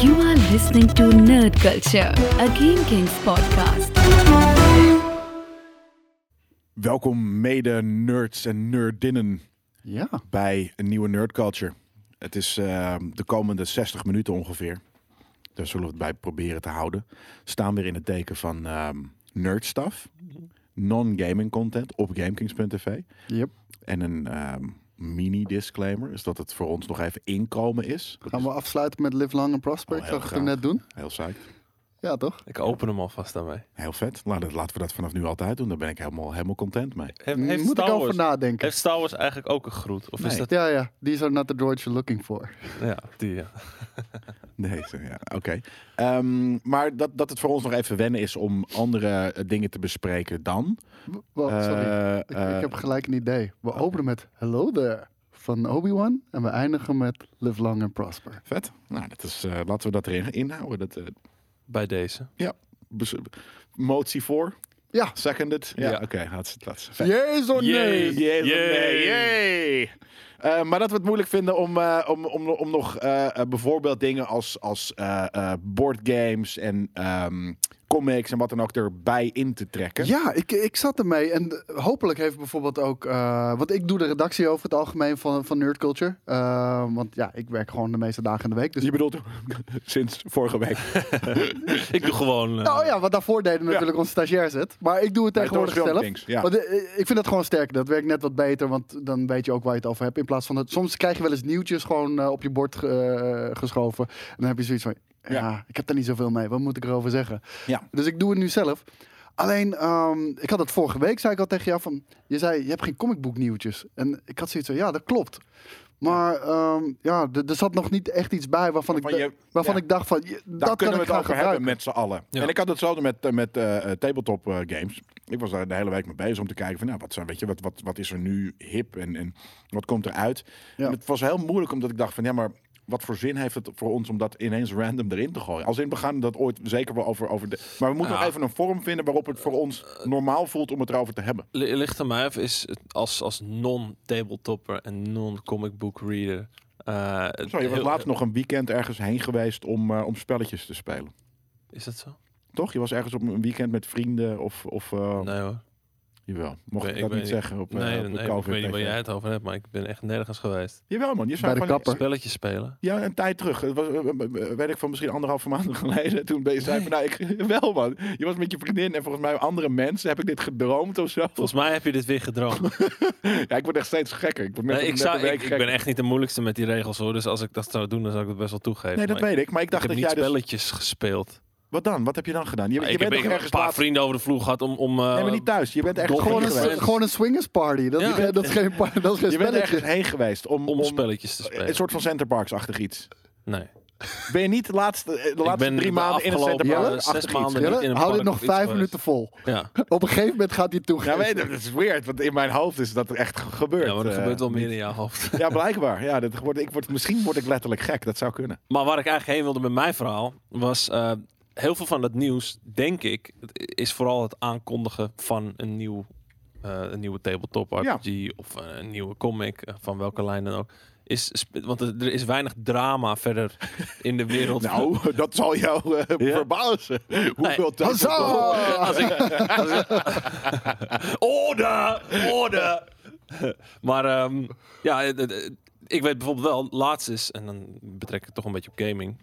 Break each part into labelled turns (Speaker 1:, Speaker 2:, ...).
Speaker 1: You are listening to Nerd Culture, a Game Kings podcast.
Speaker 2: Welkom mede-nerds en nerdinnen
Speaker 3: Ja.
Speaker 2: bij een nieuwe Nerd Culture. Het is eh, de komende 60 minuten ongeveer. Daar zullen we het bij proberen te houden. Staan weer in het teken van ehm nerd stuff, non-gaming content op GameKings.tv.
Speaker 3: Yep.
Speaker 2: En een ehm, mini-disclaimer is dat het voor ons nog even inkomen is. Dat
Speaker 3: Gaan
Speaker 2: is
Speaker 3: we afsluiten met Live Long and Prosper?
Speaker 2: Oh,
Speaker 3: ik
Speaker 2: heel
Speaker 3: zag het
Speaker 2: graag.
Speaker 3: toen net doen.
Speaker 2: heel saai.
Speaker 3: Ja, toch?
Speaker 4: Ik open hem alvast aan mij.
Speaker 2: Heel vet. Laat- dat- Laten we dat vanaf nu altijd doen. Daar ben ik helemaal, helemaal content mee.
Speaker 4: Heeft, heeft,
Speaker 3: Moet ik
Speaker 4: Star
Speaker 3: over
Speaker 4: Wars,
Speaker 3: nadenken.
Speaker 4: heeft Star Wars eigenlijk ook een groet? Of is
Speaker 2: Nee.
Speaker 4: dat...
Speaker 3: Ja, ja. These are not the droids you're looking for.
Speaker 4: Ja, die ja.
Speaker 2: Nee, zo, ja, oké. Ehm, maar dat, dat het voor ons nog even wennen is om andere eh, dingen te bespreken dan.
Speaker 3: Wow, Oh, sorry.
Speaker 2: Eh,
Speaker 3: ik,
Speaker 2: eh, oh.
Speaker 3: ik heb gelijk een idee. We openen met Hello there van Obi-Wan. En we eindigen met Live Long and Prosper.
Speaker 2: Vet. Nou, dat is, eh, laten we dat erin inhouden. Dat, eh,
Speaker 4: Bij deze.
Speaker 2: ja. Bes- motie voor.
Speaker 3: Ja.
Speaker 2: Seconded. Ja,
Speaker 4: Ja.
Speaker 2: oké. hartstikke laat. Vet.
Speaker 3: Jezus, oh nee!
Speaker 4: Yay.
Speaker 2: Jee,
Speaker 4: Yay.
Speaker 2: jee. Eh, maar dat we het moeilijk vinden om, eh, om, om, om nog eh, eh, bijvoorbeeld dingen als, als eh, eh, boardgames en ehm, comics en wat dan ook erbij in te trekken.
Speaker 3: Ja, ik, ik zat ermee. En hopelijk heeft bijvoorbeeld ook. eh, want ik doe de redactie over het algemeen van, van Nerd Culture. Eh, want ja, ik werk gewoon de meeste dagen in de week. Dus
Speaker 2: Je bedoelt sinds vorige week.
Speaker 4: Ik doe gewoon... eh,
Speaker 3: Nou ja, wat daarvoor deden we natuurlijk onze stagiairs het. Maar ik doe het
Speaker 2: Bij
Speaker 3: tegenwoordig
Speaker 2: Toon
Speaker 3: zelf.
Speaker 2: Filmkings, ja.
Speaker 3: Want, eh, ik vind dat gewoon sterk. Dat werkt net wat beter, want dan weet je ook waar je het over hebt. In plaats van dat, soms krijg je wel eens nieuwtjes gewoon eh, op je bord ge- eh, geschoven. En dan heb je zoiets van, ja,
Speaker 2: Ja.
Speaker 3: ik heb daar niet zoveel mee. Wat moet ik erover zeggen?
Speaker 2: Ja.
Speaker 3: Dus ik doe het nu zelf. Alleen, ehm, ik had het vorige week, zei ik al tegen jou, van, je zei, je hebt geen comicboek nieuwtjes. En ik had zoiets van, ja, dat klopt. Maar ehm, ja, d- er zat nog niet echt iets bij waarvan,
Speaker 2: Waarvan
Speaker 3: ik, da-
Speaker 2: je-
Speaker 3: waarvan
Speaker 2: ja.
Speaker 3: ik dacht van, je-
Speaker 2: Daar kunnen
Speaker 3: dat kan ik
Speaker 2: we
Speaker 3: gaan
Speaker 2: het over hebben
Speaker 3: gebruiken.
Speaker 2: met z'n allen.
Speaker 4: Ja.
Speaker 2: En ik had hetzelfde met, eh, met eh, eh, tabletop eh, games. Ik was daar de hele week mee bezig om te kijken van, nou, wat, zijn, weet je, wat, wat, wat is er nu hip en, en wat komt eruit?
Speaker 3: Ja.
Speaker 2: En het was heel moeilijk omdat ik dacht van, ja, maar wat voor zin heeft het voor ons om dat ineens random erin te gooien? Als in, we gaan dat ooit zeker wel over... over de, maar we moeten
Speaker 4: Ja.
Speaker 2: nog even een vorm vinden waarop het voor ons normaal voelt om het erover te hebben.
Speaker 4: li- Ligt aan mij of is het als, als non-tabletopper en non-comic book reader... eh, het
Speaker 2: Zo, je was
Speaker 4: heel-
Speaker 2: laatst nog een weekend ergens heen geweest om, eh, om spelletjes te spelen.
Speaker 4: Is dat
Speaker 2: Oh.
Speaker 4: zo?
Speaker 2: Toch? Je was ergens op een weekend met vrienden of... of eh,
Speaker 4: Nee hoor.
Speaker 2: Jawel. Mocht ik, dat
Speaker 4: Ik ben- ik ben
Speaker 2: niet
Speaker 4: niet-
Speaker 2: zeggen op, eh,
Speaker 4: Nee,
Speaker 2: op
Speaker 4: nee,
Speaker 2: de
Speaker 4: ik weet niet waar
Speaker 2: COVID.
Speaker 4: jij het over hebt, maar ik ben echt nergens geweest.
Speaker 2: Jawel man, je
Speaker 3: Bij
Speaker 2: zei
Speaker 3: de
Speaker 2: van,
Speaker 3: kapper.
Speaker 4: Spelletjes spelen.
Speaker 2: Ja, een tijd terug. Het was, eh, eh, weet ik van misschien anderhalve maand geleden. Toen ben je zei van, nou, ik, wel man. Je was met je vriendin en volgens mij andere mensen. Heb ik dit gedroomd of zo?
Speaker 4: Volgens mij heb je dit weer gedroomd.
Speaker 2: Ja, ik word echt steeds gekker. Ik, word met,
Speaker 4: Nee, ik,
Speaker 2: met
Speaker 4: zou,
Speaker 2: de week
Speaker 4: ik, ik
Speaker 2: gekker.
Speaker 4: ben echt niet de moeilijkste met die regels hoor. Dus als ik dat zou doen, dan zou ik het best wel toegeven.
Speaker 2: Nee, dat
Speaker 4: maar ik,
Speaker 2: weet ik. Maar ik
Speaker 4: ik
Speaker 2: dacht
Speaker 4: heb
Speaker 2: dat
Speaker 4: niet
Speaker 2: jij dus...
Speaker 4: spelletjes gespeeld.
Speaker 2: Wat dan? Wat heb je dan gedaan? Je,
Speaker 4: Maar
Speaker 2: je
Speaker 4: ik
Speaker 2: bent
Speaker 4: heb,
Speaker 2: toch
Speaker 4: ik heb
Speaker 2: ergens
Speaker 4: een paar
Speaker 2: laatst-
Speaker 4: vrienden over de vloer gehad om... om eh,
Speaker 2: Nee, maar niet thuis. Je bent ergens
Speaker 3: Gewoon
Speaker 2: heen
Speaker 3: een,
Speaker 2: geweest.
Speaker 3: gewoon een swingersparty. Dat,
Speaker 4: Ja.
Speaker 3: dat is geen par- dat is geen
Speaker 2: Je bent
Speaker 3: spelletje.
Speaker 2: ergens heen geweest om... Eh,
Speaker 4: om spelletjes te spelen.
Speaker 2: Een soort van centerparks-achtig iets.
Speaker 4: Nee.
Speaker 2: Ben je niet de laatste, eh, de laatste
Speaker 4: ben
Speaker 2: drie
Speaker 4: de
Speaker 2: maanden in een
Speaker 4: afgelopen, eh,
Speaker 2: centerpark-achtig
Speaker 4: zes
Speaker 2: iets?
Speaker 4: maanden-
Speaker 3: Jelle,
Speaker 4: niet in een
Speaker 3: hou dit
Speaker 4: park
Speaker 3: nog
Speaker 4: of iets
Speaker 3: vijf
Speaker 4: geweest.
Speaker 3: minuten vol.
Speaker 4: Ja.
Speaker 3: Op een gegeven moment gaat hij
Speaker 2: Ja,
Speaker 3: toegeven.
Speaker 2: weet je, dat is weird, want in mijn hoofd is dat echt gebeurd.
Speaker 4: ja, maar er
Speaker 2: eh.
Speaker 4: gebeurt wel meer in jouw hoofd.
Speaker 2: Ja, blijkbaar. Ja, dat wordt, ik word, misschien word ik letterlijk gek. Dat zou kunnen.
Speaker 4: Maar waar ik eigenlijk heen wilde met mijn verhaal was... eh, heel veel van dat nieuws, denk ik, is vooral het aankondigen van een, nieuw, eh, een nieuwe tabletop RPG of eh, een nieuwe comic, eh, van welke lijn dan ook. Is, sp- want er er is weinig drama verder in de wereld.
Speaker 2: Nou, dat zal jou eh, verbazen. Hoeveel tijd
Speaker 3: Huzzah!
Speaker 4: Als ik, als ik- orde, orde. maar ehm, ja, het- het- het- ik weet bijvoorbeeld wel, laatst is, en dan betrek ik het toch een beetje op gaming,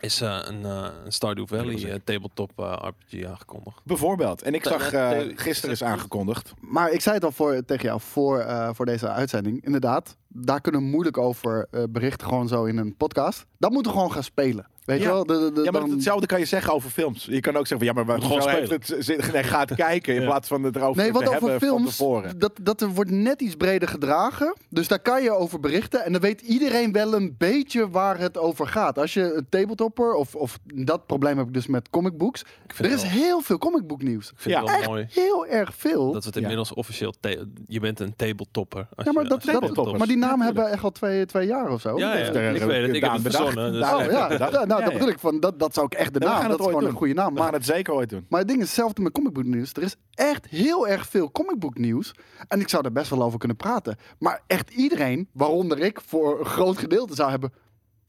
Speaker 4: is eh, een, eh, een Stardew Valley eh, tabletop eh, RPG aangekondigd.
Speaker 2: Bijvoorbeeld. En ik
Speaker 4: Dat-
Speaker 2: zag
Speaker 4: dat-
Speaker 2: eh,
Speaker 4: dat-
Speaker 2: gisteren is aangekondigd.
Speaker 3: Maar ik zei het al voor, tegen jou voor, eh, voor deze uitzending. Inderdaad, daar kunnen we moeilijk over eh, berichten. Gewoon zo in een podcast. Dat moeten we gewoon gaan spelen. Weet
Speaker 2: Ja.
Speaker 3: je wel? De, de- de-
Speaker 2: Ja, maar
Speaker 3: dan-
Speaker 2: hetzelfde kan je zeggen over films. Je kan ook zeggen van ja, maar
Speaker 4: Moet
Speaker 2: gewoon
Speaker 4: gewoon
Speaker 2: heeft het zin? Nee, ga het kijken in
Speaker 4: Ja.
Speaker 2: plaats van het erover
Speaker 3: Nee,
Speaker 2: te
Speaker 3: want
Speaker 2: hebben
Speaker 3: over
Speaker 2: van
Speaker 3: films,
Speaker 2: tevoren.
Speaker 3: dat, dat er wordt net iets breder gedragen. Dus daar kan je over berichten. En dan weet iedereen wel een beetje waar het over gaat. Als je een tabletopper, of, of dat probleem heb ik dus met comicbooks.
Speaker 4: vind
Speaker 3: Er is
Speaker 4: wel-
Speaker 3: heel veel comicboeknieuws.
Speaker 4: Ik vind
Speaker 2: Ja.
Speaker 4: het wel mooi
Speaker 3: Heel erg veel.
Speaker 4: dat we het inmiddels officieel... ta- Je bent een tabletopper. als
Speaker 3: ja, maar,
Speaker 4: je-
Speaker 3: dat,
Speaker 4: als je
Speaker 2: tabletopper.
Speaker 3: dat-
Speaker 4: tabletopper-
Speaker 3: maar die naam
Speaker 2: Ja,
Speaker 3: hebben we echt al twee, twee jaar of zo.
Speaker 4: Ja, ja,
Speaker 2: Heeft er-
Speaker 4: ik weet het. Ik heb
Speaker 2: Daan
Speaker 4: het
Speaker 2: bedacht.
Speaker 4: verzonnen. Dus,
Speaker 3: Oh, ja.
Speaker 2: dat-
Speaker 3: Ja, nou,
Speaker 2: ja,
Speaker 3: dat
Speaker 2: ja.
Speaker 3: bedoel ik. Van, dat, dat zou ik echt
Speaker 2: Ja,
Speaker 3: de
Speaker 2: we
Speaker 3: naam.
Speaker 2: gaan
Speaker 3: Dat
Speaker 2: het
Speaker 3: is
Speaker 2: ooit
Speaker 3: gewoon
Speaker 2: doen.
Speaker 3: een goede naam.
Speaker 2: We gaan
Speaker 3: Maar,
Speaker 2: het zeker ooit doen.
Speaker 3: maar het ding is hetzelfde met comicboeknieuws. Er is echt heel erg veel comicboeknieuws. En ik zou daar best wel over kunnen praten. Maar echt iedereen, waaronder ik, voor een groot gedeelte zou hebben...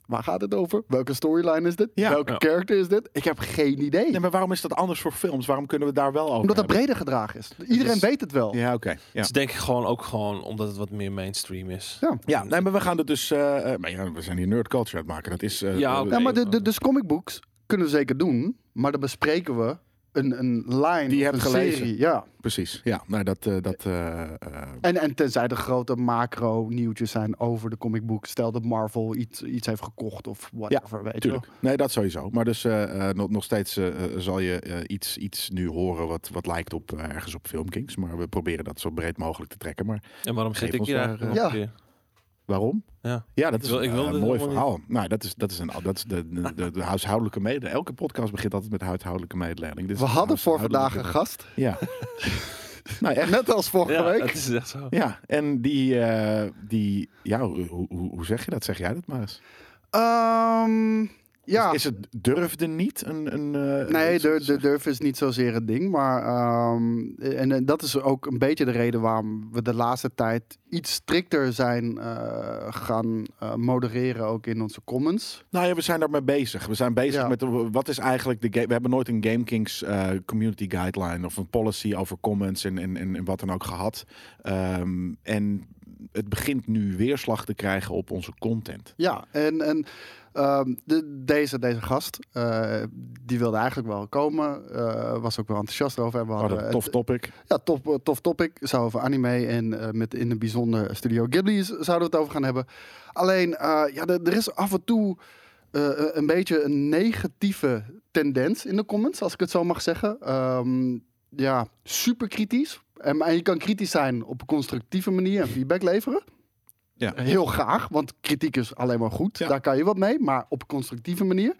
Speaker 3: Waar gaat het over? Welke storyline is dit?
Speaker 2: Ja.
Speaker 3: Welke
Speaker 4: Ja.
Speaker 3: character is dit? Ik heb geen idee.
Speaker 2: Nee, maar waarom is dat anders voor films? Waarom kunnen we het daar wel over
Speaker 3: Omdat dat
Speaker 2: hebben?
Speaker 3: breder gedrag is. Iedereen
Speaker 4: is-
Speaker 3: weet het wel.
Speaker 2: Dus- Ja, oké. Ja.
Speaker 4: Dus denk ik gewoon ook gewoon omdat het wat meer mainstream is.
Speaker 3: Ja.
Speaker 2: ja, nee, maar we gaan het dus... eh, eh, maar ja, we zijn hier nerd culture aan het maken. Dat is... eh,
Speaker 4: Ja, oké.
Speaker 3: Ja, maar de,
Speaker 4: maar-
Speaker 3: de, dus comic books kunnen we zeker doen, maar dan bespreken we een, een line
Speaker 2: Die je
Speaker 3: of
Speaker 2: hebt
Speaker 3: een
Speaker 2: gelezen.
Speaker 3: serie. Ja.
Speaker 2: Precies. Ja, nou, dat... eh, dat eh, eh,
Speaker 3: En, en tenzij er grote macro nieuwtjes zijn over de comic book. Stel dat Marvel iets, iets heeft gekocht of whatever, weet je wel.
Speaker 2: Tuurlijk. Nee, dat sowieso. Maar dus eh, eh, nog, nog steeds eh, eh, zal je eh, iets, iets nu horen wat, wat lijkt op eh, ergens op Filmkings. Maar we proberen dat zo breed mogelijk te trekken. Maar
Speaker 4: En waarom
Speaker 2: Geef
Speaker 4: zit ik
Speaker 2: ons
Speaker 4: hier
Speaker 2: daar,
Speaker 4: eigenlijk
Speaker 3: eh,
Speaker 4: nog
Speaker 3: Ja.
Speaker 4: een keer?
Speaker 2: waarom?
Speaker 4: Ja.
Speaker 2: Ja, dat
Speaker 4: Ik
Speaker 2: is
Speaker 4: wil- ik
Speaker 2: eh,
Speaker 4: wil
Speaker 2: een
Speaker 4: dit
Speaker 2: mooi
Speaker 4: helemaal
Speaker 2: verhaal. Nou, dat is, dat is, een, dat is de, de, de, de huishoudelijke mede. Elke podcast begint altijd met de huishoudelijke mededeling. Dit is
Speaker 3: We
Speaker 2: de
Speaker 3: hadden voor vandaag een
Speaker 2: huishoudelijke-
Speaker 3: gast.
Speaker 2: Ja. nou, echt.
Speaker 3: Net als vorige
Speaker 4: Ja,
Speaker 3: week.
Speaker 4: dat is echt zo.
Speaker 2: Ja, en die, eh, die ja, hoe, hoe, hoe zeg je dat? Zeg jij dat maar eens?
Speaker 3: Ehm, ja.
Speaker 2: Is, is het durfde niet een... een eh,
Speaker 3: Nee,
Speaker 2: iets
Speaker 3: de,
Speaker 2: te
Speaker 3: de durf is niet zozeer het ding. Maar ehm, en, en dat is ook een beetje de reden waarom we de laatste tijd iets strikter zijn eh, gaan eh, modereren, ook in onze comments.
Speaker 2: Nou ja, we zijn daarmee bezig. We zijn bezig
Speaker 3: Ja.
Speaker 2: met eh, wat is eigenlijk de game. We hebben nooit een GameKings eh, community guideline of een policy over comments en, en, en, en wat dan ook gehad. Ehm, en het begint nu weerslag te krijgen op onze content.
Speaker 3: Ja, en, en ehm, de, deze, deze gast, eh, die wilde eigenlijk wel komen, eh, was ook wel enthousiast over. En we
Speaker 2: Wat
Speaker 3: hadden
Speaker 2: een Oh, tof
Speaker 3: het-
Speaker 2: topic.
Speaker 3: Ja, tof, tof topic. Zou over anime en eh, met in het bijzonder Studio Ghibli z- zouden we het over gaan hebben. Alleen, eh, ja, er er is af en toe eh, een beetje een negatieve tendens in de comments, als ik het zo mag zeggen. Ehm, ja, super kritisch. En, en je kan kritisch zijn op een constructieve manier en feedback leveren.
Speaker 2: Ja.
Speaker 3: Heel graag, want kritiek is alleen maar goed.
Speaker 2: Ja.
Speaker 3: Daar kan je wat mee, maar op een constructieve manier.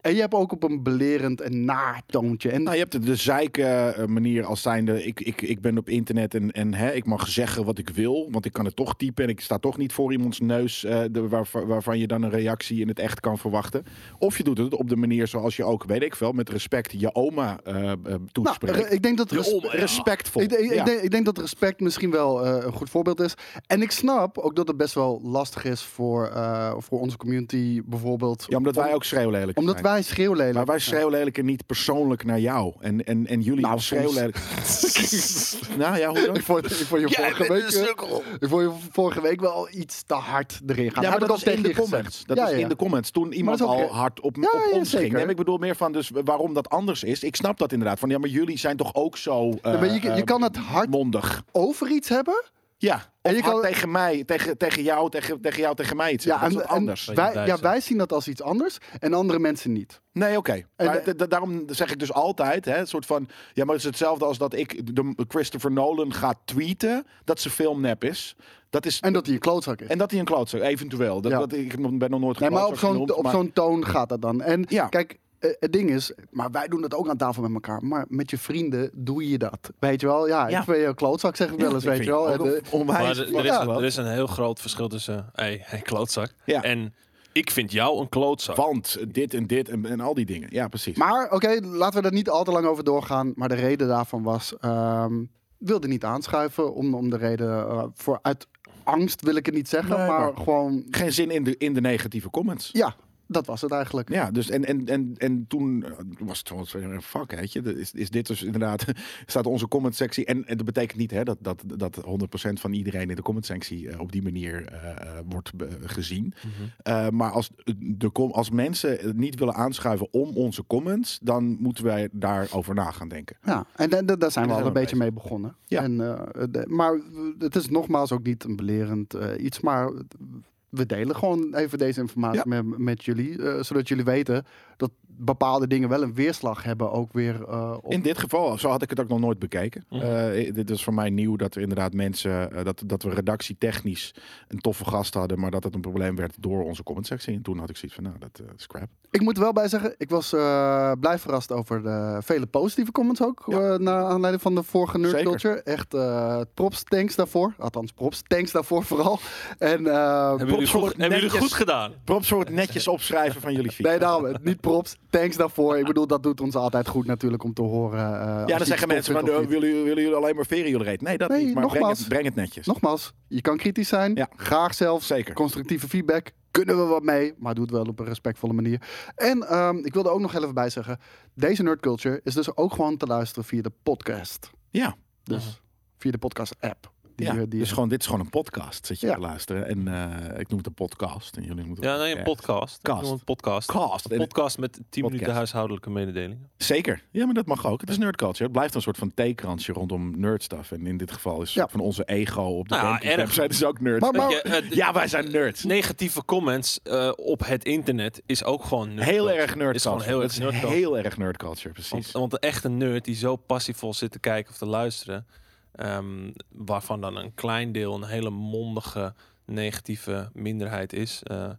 Speaker 3: En je hebt ook op een belerend en naartoontje. En
Speaker 2: Nou, je hebt de, de zeiken eh, manier als zijnde. Ik, ik, ik ben op internet en, en hè, ik mag zeggen wat ik wil. Want ik kan het toch typen. En ik sta toch niet voor iemands neus. eh, de, waarva- waarvan je dan een reactie in het echt kan verwachten. Of je doet het op de manier zoals je ook, weet ik veel, met respect je oma eh, eh,
Speaker 3: Nou,
Speaker 2: toespreekt.
Speaker 3: re- ik denk dat res-
Speaker 4: oma, ja.
Speaker 2: Respectvol.
Speaker 3: Ik, denk- ik
Speaker 2: Ja.
Speaker 3: denk, ik denk dat respect misschien wel eh, een goed voorbeeld is. En ik snap ook dat het best wel lastig is voor, eh, voor onze community bijvoorbeeld.
Speaker 2: Ja, omdat wij ook schreeuwlelijk
Speaker 3: Omdat
Speaker 2: zijn.
Speaker 3: wij schreeuwlelijk
Speaker 2: Maar wij schreeuwlelijken niet persoonlijk naar jou. En, en, en jullie
Speaker 3: Nou,
Speaker 2: schreeuwlelijk... nou ja, hoe dan?
Speaker 3: Ik vond, ik vond je vorige week, ik vond je vorige week wel iets te hard erin gaan. Nou,
Speaker 2: Ja,
Speaker 3: Heb
Speaker 2: maar
Speaker 3: ik
Speaker 2: dat
Speaker 3: ook
Speaker 2: was in
Speaker 3: tegen
Speaker 2: de
Speaker 3: je gezegd.
Speaker 2: comments. Dat
Speaker 3: Ja,
Speaker 2: was
Speaker 3: ja.
Speaker 2: in de comments. Toen iemand
Speaker 3: dat is ook
Speaker 2: al
Speaker 3: re-
Speaker 2: hard op,
Speaker 3: Ja,
Speaker 2: op
Speaker 3: ja,
Speaker 2: ons ging.
Speaker 3: zeker.
Speaker 2: Nee, maar ik bedoel meer van dus waarom dat anders is. Ik snap dat inderdaad. Van ja, maar jullie zijn toch ook zo eh,
Speaker 3: Ja, maar je, je
Speaker 2: eh,
Speaker 3: kan het hard
Speaker 2: mondig.
Speaker 3: over iets hebben.
Speaker 2: Ja. Of
Speaker 3: je
Speaker 2: hard
Speaker 3: kan-
Speaker 2: tegen mij, tegen, tegen jou, tegen, tegen jou, tegen mij. iets
Speaker 3: Ja,
Speaker 2: zeggen. dat is
Speaker 3: en-
Speaker 2: wat
Speaker 3: en
Speaker 2: anders.
Speaker 4: Beetje
Speaker 3: Wij, ja,
Speaker 4: Duits, hè?
Speaker 3: wij zien dat als iets anders en andere mensen niet.
Speaker 2: Nee, oké.
Speaker 3: En-
Speaker 2: Maar d- d- Daarom zeg ik dus altijd, hè, een soort van, ja, maar het is hetzelfde als dat ik de Christopher Nolan ga tweeten dat zijn film nep is. Dat is
Speaker 3: En dat hij een klootzak is.
Speaker 2: en dat hij een klootzak, eventueel. Dat,
Speaker 3: Ja.
Speaker 2: dat ik ben nog nooit
Speaker 3: Nee, maar op
Speaker 2: geklootzak
Speaker 3: zo'n
Speaker 2: genoemd,
Speaker 3: op
Speaker 2: maar-
Speaker 3: zo'n toon gaat dat dan. En
Speaker 2: Ja.
Speaker 3: kijk, eh, het ding is, maar wij doen dat ook aan tafel met elkaar. Maar met je vrienden doe je dat. Weet je wel? Ja,
Speaker 2: Ja.
Speaker 3: ik ben je klootzak, zeg ik wel eens,
Speaker 2: Ik
Speaker 3: weet
Speaker 2: vind
Speaker 3: je wel.
Speaker 2: het ook
Speaker 3: En, eh,
Speaker 2: on- onwijs.
Speaker 4: Maar er, er is,
Speaker 3: Ja.
Speaker 4: er is een heel groot verschil tussen, hey, hey, klootzak,
Speaker 2: Ja.
Speaker 4: en ik vind jou een klootzak.
Speaker 2: Want dit en dit en, en al die dingen. Ja, precies.
Speaker 3: maar oké, laten we er niet al te lang over doorgaan. Maar de reden daarvan was, ehm wilde niet aanschuiven. Om, om de reden, eh, voor uit angst wil ik het niet zeggen.
Speaker 2: Nee,
Speaker 3: maar
Speaker 2: maar-
Speaker 3: gewoon,
Speaker 2: Geen zin in de, in de negatieve comments.
Speaker 3: ja, dat was het eigenlijk.
Speaker 2: Ja, dus en, en, en, en toen eh, was het gewoon zo, eh, fuck, weet je. Is, is dit dus inderdaad, staat onze comment sectie. En, en dat betekent niet hè, dat, dat, dat 100% van iedereen in de comment sectie eh, op die manier eh, eh, wordt be- gezien. Eh, maar als, de, com- als mensen het niet willen aanschuiven om onze comments, dan moeten wij daarover na gaan denken.
Speaker 3: Ja, en da- da- daar zijn we
Speaker 2: Daar
Speaker 3: al een
Speaker 2: zijn we
Speaker 3: beetje mee begonnen.
Speaker 2: Ja.
Speaker 3: En, eh, de- maar het is nogmaals ook niet een belerend eh, iets, maar we delen gewoon even deze informatie met, met jullie, eh, zodat jullie weten dat bepaalde dingen wel een weerslag hebben ook weer eh, op...
Speaker 2: In dit geval, zo had ik het ook nog nooit bekeken. Eh, dit is voor mij nieuw dat er inderdaad mensen, eh, dat, dat we redactietechnisch een toffe gast hadden, maar dat het een probleem werd door onze commentsectie. En toen had ik zoiets van, nou, dat eh, is crap.
Speaker 3: Ik moet er wel bij zeggen, ik was eh, blij verrast over de vele positieve comments ook, eh, naar aanleiding van de vorige Nerd
Speaker 2: Zeker.
Speaker 3: Culture. Echt eh, props, thanks daarvoor. Althans, props, thanks daarvoor vooral. En eh,
Speaker 4: Hebben jullie,
Speaker 2: Props voor
Speaker 4: goed,
Speaker 2: het
Speaker 4: hebben jullie
Speaker 2: netjes-
Speaker 4: goed gedaan?
Speaker 2: Props voor het netjes opschrijven van jullie feedback.
Speaker 3: Nee, daarom. Niet props. Thanks daarvoor. Ik bedoel, dat doet ons altijd goed natuurlijk om te horen. eh, als je
Speaker 2: ja, dan
Speaker 3: iets
Speaker 2: zeggen
Speaker 3: tof
Speaker 2: mensen, van,
Speaker 3: vindt
Speaker 2: eh,
Speaker 3: of niet.
Speaker 2: willen, jullie- willen jullie alleen maar veren jullie reet? Nee, dat
Speaker 3: Nee,
Speaker 2: niet, maar breng
Speaker 3: nogmaals.
Speaker 2: het, breng het netjes.
Speaker 3: Nogmaals, je kan kritisch zijn.
Speaker 2: Ja.
Speaker 3: Graag zelfs.
Speaker 2: Zeker.
Speaker 3: Constructieve feedback. kunnen we wat mee, maar doe het wel op een respectvolle manier. En ehm, ik wilde ook nog heel even bij zeggen, deze Nerd Culture is dus ook gewoon te luisteren via de podcast.
Speaker 2: Ja,
Speaker 3: Dus via de podcast app. Die,
Speaker 2: ja.
Speaker 3: eh, die
Speaker 2: dus gewoon, dit is gewoon een podcast. Zit je
Speaker 3: Ja.
Speaker 2: te luisteren. En eh, ik noem het een podcast. En jullie moeten
Speaker 4: Ja, nee, een
Speaker 2: Ja.
Speaker 4: podcast. Ik
Speaker 2: Cast.
Speaker 4: noem het podcast.
Speaker 2: Cast.
Speaker 4: Een podcast met 10 minuten
Speaker 2: Podcast.
Speaker 4: huishoudelijke mededelingen.
Speaker 2: Zeker. Ja, maar dat mag ook. Het is nerdculture. Het blijft een soort van theekransje rondom nerdstuff. En in dit geval is
Speaker 3: Ja.
Speaker 2: van onze ego op de
Speaker 4: Nou ja,
Speaker 2: Gamecube
Speaker 4: erg.
Speaker 2: website is ook nerds.
Speaker 3: Maar- maar-
Speaker 4: Weet je, eh, d-
Speaker 2: ja, wij zijn nerds.
Speaker 4: Negatieve comments eh, op het internet is ook gewoon nerd
Speaker 2: heel
Speaker 4: culture.
Speaker 2: erg
Speaker 4: Is gewoon
Speaker 2: nerdculture.
Speaker 4: heel
Speaker 2: Dat is
Speaker 4: erg nerd culture.
Speaker 2: heel erg nerdculture,
Speaker 4: Want,
Speaker 2: precies.
Speaker 4: want de echte nerd die zo passievol zit te kijken of te luisteren, ehm, waarvan dan een klein deel een hele mondige negatieve minderheid is, eh,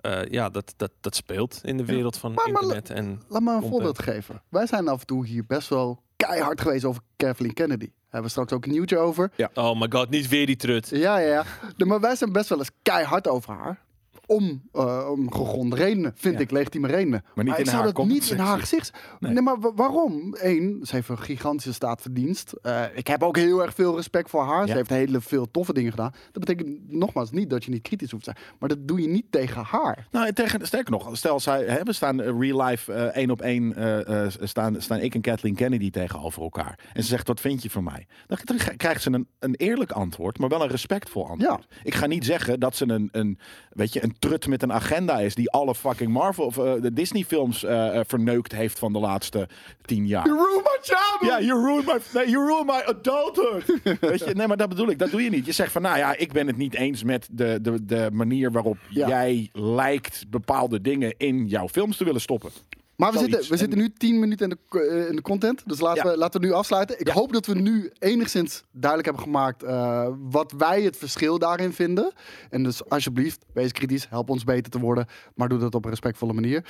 Speaker 4: eh, ja, dat, dat, dat speelt in de wereld van
Speaker 3: Maar- maar-
Speaker 4: internet. En
Speaker 3: Laat me een
Speaker 4: Content.
Speaker 3: voorbeeld geven. Wij zijn af en toe hier best wel keihard geweest over Kathleen Kennedy. Daar hebben we straks ook een nieuwtje over.
Speaker 4: oh my god, niet weer die trut.
Speaker 3: Ja, ja, ja. Nee, maar wij zijn best wel eens keihard over haar. Om, eh, om gegronde redenen, vind
Speaker 2: Ja.
Speaker 3: ik, legitieme redenen.
Speaker 2: Maar niet
Speaker 3: ik
Speaker 2: in
Speaker 3: zou
Speaker 2: haar
Speaker 3: dat
Speaker 2: context.
Speaker 3: niet in haar gezicht... Nee,
Speaker 2: Nee.
Speaker 3: maar wa- waarom? Eén, ze heeft een gigantische staatverdienst. Eh, ik heb ook heel erg veel respect voor haar. Ze
Speaker 2: Ja.
Speaker 3: heeft hele veel toffe dingen gedaan. Dat betekent nogmaals niet dat je niet kritisch hoeft te zijn. Maar dat doe je niet tegen haar.
Speaker 2: Nou, en tegen, sterker nog, stel, zij, hè, we staan eh, real life eh, één op één, eh, eh, staan, staan ik en Kathleen Kennedy tegenover elkaar. En ze zegt, wat vind je van mij? Dan k- krijgt ze een, een eerlijk antwoord, maar wel een respectvol antwoord. Ik ga niet zeggen dat ze een, een, weet je, een trut met een agenda is die alle fucking Marvel of eh, de Disney films eh, eh, verneukt heeft van de laatste tien jaar.
Speaker 3: Roem my job!
Speaker 2: Ja, you ruined my, nee, you ruined my adulthood. Weet je, nee, maar dat bedoel ik. Dat doe je niet. Je zegt van, nou ja, ik ben het niet eens met de, de, de manier waarop
Speaker 3: Ja.
Speaker 2: jij lijkt bepaalde dingen in jouw films te willen stoppen.
Speaker 3: Maar we
Speaker 2: Zoiets.
Speaker 3: zitten, we
Speaker 2: En-
Speaker 3: zitten nu 10 minuten in de, co- eh, in de content. Dus laten,
Speaker 2: Ja.
Speaker 3: we, laten we nu afsluiten. Ik
Speaker 2: Ja.
Speaker 3: hoop dat we nu enigszins duidelijk hebben gemaakt eh, wat wij het verschil daarin vinden. En dus alsjeblieft, wees kritisch. Help ons beter te worden. Maar doe dat op een respectvolle manier.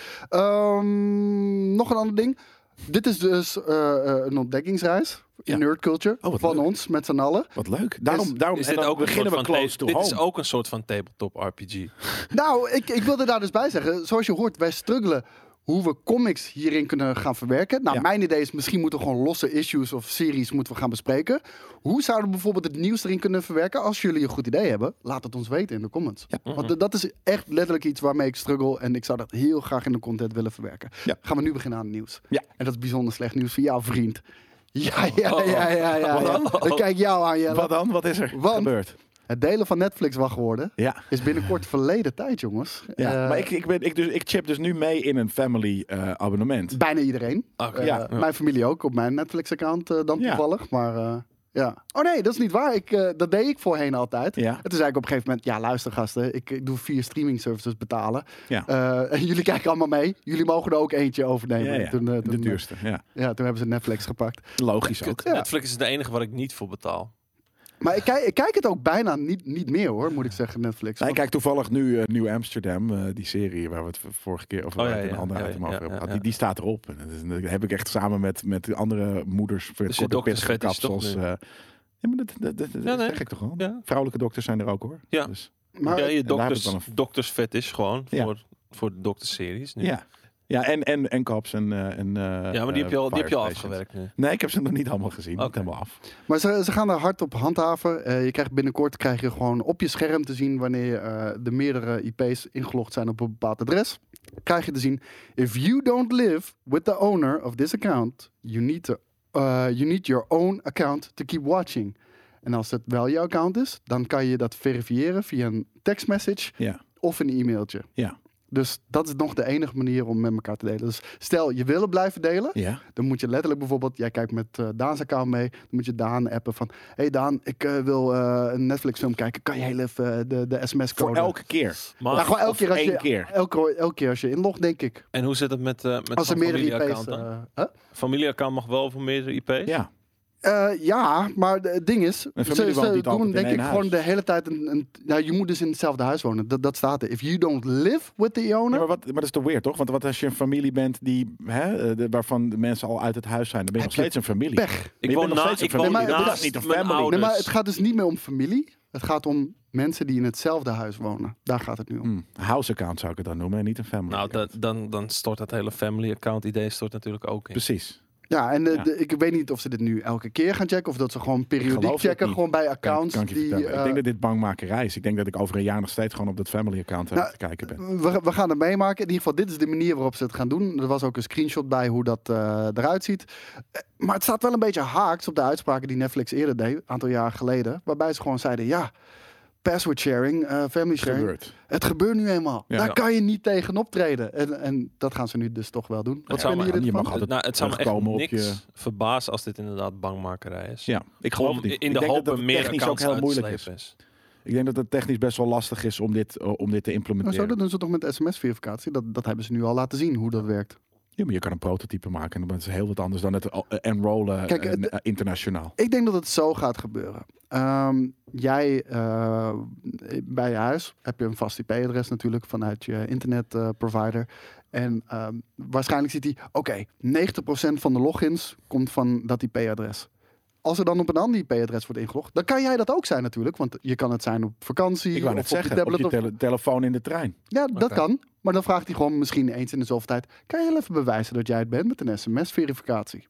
Speaker 3: Ehm, nog een ander ding. Dit is dus eh, eh, een ontdekkingsreis in
Speaker 2: Ja.
Speaker 3: nerd culture.
Speaker 2: Oh, wat
Speaker 3: van
Speaker 2: leuk.
Speaker 3: ons, met z'n allen.
Speaker 2: Wat leuk. Daarom,
Speaker 3: Is-
Speaker 2: daarom
Speaker 4: Is
Speaker 2: en
Speaker 4: dit
Speaker 2: dan
Speaker 4: ook een soort
Speaker 2: beginnen we
Speaker 4: van
Speaker 2: close
Speaker 4: ta-
Speaker 2: to
Speaker 4: dit
Speaker 2: home.
Speaker 4: is ook een soort van tabletop RPG.
Speaker 3: Nou, ik, ik wilde daar dus bij zeggen. Zoals je hoort, wij struggelen hoe we comics hierin kunnen gaan verwerken. Nou,
Speaker 2: Ja.
Speaker 3: mijn idee is misschien moeten we gewoon losse issues of series moeten we gaan bespreken. Hoe zouden we bijvoorbeeld het nieuws erin kunnen verwerken? Als jullie een goed idee hebben, laat het ons weten in de comments. Want d- dat is echt letterlijk iets waarmee ik struggle en ik zou dat heel graag in de content willen verwerken.
Speaker 2: Ja.
Speaker 3: Gaan we nu beginnen aan het nieuws.
Speaker 2: Ja. Oh,
Speaker 3: En dat is bijzonder slecht nieuws voor jou, vriend. Ja, ja, ja, ja, ja. ja. Ik kijk jou aan, Jelle.
Speaker 2: Wat dan? Wat is er
Speaker 3: Want-
Speaker 2: gebeurd?
Speaker 3: Het delen van Netflix wacht worden
Speaker 2: Ja.
Speaker 3: is binnenkort verleden tijd, jongens.
Speaker 2: Ja,
Speaker 3: Eh,
Speaker 2: maar ik, ik, ben, ik, dus, ik chip dus nu mee in een family eh, abonnement.
Speaker 3: Bijna iedereen.
Speaker 4: Oké.
Speaker 3: Eh,
Speaker 2: Ja.
Speaker 3: Mijn familie ook, op mijn Netflix-account eh, dan
Speaker 2: Ja.
Speaker 3: toevallig. Maar eh, ja. Oh nee, dat is niet waar. Ik, eh, dat deed ik voorheen altijd.
Speaker 2: Ja.
Speaker 3: En toen zei ik op een gegeven moment, ja luister gasten, ik, ik doe vier streaming services betalen.
Speaker 2: Ja.
Speaker 3: Eh, en jullie kijken allemaal mee. Jullie mogen er ook eentje overnemen.
Speaker 2: ja, ja.
Speaker 3: Toen, eh, toen,
Speaker 2: de
Speaker 3: eh,
Speaker 2: duurste. Ja.
Speaker 3: ja, toen hebben ze Netflix gepakt.
Speaker 2: Logisch ook.
Speaker 3: Ja.
Speaker 4: Netflix is de enige waar ik niet voor betaal.
Speaker 3: Maar ik kijk, ik kijk het ook bijna niet, niet meer hoor, moet ik zeggen, Netflix.
Speaker 2: Nou, ik
Speaker 3: Want-
Speaker 2: kijk toevallig nu eh, Nieuw Amsterdam, eh, die serie waar we het v- vorige keer of
Speaker 4: Oh,
Speaker 2: waar we
Speaker 4: ja,
Speaker 2: het in
Speaker 4: ja,
Speaker 2: een ander
Speaker 4: ja,
Speaker 2: item
Speaker 4: ja,
Speaker 2: over
Speaker 4: ja,
Speaker 2: hebben gehad.
Speaker 4: ja.
Speaker 2: Die, die staat erop. En dat, is- dat heb ik echt samen met, met de andere moeders voor
Speaker 4: Dus je
Speaker 2: korte
Speaker 4: dokter
Speaker 2: pits
Speaker 4: vet is toch
Speaker 2: gekapsels,
Speaker 4: nu?
Speaker 2: eh. ja, maar dat, dat, dat, dat
Speaker 4: Ja, nee.
Speaker 2: zeg ik toch wel.
Speaker 4: Ja.
Speaker 2: Vrouwelijke dokters zijn er ook hoor.
Speaker 4: Ja.
Speaker 2: Dus,
Speaker 3: maar
Speaker 4: ja, je
Speaker 2: daar heb ik
Speaker 4: dokters,
Speaker 2: wel een-
Speaker 4: doktersvet is gewoon
Speaker 2: Ja.
Speaker 4: voor, voor de dokterseries nu.
Speaker 2: ja. ja, en, en, en kaps en, eh, en eh,
Speaker 4: Ja, maar die heb je al,
Speaker 2: eh,
Speaker 4: die heb je al
Speaker 2: fire stations.
Speaker 4: afgewerkt nu.
Speaker 2: Nee, ik heb ze nog niet allemaal gezien. Niet
Speaker 4: Oké.
Speaker 2: helemaal af.
Speaker 3: Maar ze, ze gaan er hard op handhaven. Eh, je krijgt binnenkort krijg je gewoon op je scherm te zien wanneer eh, de meerdere IP's ingelogd zijn op een bepaald adres. Krijg je te zien: If you don't live with the owner of this account, you need, to, eh, you need your own account to keep watching. En als het wel jouw account is, dan kan je dat verifiëren via een tekstmessage
Speaker 2: Ja.
Speaker 3: of een e-mailtje.
Speaker 2: Ja.
Speaker 3: Dus dat is nog de enige manier om met elkaar te delen. Dus stel je wil het blijven delen,
Speaker 2: Ja.
Speaker 3: dan moet je letterlijk bijvoorbeeld, jij kijkt met eh, Daan's account mee, dan moet je Daan appen van, hey Daan, ik eh, wil eh, een Netflix film kijken, kan je heel even eh, de, de sms
Speaker 2: Voor
Speaker 3: code?
Speaker 2: elke keer.
Speaker 4: Maar,
Speaker 3: Nou, gewoon elke
Speaker 2: of
Speaker 3: keer als
Speaker 2: één
Speaker 3: je,
Speaker 2: keer.
Speaker 3: Elke, elke keer als je inlogt, denk ik.
Speaker 4: en hoe zit het met, eh met
Speaker 3: als er
Speaker 4: zo'n
Speaker 3: meerdere IP's...
Speaker 4: familieaccount dan?
Speaker 3: eh, hè?
Speaker 4: Familieaccount mag wel voor meerdere IP's?
Speaker 2: Ja.
Speaker 3: Eh, ja, maar de- het ding is, ze,
Speaker 2: Een familie woont
Speaker 3: ze
Speaker 2: niet altijd
Speaker 3: doen
Speaker 2: in
Speaker 3: denk
Speaker 2: één
Speaker 3: ik
Speaker 2: huis.
Speaker 3: gewoon de hele tijd een, een- Nou, je moet dus in hetzelfde huis wonen. Dat, dat staat er. If you don't live with the
Speaker 2: Ja,
Speaker 3: owner...
Speaker 2: maar, wat, maar dat is toch weird, toch? Want wat als je een familie bent die, hè, eh, de- waarvan de mensen al uit het huis zijn, dan ben je
Speaker 3: Heb
Speaker 2: nog steeds een familie. Oh,
Speaker 3: Pech.
Speaker 2: Je
Speaker 4: Ik
Speaker 2: bent
Speaker 4: woon,
Speaker 2: nog
Speaker 4: na,
Speaker 2: steeds een
Speaker 4: ik woon
Speaker 3: familie.
Speaker 4: naast
Speaker 3: Maar dat is
Speaker 2: niet een
Speaker 4: mijn
Speaker 2: family.
Speaker 3: Nee,
Speaker 4: ouders.
Speaker 3: maar het gaat dus niet meer om familie. Het gaat om mensen die in hetzelfde huis wonen. Daar gaat het nu om.
Speaker 2: Hmm, house account zou ik het dan noemen en niet een family.
Speaker 4: Nou,
Speaker 2: account.
Speaker 4: dat, dan, dan stort dat hele family account idee stort natuurlijk ook in.
Speaker 2: Precies.
Speaker 3: Ja, en eh,
Speaker 2: Ja.
Speaker 3: de- ik weet niet of ze dit nu elke keer gaan checken. Of dat ze gewoon periodiek
Speaker 2: geloof het
Speaker 3: checken.
Speaker 2: niet.
Speaker 3: Gewoon bij
Speaker 2: Kan-
Speaker 3: accounts
Speaker 2: kan ik je
Speaker 3: die...
Speaker 2: vertellen. ik denk
Speaker 3: eh,
Speaker 2: dat dit bangmakerij is. Ik denk dat ik over een jaar nog steeds gewoon op dat family account aan
Speaker 3: Nou,
Speaker 2: het kijken ben.
Speaker 3: we, we gaan het meemaken. In ieder geval, dit is de manier waarop ze het gaan doen. Er was ook een screenshot bij hoe dat eh, eruit ziet. Eh, Maar het staat wel een beetje haaks op de uitspraken die Netflix eerder deed, een aantal jaar geleden. Waarbij ze gewoon zeiden, ja, password sharing, eh, family sharing.
Speaker 2: Gebeurd.
Speaker 3: Het gebeurt nu eenmaal.
Speaker 2: Ja.
Speaker 3: Daar
Speaker 4: Ja.
Speaker 3: kan je niet tegen optreden. En, en dat gaan ze nu dus toch wel doen. Wat
Speaker 4: zou
Speaker 3: vinden
Speaker 4: maar-
Speaker 3: jullie
Speaker 2: je mag
Speaker 3: ervan?
Speaker 2: altijd
Speaker 4: nou, het zou me echt
Speaker 2: terugkomen op
Speaker 4: niks
Speaker 2: je-
Speaker 4: verbazen als dit inderdaad bangmakerij is.
Speaker 2: Ja, ik geloof
Speaker 4: Gewoon
Speaker 2: het niet.
Speaker 4: in
Speaker 2: Ik
Speaker 4: de
Speaker 2: denk dat
Speaker 4: hoop dat
Speaker 2: het
Speaker 4: meer
Speaker 2: technisch
Speaker 4: accounts
Speaker 2: ook heel moeilijk is.
Speaker 4: uitslepen is.
Speaker 2: Ik denk dat het technisch best wel lastig is om dit, eh, om dit te
Speaker 3: Nou, zo,
Speaker 2: implementeren.
Speaker 3: dat doen ze toch met sms-verificatie? Dat, dat hebben ze nu al laten zien, hoe dat werkt.
Speaker 2: Ja, maar je kan een prototype maken en dat is heel wat anders dan het eh, enrollen
Speaker 3: Kijk,
Speaker 2: eh,
Speaker 3: het-
Speaker 2: eh, internationaal.
Speaker 3: Ik denk dat het zo gaat gebeuren. Ehm, jij eh, bij je huis heb je een vast IP-adres natuurlijk vanuit je internetprovider. en ehm, waarschijnlijk ziet hij, oké, 90% van de logins komt van dat IP-adres. Als er dan op een ander IP-adres wordt ingelogd, dan kan jij dat ook zijn natuurlijk. Want je kan het zijn op vakantie
Speaker 2: Ik wou
Speaker 3: of
Speaker 2: net
Speaker 3: op
Speaker 2: zeggen,
Speaker 3: je tablet.
Speaker 2: op je
Speaker 3: of-
Speaker 2: tele- telefoon in de trein.
Speaker 3: ja, dat kan. Maar dan vraagt hij gewoon misschien eens in de zoveel tijd... kan je heel even bewijzen dat jij het bent met een sms-verificatie?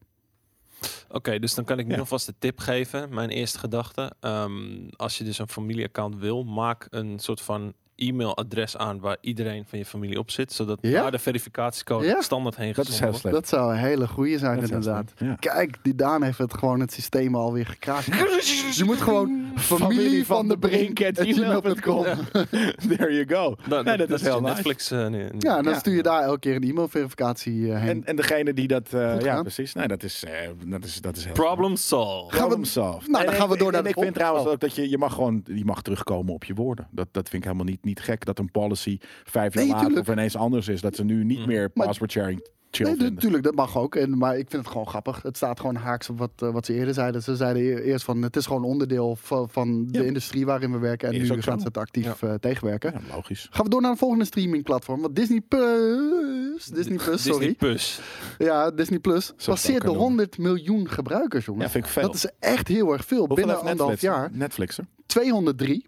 Speaker 4: Oké, dus dan kan ik nu
Speaker 2: Ja.
Speaker 4: alvast de tip geven. Mijn eerste gedachte. Ehm, als je dus een familieaccount wil, maak een soort van e-mailadres aan waar iedereen van je familie op zit. Zodat
Speaker 3: Ja?
Speaker 4: daar de verificatiecode
Speaker 3: Ja?
Speaker 4: standaard heen
Speaker 2: Dat is
Speaker 4: gezonden
Speaker 2: heel
Speaker 4: wordt.
Speaker 2: slecht.
Speaker 3: Dat zou een hele goeie zijn
Speaker 2: Dat is heel
Speaker 3: inderdaad.
Speaker 2: slim. Ja.
Speaker 3: Kijk, die Daan heeft het gewoon het systeem alweer gekraakt. Je moet gewoon familie van de brink at gmail.com.
Speaker 2: There you go.
Speaker 4: Nou,
Speaker 2: nee, dat,
Speaker 4: dat
Speaker 2: is heel nice.
Speaker 4: Netflix eh, nu.
Speaker 3: Ja, en dan
Speaker 2: Ja.
Speaker 3: stuur je daar elke keer een e-mailverificatie eh, heen.
Speaker 2: En, en degene die dat... eh, ja,
Speaker 3: gedaan.
Speaker 2: precies. Nee, dat is, eh, dat is, dat is heel
Speaker 4: Problem solved.
Speaker 3: Gaan we-
Speaker 2: Problem solved.
Speaker 3: Nou, dan
Speaker 2: En
Speaker 3: gaan we
Speaker 2: ik-
Speaker 3: door
Speaker 2: en
Speaker 3: naar de
Speaker 2: Ik vind
Speaker 3: volgende.
Speaker 2: trouwens
Speaker 3: Oh.
Speaker 2: ook dat je, je mag gewoon je mag terugkomen op je woorden. Dat, dat vind ik helemaal niet, niet gek. Dat een policy vijf jaar
Speaker 3: Nee,
Speaker 2: later
Speaker 3: tuurlijk.
Speaker 2: of ineens anders is. Dat ze nu niet meer
Speaker 3: Maar-
Speaker 2: password sharing chill
Speaker 3: Nee,
Speaker 2: vinden.
Speaker 3: natuurlijk, dat mag ook. En, maar ik vind het gewoon grappig. Het staat gewoon haaks op wat, eh, wat ze eerder zeiden. Ze zeiden e- eerst van het is gewoon onderdeel van, van de
Speaker 2: Ja.
Speaker 3: industrie waarin we werken. En
Speaker 2: Is
Speaker 3: nu
Speaker 2: ook zo.
Speaker 3: gaan ze het actief eh, tegenwerken.
Speaker 2: Ja, logisch.
Speaker 3: Gaan we door naar een volgende streamingplatform. Want Disney Plus, Disney Plus,
Speaker 4: Disney
Speaker 3: sorry.
Speaker 4: Plus.
Speaker 3: Ja, Disney Plus passeert de
Speaker 2: kan
Speaker 3: 100 miljoen gebruikers, jongens.
Speaker 2: Ja, vind ik veel.
Speaker 3: Dat is echt heel erg veel.
Speaker 2: Hoeveel
Speaker 3: Binnen
Speaker 2: heeft
Speaker 3: anderhalf
Speaker 2: Netflix?
Speaker 3: jaar.
Speaker 2: Netflix, hè?
Speaker 3: 203.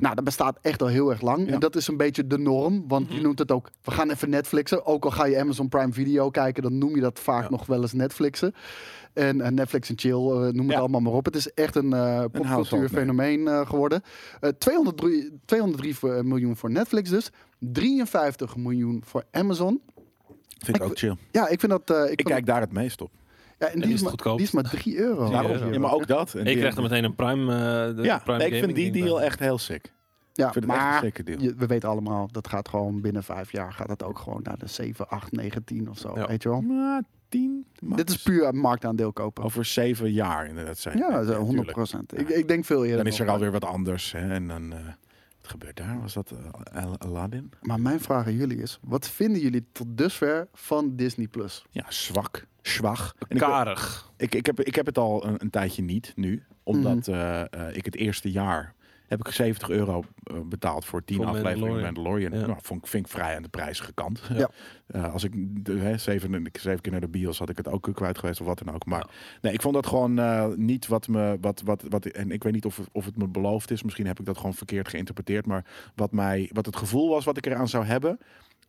Speaker 3: Nou, dat bestaat echt al heel erg lang.
Speaker 2: Ja. Mhm.
Speaker 3: En dat is een beetje de norm. Want je noemt het ook, we gaan even Netflixen. Ook al ga je Amazon Prime Video kijken, dan noem je dat vaak nog wel eens Netflixen. En eh, Netflix en chill, eh, noem het
Speaker 2: Ja.
Speaker 3: allemaal maar op. Het is echt een eh popcultuurfenomeen eh, geworden. Eh, 203, 203 voor- eh, miljoen voor Netflix dus. 53 miljoen voor Amazon.
Speaker 2: Vind ik ook chill.
Speaker 3: Ja, ik vind dat... eh,
Speaker 2: Ik
Speaker 3: vind
Speaker 2: kijk daar het meest op.
Speaker 3: Ja, en die,
Speaker 4: is
Speaker 3: is
Speaker 4: het
Speaker 3: maar,
Speaker 4: goedkoop.
Speaker 3: die is maar 3 euro.
Speaker 4: Ja,
Speaker 2: Daarom.
Speaker 4: ja, ja.
Speaker 2: Ja, maar ook dat. En
Speaker 4: Ik
Speaker 2: die-
Speaker 4: krijg er meteen een Prime. eh, de
Speaker 2: Ja,
Speaker 4: Prime
Speaker 2: nee, ik vind
Speaker 4: Gaming
Speaker 2: die
Speaker 4: ding
Speaker 2: deal
Speaker 4: bij.
Speaker 2: echt heel sick.
Speaker 3: Ja,
Speaker 2: Ik vind het echt een
Speaker 3: maar
Speaker 2: sick deal.
Speaker 3: je- we weten allemaal, dat gaat gewoon binnen vijf jaar gaat dat ook gewoon naar de 7, 8, 9, 10 of zo.
Speaker 4: Ja.
Speaker 3: Weet je wel?
Speaker 2: Maar dus- Oh, 10 Nou, max.
Speaker 3: Dit is puur marktaandeel kopen.
Speaker 2: Over zeven jaar inderdaad zijn.
Speaker 3: ja, zo 100
Speaker 2: tuurlijk.
Speaker 3: procent. Ik, ik denk veel eerder.
Speaker 2: Dan is er
Speaker 3: nog.
Speaker 2: alweer wat anders. Hè? En dan, eh, wat gebeurt daar? Was dat eh, Al- Aladdin?
Speaker 3: Maar mijn vraag aan jullie is: wat vinden jullie tot dusver van Disney Plus?
Speaker 2: Ja, zwak. Zwag. En ik,
Speaker 4: Karig.
Speaker 2: ik, ik, heb, ik heb het al een, een tijdje niet nu. Omdat
Speaker 3: Mhm.
Speaker 2: eh, eh, ik het eerste jaar heb ik 70 euro eh, betaald voor 10
Speaker 4: Voor
Speaker 2: afleveringen
Speaker 4: Mandalorian.
Speaker 2: Mandalorian.
Speaker 4: Ja.
Speaker 2: Nou, vond, ik- vind ik vrij aan de prijzige kant.
Speaker 3: Ja.
Speaker 2: Eh, als ik de, hè, zeven, zeven keer naar de bios had ik het ook kwijt geweest of wat dan ook. Maar nee, ik vond dat gewoon eh, niet wat me... Wat, wat, wat, en ik weet niet of, of het me beloofd is. Misschien heb ik dat gewoon verkeerd geïnterpreteerd. Maar wat, mij, wat het gevoel was wat ik eraan zou hebben...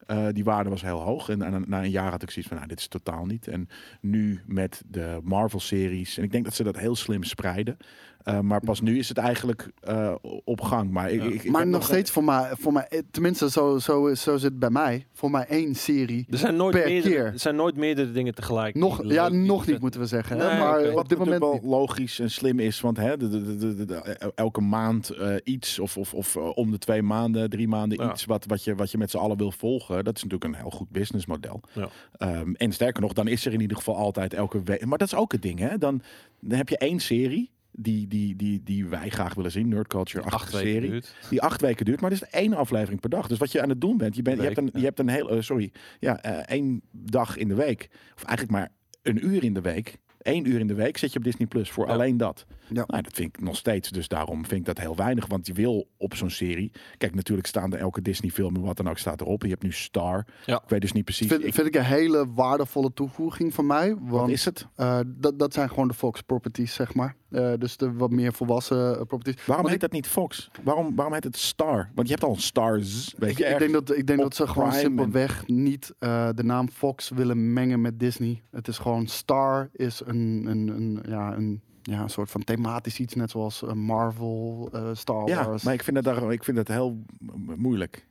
Speaker 2: eh, die waarde was heel hoog. En, na- na een jaar had ik zoiets van, nou, dit is totaal niet. En nu met de Marvel-series... En ik denk dat ze dat heel slim spreiden. Eh, maar pas nu is het eigenlijk eh, op gang. Maar, ik, ik, ik
Speaker 3: maar
Speaker 2: heb
Speaker 3: nog steeds voor mij, voor mij, eh, tenminste zo, zo, zo zit het bij mij, voor mij één serie.
Speaker 2: Dus-
Speaker 4: Er zijn nooit,
Speaker 3: Per
Speaker 4: meerdere,
Speaker 3: keer.
Speaker 4: er zijn nooit meerdere dingen tegelijk.
Speaker 3: Nog,
Speaker 4: die
Speaker 3: ja,
Speaker 4: leuk- die
Speaker 3: nog niet
Speaker 4: vet-
Speaker 3: moeten we zeggen.
Speaker 4: Nee,
Speaker 3: hè, maar
Speaker 4: oké.
Speaker 3: eh, op dit moment
Speaker 2: wel
Speaker 3: niet.
Speaker 2: logisch en slim is, want hè, de, de, de, de- de- elke maand eh, iets of, of, of eh, om de twee maanden, drie maanden
Speaker 4: Ja.
Speaker 2: iets wat, wat, je, wat je met z'n allen wil volgen, dat is natuurlijk een heel goed businessmodel.
Speaker 4: Ja.
Speaker 2: Ehm, en sterker nog, dan is er in ieder geval altijd elke week. Maar dat is ook het ding, hè? Dan, dan heb je één serie. Die, die, die, die wij graag willen zien, Nerd Culture,
Speaker 4: Acht
Speaker 2: acht
Speaker 4: weken
Speaker 2: serie.
Speaker 4: duurt.
Speaker 2: Die acht weken duurt, maar er is één aflevering per dag. Dus wat je aan het doen bent, je, bent, je,
Speaker 4: Week,
Speaker 2: hebt, een, je
Speaker 4: ja.
Speaker 2: hebt een heel, eh, sorry, ja, eh, één dag in de week, of eigenlijk maar een uur in de week, één uur in de week zit je op Disney Plus voor
Speaker 4: Ja.
Speaker 2: alleen dat.
Speaker 3: Ja.
Speaker 2: Nou, dat vind ik nog steeds, dus daarom vind ik dat heel weinig, want je wil op zo'n serie, kijk natuurlijk staan er elke Disney film en wat dan ook staat erop. Je hebt nu Star,
Speaker 4: Ja.
Speaker 2: ik weet dus niet precies.
Speaker 3: Vind,
Speaker 2: ik-
Speaker 3: vind ik een hele waardevolle toevoeging van mij.
Speaker 2: wat
Speaker 3: Want
Speaker 2: is het?
Speaker 3: Eh, dat, dat zijn gewoon de Fox properties, zeg maar. Eh, dus de wat meer volwassen eh, properties.
Speaker 2: Waarom
Speaker 3: Want
Speaker 2: heet dat niet Fox? Waarom, waarom heet het Star? Want je hebt al Stars. Weet
Speaker 3: ik,
Speaker 2: je,
Speaker 3: ik denk dat, ik denk
Speaker 2: op
Speaker 3: dat ze gewoon
Speaker 2: Prime en-
Speaker 3: simpelweg niet eh, de naam Fox willen mengen met Disney. Het is gewoon Star is een, een, een, ja, een, ja, een soort van thematisch iets, net zoals eh, Marvel, eh, Star
Speaker 2: ja,
Speaker 3: Wars.
Speaker 2: maar ik vind dat, daar, ik vind dat heel m- moeilijk.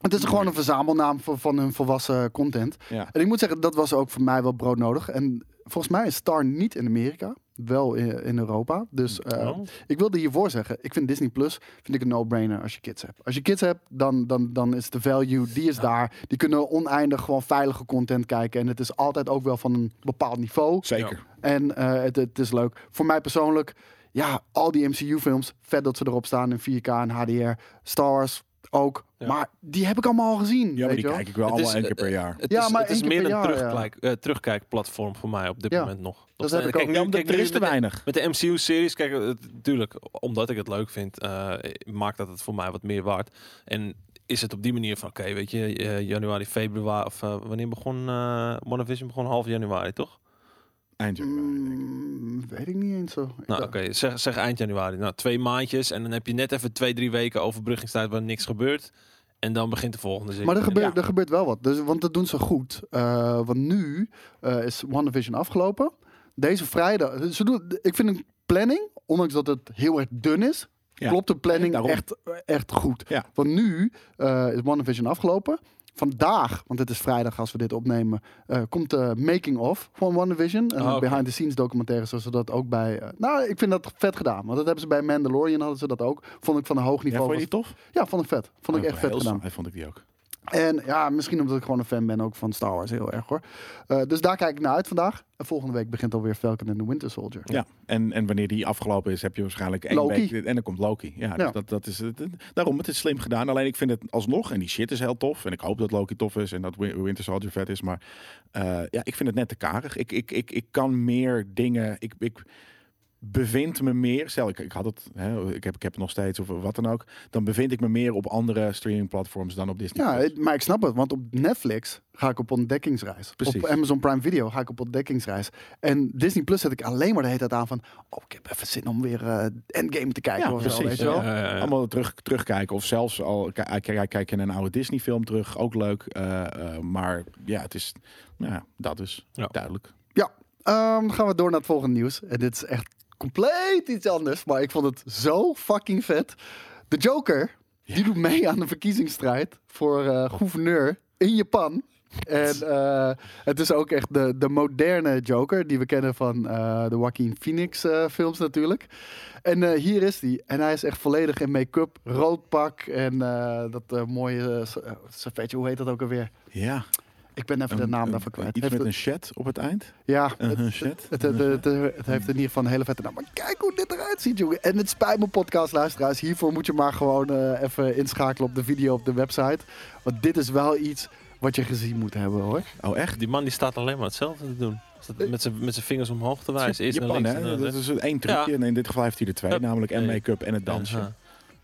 Speaker 3: Het is gewoon een verzamelnaam van, van hun volwassen content.
Speaker 2: Ja.
Speaker 3: En ik moet zeggen, dat was ook voor mij wel broodnodig. En volgens mij is Star niet in Amerika, wel in, in Europa. Dus eh,
Speaker 4: Oh.
Speaker 3: ik wilde hiervoor zeggen, ik vind Disney Plus vind ik een no-brainer als je kids hebt. Als je kids hebt, dan, dan, dan is de value, die is daar. Die kunnen oneindig gewoon veilige content kijken. En het is altijd ook wel van een bepaald niveau.
Speaker 2: Zeker.
Speaker 3: En eh, het, het is leuk. Voor mij persoonlijk, ja, al die MCU-films, vet dat ze erop staan in 4K en HDR. Star Wars ook.
Speaker 4: Ja.
Speaker 3: Maar die heb ik allemaal al gezien.
Speaker 2: Ja, maar
Speaker 3: weet
Speaker 2: die
Speaker 3: je wel.
Speaker 2: kijk ik wel
Speaker 4: Het
Speaker 2: allemaal
Speaker 4: is,
Speaker 2: één keer per
Speaker 4: eh,
Speaker 2: jaar.
Speaker 4: Het
Speaker 3: Ja,
Speaker 4: is,
Speaker 3: maar
Speaker 4: het is
Speaker 3: één keer
Speaker 4: meer
Speaker 3: per
Speaker 4: een
Speaker 3: jaar,
Speaker 4: terugkijk, eh, terugkijkplatform voor mij op dit
Speaker 3: Ja,
Speaker 4: moment nog.
Speaker 3: dat heb ik ook.
Speaker 4: nu-
Speaker 2: Ja, omdat er
Speaker 4: nu
Speaker 2: is te
Speaker 4: met-
Speaker 2: weinig.
Speaker 4: Met de MCU-series, kijk, natuurlijk, omdat ik het leuk vind, eh, maakt dat het voor mij wat meer waard. En is het op die manier van, oké, weet je, eh, januari, februari, of eh, wanneer begon eh WandaVision? Begon half januari, toch?
Speaker 2: Eind januari, denk ik.
Speaker 3: Mm, weet ik niet eens zo. Ik
Speaker 4: Nou,
Speaker 3: dacht-
Speaker 4: oké, zeg, zeg eind januari. Nou, twee maandjes en dan heb je net even twee, drie weken overbruggingstijd waar niks gebeurt. En dan begint de volgende serie.
Speaker 3: Maar er gebeurt,
Speaker 4: Ja.
Speaker 3: er gebeurt wel wat. Dus, want dat doen ze goed. Eh, want nu eh is WandaVision afgelopen. Deze vrijdag. Ze doen, ik vind een planning, ondanks dat het heel erg dun is.
Speaker 2: Ja.
Speaker 3: Klopt de planning
Speaker 2: Daarom.
Speaker 3: echt, echt goed.
Speaker 2: Ja.
Speaker 3: Want nu eh is WandaVision afgelopen. Vandaag, want het is vrijdag als we dit opnemen, eh, komt de making of van WandaVision. Een
Speaker 4: Oh, oké.
Speaker 3: behind the scenes documentaire, zoals ze dat ook bij. eh, nou, ik vind dat vet gedaan. Want dat hebben ze bij Mandalorian hadden ze dat ook. Vond ik van een hoog
Speaker 2: Ja,
Speaker 3: niveau.
Speaker 2: vond je die tof?
Speaker 3: Ja, vond ik vet. Vond ik
Speaker 4: Oh,
Speaker 2: Ja,
Speaker 3: echt vet
Speaker 2: heel
Speaker 3: gedaan.
Speaker 2: saai vond ik die ook.
Speaker 3: En ja, misschien omdat ik gewoon een fan ben ook van Star Wars heel erg hoor. Eh, dus daar kijk ik naar uit vandaag. En volgende week begint alweer Falcon and the Winter Soldier.
Speaker 2: Ja. En, en wanneer die afgelopen is, heb je waarschijnlijk één
Speaker 3: Loki.
Speaker 2: week. En dan komt Loki. Ja, dus
Speaker 3: Ja.
Speaker 2: Dat, dat is het. Daarom, het is slim gedaan. Alleen ik vind het alsnog, en die shit is heel tof. En ik hoop dat Loki tof is en dat Win- Winter Soldier vet is. Maar eh, ja, ik vind het net te karig. Ik, ik, ik, ik kan meer dingen... Ik, ik bevind me meer... Stel, ik, ik had het... Hè, ik, heb, ik heb het nog steeds of wat dan ook. Dan bevind ik me meer op andere streaming platforms dan op Disney+.
Speaker 3: Ja,
Speaker 2: Plus.
Speaker 3: het- maar ik snap het, want op Netflix ga ik op ontdekkingsreis.
Speaker 2: Precies.
Speaker 3: Op Amazon Prime Video ga ik op ontdekkingsreis. En Disney Plus zet ik alleen maar de hele tijd aan van... Oh, ik heb even zin om weer eh, Endgame te kijken.
Speaker 2: Ja,
Speaker 3: of zo,
Speaker 2: precies,
Speaker 3: weet je wel?
Speaker 2: ja.
Speaker 4: Ja, ja, ja.
Speaker 2: Allemaal terug, terugkijken. Of zelfs al kijk, kijk, kijk je naar een oude Disney film terug. Ook leuk. Eh, eh, maar ja, het is... nou Ja, dat is
Speaker 4: Ja.
Speaker 2: duidelijk.
Speaker 3: Ja, ehm, dan gaan we door naar het volgende nieuws. En dit is echt compleet iets anders, maar ik vond het zo fucking vet. De Joker, die doet mee aan de verkiezingsstrijd voor eh, gouverneur in Japan. En eh, het is ook echt de, de moderne Joker, die we kennen van eh, de Joaquin Phoenix eh, films natuurlijk. En eh, hier is hij. En hij is echt volledig in make-up, rood pak en eh, dat eh, mooie eh, s- eh, servetje, hoe heet dat ook alweer?
Speaker 2: Ja.
Speaker 3: Ik ben even de
Speaker 2: een-
Speaker 3: naam
Speaker 2: een-
Speaker 3: daarvoor kwijt.
Speaker 2: Iets
Speaker 3: Heeft
Speaker 2: met
Speaker 3: het-
Speaker 2: een chat op het eind.
Speaker 3: ja,
Speaker 2: Een
Speaker 3: het-
Speaker 2: hunchet.
Speaker 3: het, het, het, het- het heeft in ieder geval een hele vette naam. Maar kijk hoe dit eruit ziet, jongen. En het spijt me, podcastluisteraars. Hiervoor moet je maar gewoon eh, even inschakelen op de video op de website. Want dit is wel iets wat je gezien moet hebben, hoor.
Speaker 2: Oh, echt?
Speaker 4: Die man die staat alleen maar hetzelfde te doen. Staat Met zijn met zijn vingers omhoog te wijzen. Nou, Eerst naar
Speaker 2: Japan,
Speaker 4: links
Speaker 2: hè?
Speaker 4: en dan naar
Speaker 2: Dat
Speaker 4: rechts.
Speaker 2: is een één trucje.
Speaker 4: Ja.
Speaker 2: En in dit geval heeft hij er twee.
Speaker 4: Hup.
Speaker 2: Namelijk en
Speaker 4: Nee.
Speaker 2: make-up en het dansen.
Speaker 4: Ja.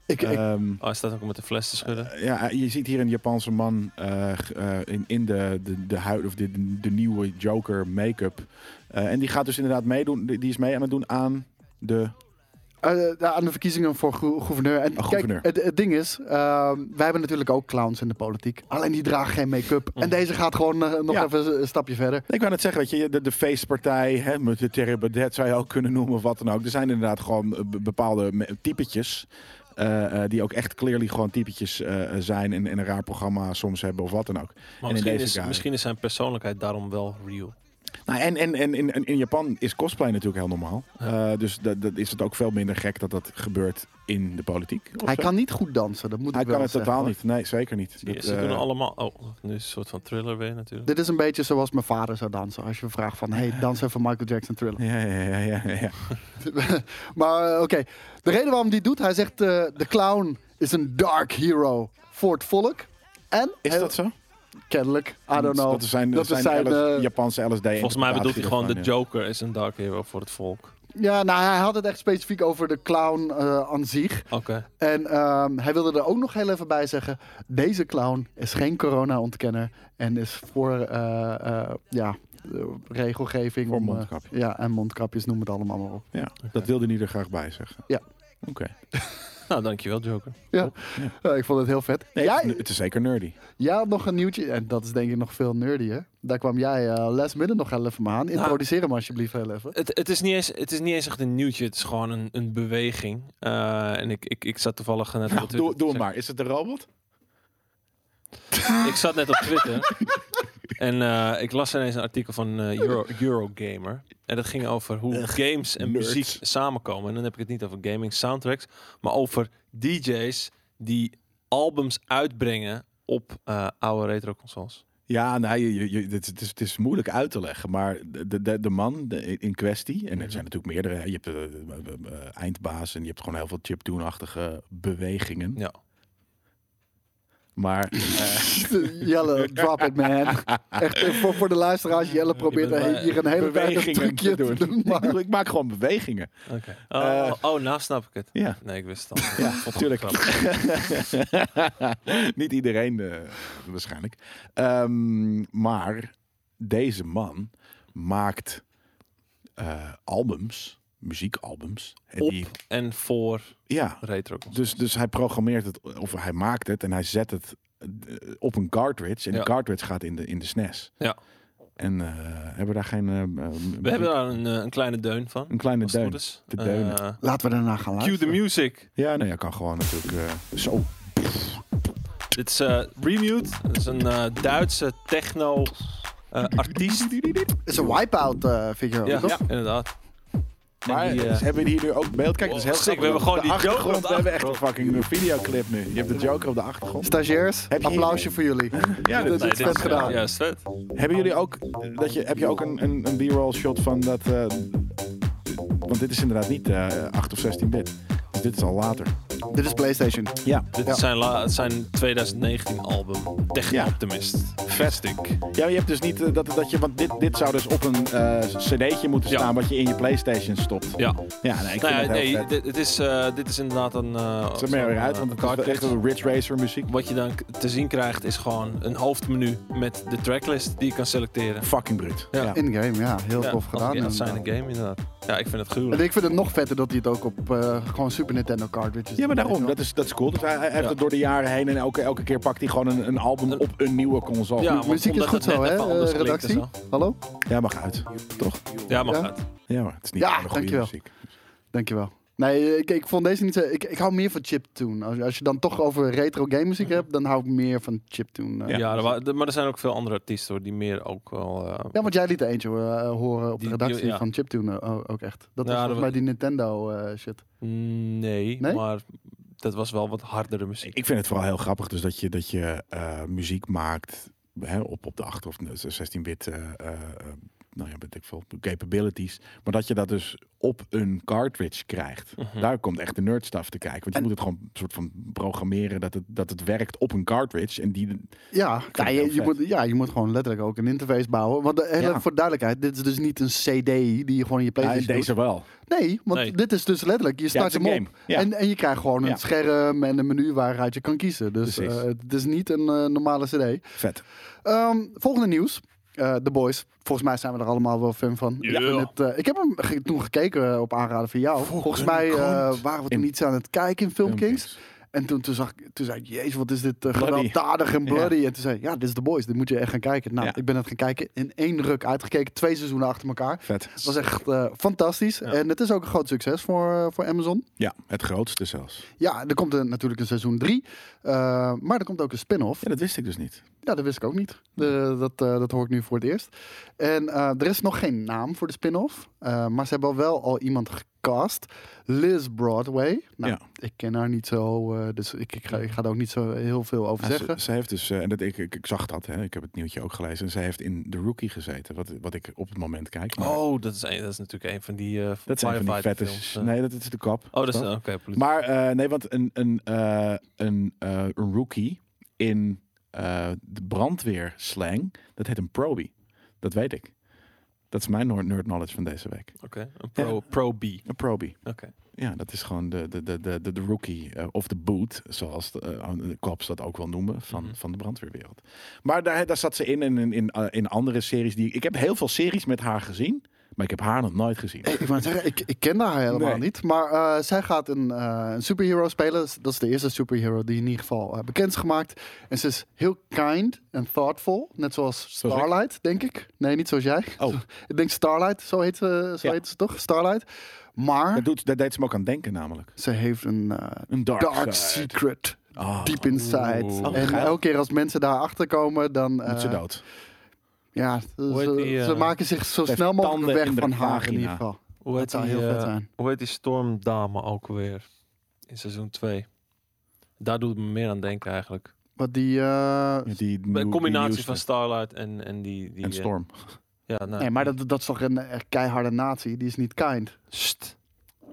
Speaker 3: Ik, ik,
Speaker 2: Ehm,
Speaker 4: Oh, hij staat ook met de fles te schudden.
Speaker 2: ja, eh, je ziet hier een Japanse man eh, g- eh, in, in de, de, de huid of de, de nieuwe Joker make-up. Eh, en die gaat dus inderdaad meedoen. Die die is mee aan het doen aan de
Speaker 3: eh, ja, aan de verkiezingen voor gou- gouverneur. En
Speaker 2: Oh, gouverneur.
Speaker 3: kijk, het, het ding is, ehm, wij hebben natuurlijk ook clowns in de politiek. Alleen die dragen geen make-up. En deze gaat gewoon eh, nog
Speaker 2: Mm. Ja.
Speaker 3: even een stapje verder.
Speaker 2: Nee, Ik wou net zeggen, weet je, de, de feestpartij, hè, met de Terribadet zou je ook kunnen noemen of wat dan ook. Er zijn inderdaad gewoon eh, be- bepaalde me- typetjes. eh, eh, die ook echt clearly gewoon typetjes eh, zijn en, en een raar programma soms hebben of wat dan ook.
Speaker 4: Maar
Speaker 2: en in
Speaker 4: misschien,
Speaker 2: deze
Speaker 4: is,
Speaker 2: guy-
Speaker 4: misschien is zijn persoonlijkheid daarom wel real.
Speaker 2: Nou, en en, en in, in- in Japan is cosplay natuurlijk heel normaal. Eh, dus dat, dat is het ook veel minder gek dat dat gebeurt in de politiek. of
Speaker 3: Hij
Speaker 2: zo.
Speaker 3: kan niet goed dansen, dat moet
Speaker 2: Hij
Speaker 3: ik wel
Speaker 2: kan het
Speaker 3: zeggen,
Speaker 2: totaal
Speaker 3: hoor.
Speaker 2: niet. Nee, zeker niet. Dat,
Speaker 4: Ze
Speaker 2: eh,
Speaker 4: doen allemaal... Oh, nu is een soort van thriller weer natuurlijk.
Speaker 3: Dit is een beetje zoals mijn vader zou dansen. Als je vraagt van, hey, dans even Michael Jackson Thriller.
Speaker 2: ja, ja, ja, ja, ja.
Speaker 3: maar eh, oké, de reden waarom die doet, hij zegt eh, de clown is een dark hero voor het volk. En
Speaker 2: Is
Speaker 3: hij-
Speaker 2: dat zo?
Speaker 3: kennelijk, I don't know.
Speaker 2: Dat zijn,
Speaker 3: Dat
Speaker 2: dat zijn,
Speaker 3: is zijn,
Speaker 2: LS
Speaker 3: eh,
Speaker 2: Japanse LSD.
Speaker 4: Volgens mij bedoelt hij gewoon de
Speaker 2: joke.
Speaker 4: Joker is een dark hero voor het volk.
Speaker 3: Ja, nou, hij had het echt specifiek over de clown eh aan zich.
Speaker 4: Oké.
Speaker 3: En ehm, hij wilde er ook nog heel even bij zeggen: deze clown is geen corona-ontkenner en is voor eh, eh, ja, eh, regelgeving.
Speaker 2: Voor
Speaker 3: om, eh,
Speaker 2: mondkapjes.
Speaker 3: ja, en mondkapjes, noem het allemaal maar op.
Speaker 2: Ja, dat wilde hij er graag bij zeggen.
Speaker 3: Ja.
Speaker 2: Oké.
Speaker 4: Nou, dankjewel Joker.
Speaker 3: Ja. Ja, Eh, ik vond het heel vet.
Speaker 2: Nee,
Speaker 3: jij,
Speaker 2: het, is, het is zeker nerdy.
Speaker 3: jij had nog een nieuwtje, en dat is denk ik nog veel nerdier. Daar kwam jij eh last minute nog heel even mee aan.
Speaker 4: Nou.
Speaker 3: Introduceer hem alsjeblieft heel even.
Speaker 4: Het, het, is niet eens, het is niet eens echt een nieuwtje, het is gewoon een, een beweging. Eh, en ik, ik, ik zat toevallig net op
Speaker 2: Nou,
Speaker 4: Twitter.
Speaker 2: doe, doe hem maar. Is het de robot?
Speaker 4: Ik zat net op Twitter. en eh, ik las ineens een artikel van eh, Euro, Eurogamer. En dat ging over hoe games en
Speaker 2: nerds.
Speaker 4: muziek samenkomen. En dan heb ik het niet over gaming soundtracks, maar over DJ's die albums uitbrengen op eh, oude retro consoles.
Speaker 2: Ja, nou, je, je, je- dit is- het, is, het is moeilijk uit te leggen, maar de, de, de man de- in kwestie, en er zijn natuurlijk meerdere, hè, je hebt eh, eh, eh, eindbaas en je hebt gewoon heel veel chiptune-achtige bewegingen.
Speaker 4: Ja.
Speaker 2: Maar eh,
Speaker 3: Jelle, drop it man. Echt, eh, voor, voor de luisteraars, Jelle probeert
Speaker 4: Je bent eh,
Speaker 3: hier een hele tijd een
Speaker 2: bewegingen
Speaker 3: trucje
Speaker 2: te
Speaker 3: te
Speaker 2: doen.
Speaker 3: doen.
Speaker 2: ik,
Speaker 3: Maar
Speaker 2: bedoel, ik maak gewoon bewegingen.
Speaker 4: Oké. Oh,
Speaker 2: Eh.
Speaker 4: oh, nou snap ik het.
Speaker 2: Ja,
Speaker 4: Nee, ik wist het al.
Speaker 2: ja
Speaker 4: Vond ik
Speaker 2: natuurlijk.
Speaker 4: grappig.
Speaker 2: Niet iedereen eh, waarschijnlijk. Ehm, maar deze man maakt eh, albums, muziekalbums. En
Speaker 4: Op
Speaker 2: die-
Speaker 4: en voor
Speaker 2: ja,
Speaker 4: retro consoles.
Speaker 2: Dus, dus hij programmeert het, of hij maakt het en hij zet het eh, op een cartridge. En
Speaker 4: Ja.
Speaker 2: de cartridge gaat in de, in de SNES.
Speaker 4: Ja.
Speaker 2: En eh, hebben we daar geen... eh, eh, muziek-
Speaker 4: We hebben daar een, eh, een kleine deun van.
Speaker 2: Een kleine
Speaker 4: als het
Speaker 2: deun.
Speaker 4: goed is.
Speaker 2: De deunen.
Speaker 4: Eh,
Speaker 3: laten we daarna gaan
Speaker 4: cue the
Speaker 3: luisteren.
Speaker 4: music.
Speaker 2: Ja, nee, hij kan gewoon natuurlijk... eh, zo.
Speaker 4: Dit is eh, Remute. Dat is een eh, Duitse techno eh, artiest.
Speaker 2: Oh,
Speaker 3: Het is een wipeout eh figure.
Speaker 4: Ja,
Speaker 3: toch?
Speaker 4: ja, inderdaad. En
Speaker 2: Maar
Speaker 4: die, eh,
Speaker 2: dus hebben we hier nu ook beeld. Kijk, dat is heel
Speaker 4: Wow, Oh, sick,
Speaker 2: grappig.
Speaker 4: we hebben gewoon
Speaker 2: De
Speaker 4: die Joker op
Speaker 2: achtergrond.
Speaker 4: de
Speaker 2: We hebben echt een fucking videoclip nu. Je hebt de Joker op de achtergrond.
Speaker 3: Stagiairs,
Speaker 2: Heb je-
Speaker 3: applausje voor jullie.
Speaker 2: Ja, dit-
Speaker 3: dit is
Speaker 4: dit
Speaker 3: vet gedaan.
Speaker 4: Ja, is vet.
Speaker 2: Hebben jullie ook, eh, dat je, heb je ook een, een, een B-roll shot van dat... eh, want dit is inderdaad niet eh 8 of 16 bit. Dus dit is al later.
Speaker 3: Dit is PlayStation.
Speaker 2: Ja,
Speaker 4: Dit
Speaker 3: Ja.
Speaker 4: is zijn, la- het zijn 2019 album. Techno
Speaker 2: Ja.
Speaker 4: Optimist. Vestic.
Speaker 2: Ja, maar je hebt dus niet eh, dat, dat je. Want dit, dit zou dus op een eh, cd'tje moeten
Speaker 4: Ja.
Speaker 2: staan. wat je in je PlayStation stopt.
Speaker 4: Ja.
Speaker 2: Ja, nee, ik vind
Speaker 4: Nou ja,
Speaker 2: het heel
Speaker 4: nee,
Speaker 2: vet.
Speaker 4: dit, dit is, eh, dit is inderdaad een... eh
Speaker 2: Zet mij
Speaker 4: zo'n,
Speaker 2: weer uit,
Speaker 4: eh,
Speaker 2: want het is wel echt
Speaker 4: cartridge.
Speaker 2: een Ridge Racer muziek.
Speaker 4: Wat je dan k- te zien krijgt is gewoon een hoofdmenu met de tracklist die je kan selecteren.
Speaker 2: Fucking brut.
Speaker 4: Ja.
Speaker 2: Ja.
Speaker 3: In-game, ja. Heel
Speaker 4: Ja,
Speaker 3: tof gedaan.
Speaker 4: Ja, dat zijn
Speaker 3: inderdaad.
Speaker 4: een game inderdaad. Ja, ik vind het gruwelijk.
Speaker 3: En ik vind het nog vetter dat hij het ook op eh, gewoon Super Nintendo cartridges
Speaker 2: Ja, maar
Speaker 3: doet,
Speaker 2: daarom,
Speaker 3: weet
Speaker 2: dat is, dat is cool. Dus hij, hij heeft
Speaker 4: Ja.
Speaker 2: het door de jaren heen en elke, elke keer pakt hij gewoon een, een album op een nieuwe console.
Speaker 4: Ja,
Speaker 2: Ja,
Speaker 4: want
Speaker 3: muziek is
Speaker 4: omdat
Speaker 3: Oh, goed
Speaker 4: het
Speaker 3: zo,
Speaker 4: net
Speaker 3: hè,
Speaker 4: even anders
Speaker 3: eh,
Speaker 4: klinkt en
Speaker 3: redactie? je wel. Hallo?
Speaker 2: mag uit. Toch?
Speaker 4: zo. Ja, mag
Speaker 3: Ja?
Speaker 4: uit.
Speaker 2: Ja, maar het is niet
Speaker 3: Ja,
Speaker 2: ja, goede
Speaker 3: dankjewel.
Speaker 2: muziek.
Speaker 3: Dankjewel. Nee, eh, ik, ik vond deze niet zo... Ik, ik hou meer van chiptune. Als, als je dan toch over retro game muziek hebt, dan hou ik meer van chiptune. eh.
Speaker 4: Ja, er wa- de- maar er zijn ook veel andere artiesten hoor, die meer ook wel. eh,
Speaker 3: Ja, want jij liet er eentje eh, horen op de
Speaker 4: Die-
Speaker 3: redactie
Speaker 4: die- ja.
Speaker 3: van Chiptune eh, o- ook echt. Dat
Speaker 4: Ja,
Speaker 3: was
Speaker 4: dat
Speaker 3: volgens
Speaker 4: wa-
Speaker 3: mij die Nintendo eh, shit.
Speaker 4: nee,
Speaker 3: Nee?
Speaker 4: maar dat was wel wat hardere muziek.
Speaker 2: Ik vind het vooral heel grappig dus dat je, dat je eh, muziek maakt hè, op, op de 8 of 16-bit eh, eh, eh, nou ja, weet ik veel, capabilities. Maar dat je dat dus op een cartridge krijgt.
Speaker 4: Mhm.
Speaker 2: Daar komt echt de nerd stuff te kijken. Want je
Speaker 3: En-
Speaker 2: moet het gewoon een soort van programmeren dat het, dat het werkt op een cartridge. En die,
Speaker 3: Ja, ja,
Speaker 2: het heel
Speaker 3: je, je
Speaker 2: vet.
Speaker 3: moet, ja, je moet gewoon letterlijk ook een interface bouwen. Want de, hele-
Speaker 2: Ja.
Speaker 3: voor duidelijkheid, dit is dus niet een CD die je gewoon in je
Speaker 2: ja,
Speaker 3: PlayStation doet.
Speaker 2: deze wel.
Speaker 3: Nee, want
Speaker 4: Nee.
Speaker 3: dit is dus letterlijk, je
Speaker 2: Ja,
Speaker 3: start
Speaker 2: het is
Speaker 3: hem
Speaker 2: een
Speaker 3: op.
Speaker 2: game. Ja.
Speaker 3: En, en je krijgt gewoon een
Speaker 2: Ja.
Speaker 3: scherm en een menu waaruit je kan kiezen. Dus
Speaker 2: Precies.
Speaker 3: eh, het is niet een eh, normale CD.
Speaker 2: Vet.
Speaker 3: Ehm, volgende nieuws. Eh The Boys. Volgens mij zijn we er allemaal wel fan van.
Speaker 4: Ja.
Speaker 3: Ik, vind het, eh, ik heb hem ge- toen gekeken eh, op aanraden van jou. Volgens mij eh,
Speaker 2: krant.
Speaker 3: waren we toen
Speaker 2: In-
Speaker 3: iets aan het kijken in Filmkings. En toen, toen, zag, ik- toen zei ik, jezus, wat is dit eh,
Speaker 2: Bloody.
Speaker 3: gewelddadig en bloody. En toen zei ik, ja, dit is The Boys. Dit moet je echt gaan kijken. Nou,
Speaker 2: Ja.
Speaker 3: ik ben het gaan kijken. In één ruk uitgekeken. Twee seizoenen achter elkaar. Het
Speaker 2: Vet.
Speaker 3: was echt eh, fantastisch. En het is ook een groot succes voor, eh, voor Amazon.
Speaker 2: Ja, het grootste zelfs.
Speaker 3: Ja, er komt een, natuurlijk een seizoen 3. maar er komt ook een spin-off.
Speaker 2: Ja, dat wist ik dus niet.
Speaker 3: Ja, dat wist ik ook niet. De- dat, eh, dat hoor ik nu voor het eerst. En eh, er is nog geen naam voor de spin-off. eh, maar ze hebben wel al iemand gecast. Liz Broadway. Nou,
Speaker 2: Ja.
Speaker 3: ik ken haar niet zo. eh, dus ik, ik, ga, ik ga er ook niet zo heel veel over
Speaker 2: Ja,
Speaker 3: zeggen.
Speaker 2: Ze, ze heeft dus, eh, en dat, ik, ik, ik zag dat, hè, ik heb het nieuwtje ook gelezen. En zij heeft in The Rookie gezeten, wat, wat ik op het moment kijk. Maar
Speaker 4: Oh, dat is, een- dat is natuurlijk een van die. eh
Speaker 2: dat zijn van die
Speaker 4: firefighter
Speaker 2: vette...
Speaker 4: films,
Speaker 2: s-
Speaker 4: eh.
Speaker 2: Nee, dat is de kap.
Speaker 4: Oh, dat is
Speaker 2: Toch?
Speaker 4: oké. politie.
Speaker 2: Maar eh, nee, want een, een, eh, een, eh, een rookie in eh, de brandweer slang, dat heet een probie. Dat weet ik. Dat is mijn nerd nerd knowledge van deze week.
Speaker 4: Oké, een pro, pro B. Oké.
Speaker 2: Een probie. Ja, dat is gewoon de, de, de, de, de de rookie eh, of de boot, zoals de, eh, de cops dat ook wel noemen, van,
Speaker 4: Mhm.
Speaker 2: van de brandweerwereld. Maar daar, daar zat ze in en in, in, eh, in andere series. Die, ik heb heel veel series met haar gezien, maar ik heb haar nog nooit gezien.
Speaker 4: Oh,
Speaker 3: Ik, wou net zeggen, ik, ik ken haar helemaal
Speaker 2: Nee.
Speaker 3: niet. Maar eh, zij gaat een, eh, een superhero spelen. Dat is de eerste superhero die in ieder geval eh, bekend is gemaakt. En ze is heel kind en thoughtful. Net zoals
Speaker 2: Zoals ik?
Speaker 3: Starlight, denk ik. Nee, niet zoals jij.
Speaker 2: Oh,
Speaker 3: Ik denk Starlight, zo heet ze, zo
Speaker 2: Ja.
Speaker 3: heet ze toch? Starlight. Maar
Speaker 2: dat, doet, dat deed ze me ook aan denken namelijk.
Speaker 3: ze heeft een eh,
Speaker 2: Een dark,
Speaker 3: dark
Speaker 2: side.
Speaker 3: secret.
Speaker 2: Ah,
Speaker 3: Deep inside.
Speaker 4: Oeh.
Speaker 2: Oh,
Speaker 3: en
Speaker 2: geil.
Speaker 3: elke keer als mensen daarachter komen, dan... eh,
Speaker 2: moet ze dood.
Speaker 3: Ja, ze,
Speaker 4: heet die,
Speaker 3: ze
Speaker 4: eh,
Speaker 3: maken zich zo
Speaker 2: heeft
Speaker 3: snel
Speaker 2: tanden
Speaker 3: mogelijk weg
Speaker 2: in de
Speaker 3: van haar in
Speaker 2: vagina.
Speaker 3: ieder geval.
Speaker 4: Hoe
Speaker 3: Dat
Speaker 4: heet,
Speaker 3: zou
Speaker 4: die,
Speaker 3: heel vet
Speaker 4: eh,
Speaker 3: zijn.
Speaker 4: hoe heet die stormdame ook weer? In seizoen 2. Daar doet het me meer aan denken eigenlijk.
Speaker 3: Wat die... eh,
Speaker 2: Ja, die nieuw-
Speaker 4: Een
Speaker 2: die
Speaker 4: combinatie
Speaker 2: nieuwste.
Speaker 4: van Starlight en, en die... die
Speaker 2: en
Speaker 4: eh,
Speaker 2: Storm.
Speaker 4: ja, nou,
Speaker 3: Nee, maar dat, dat is toch een eh, keiharde natie? Die is niet kind.
Speaker 4: Sst.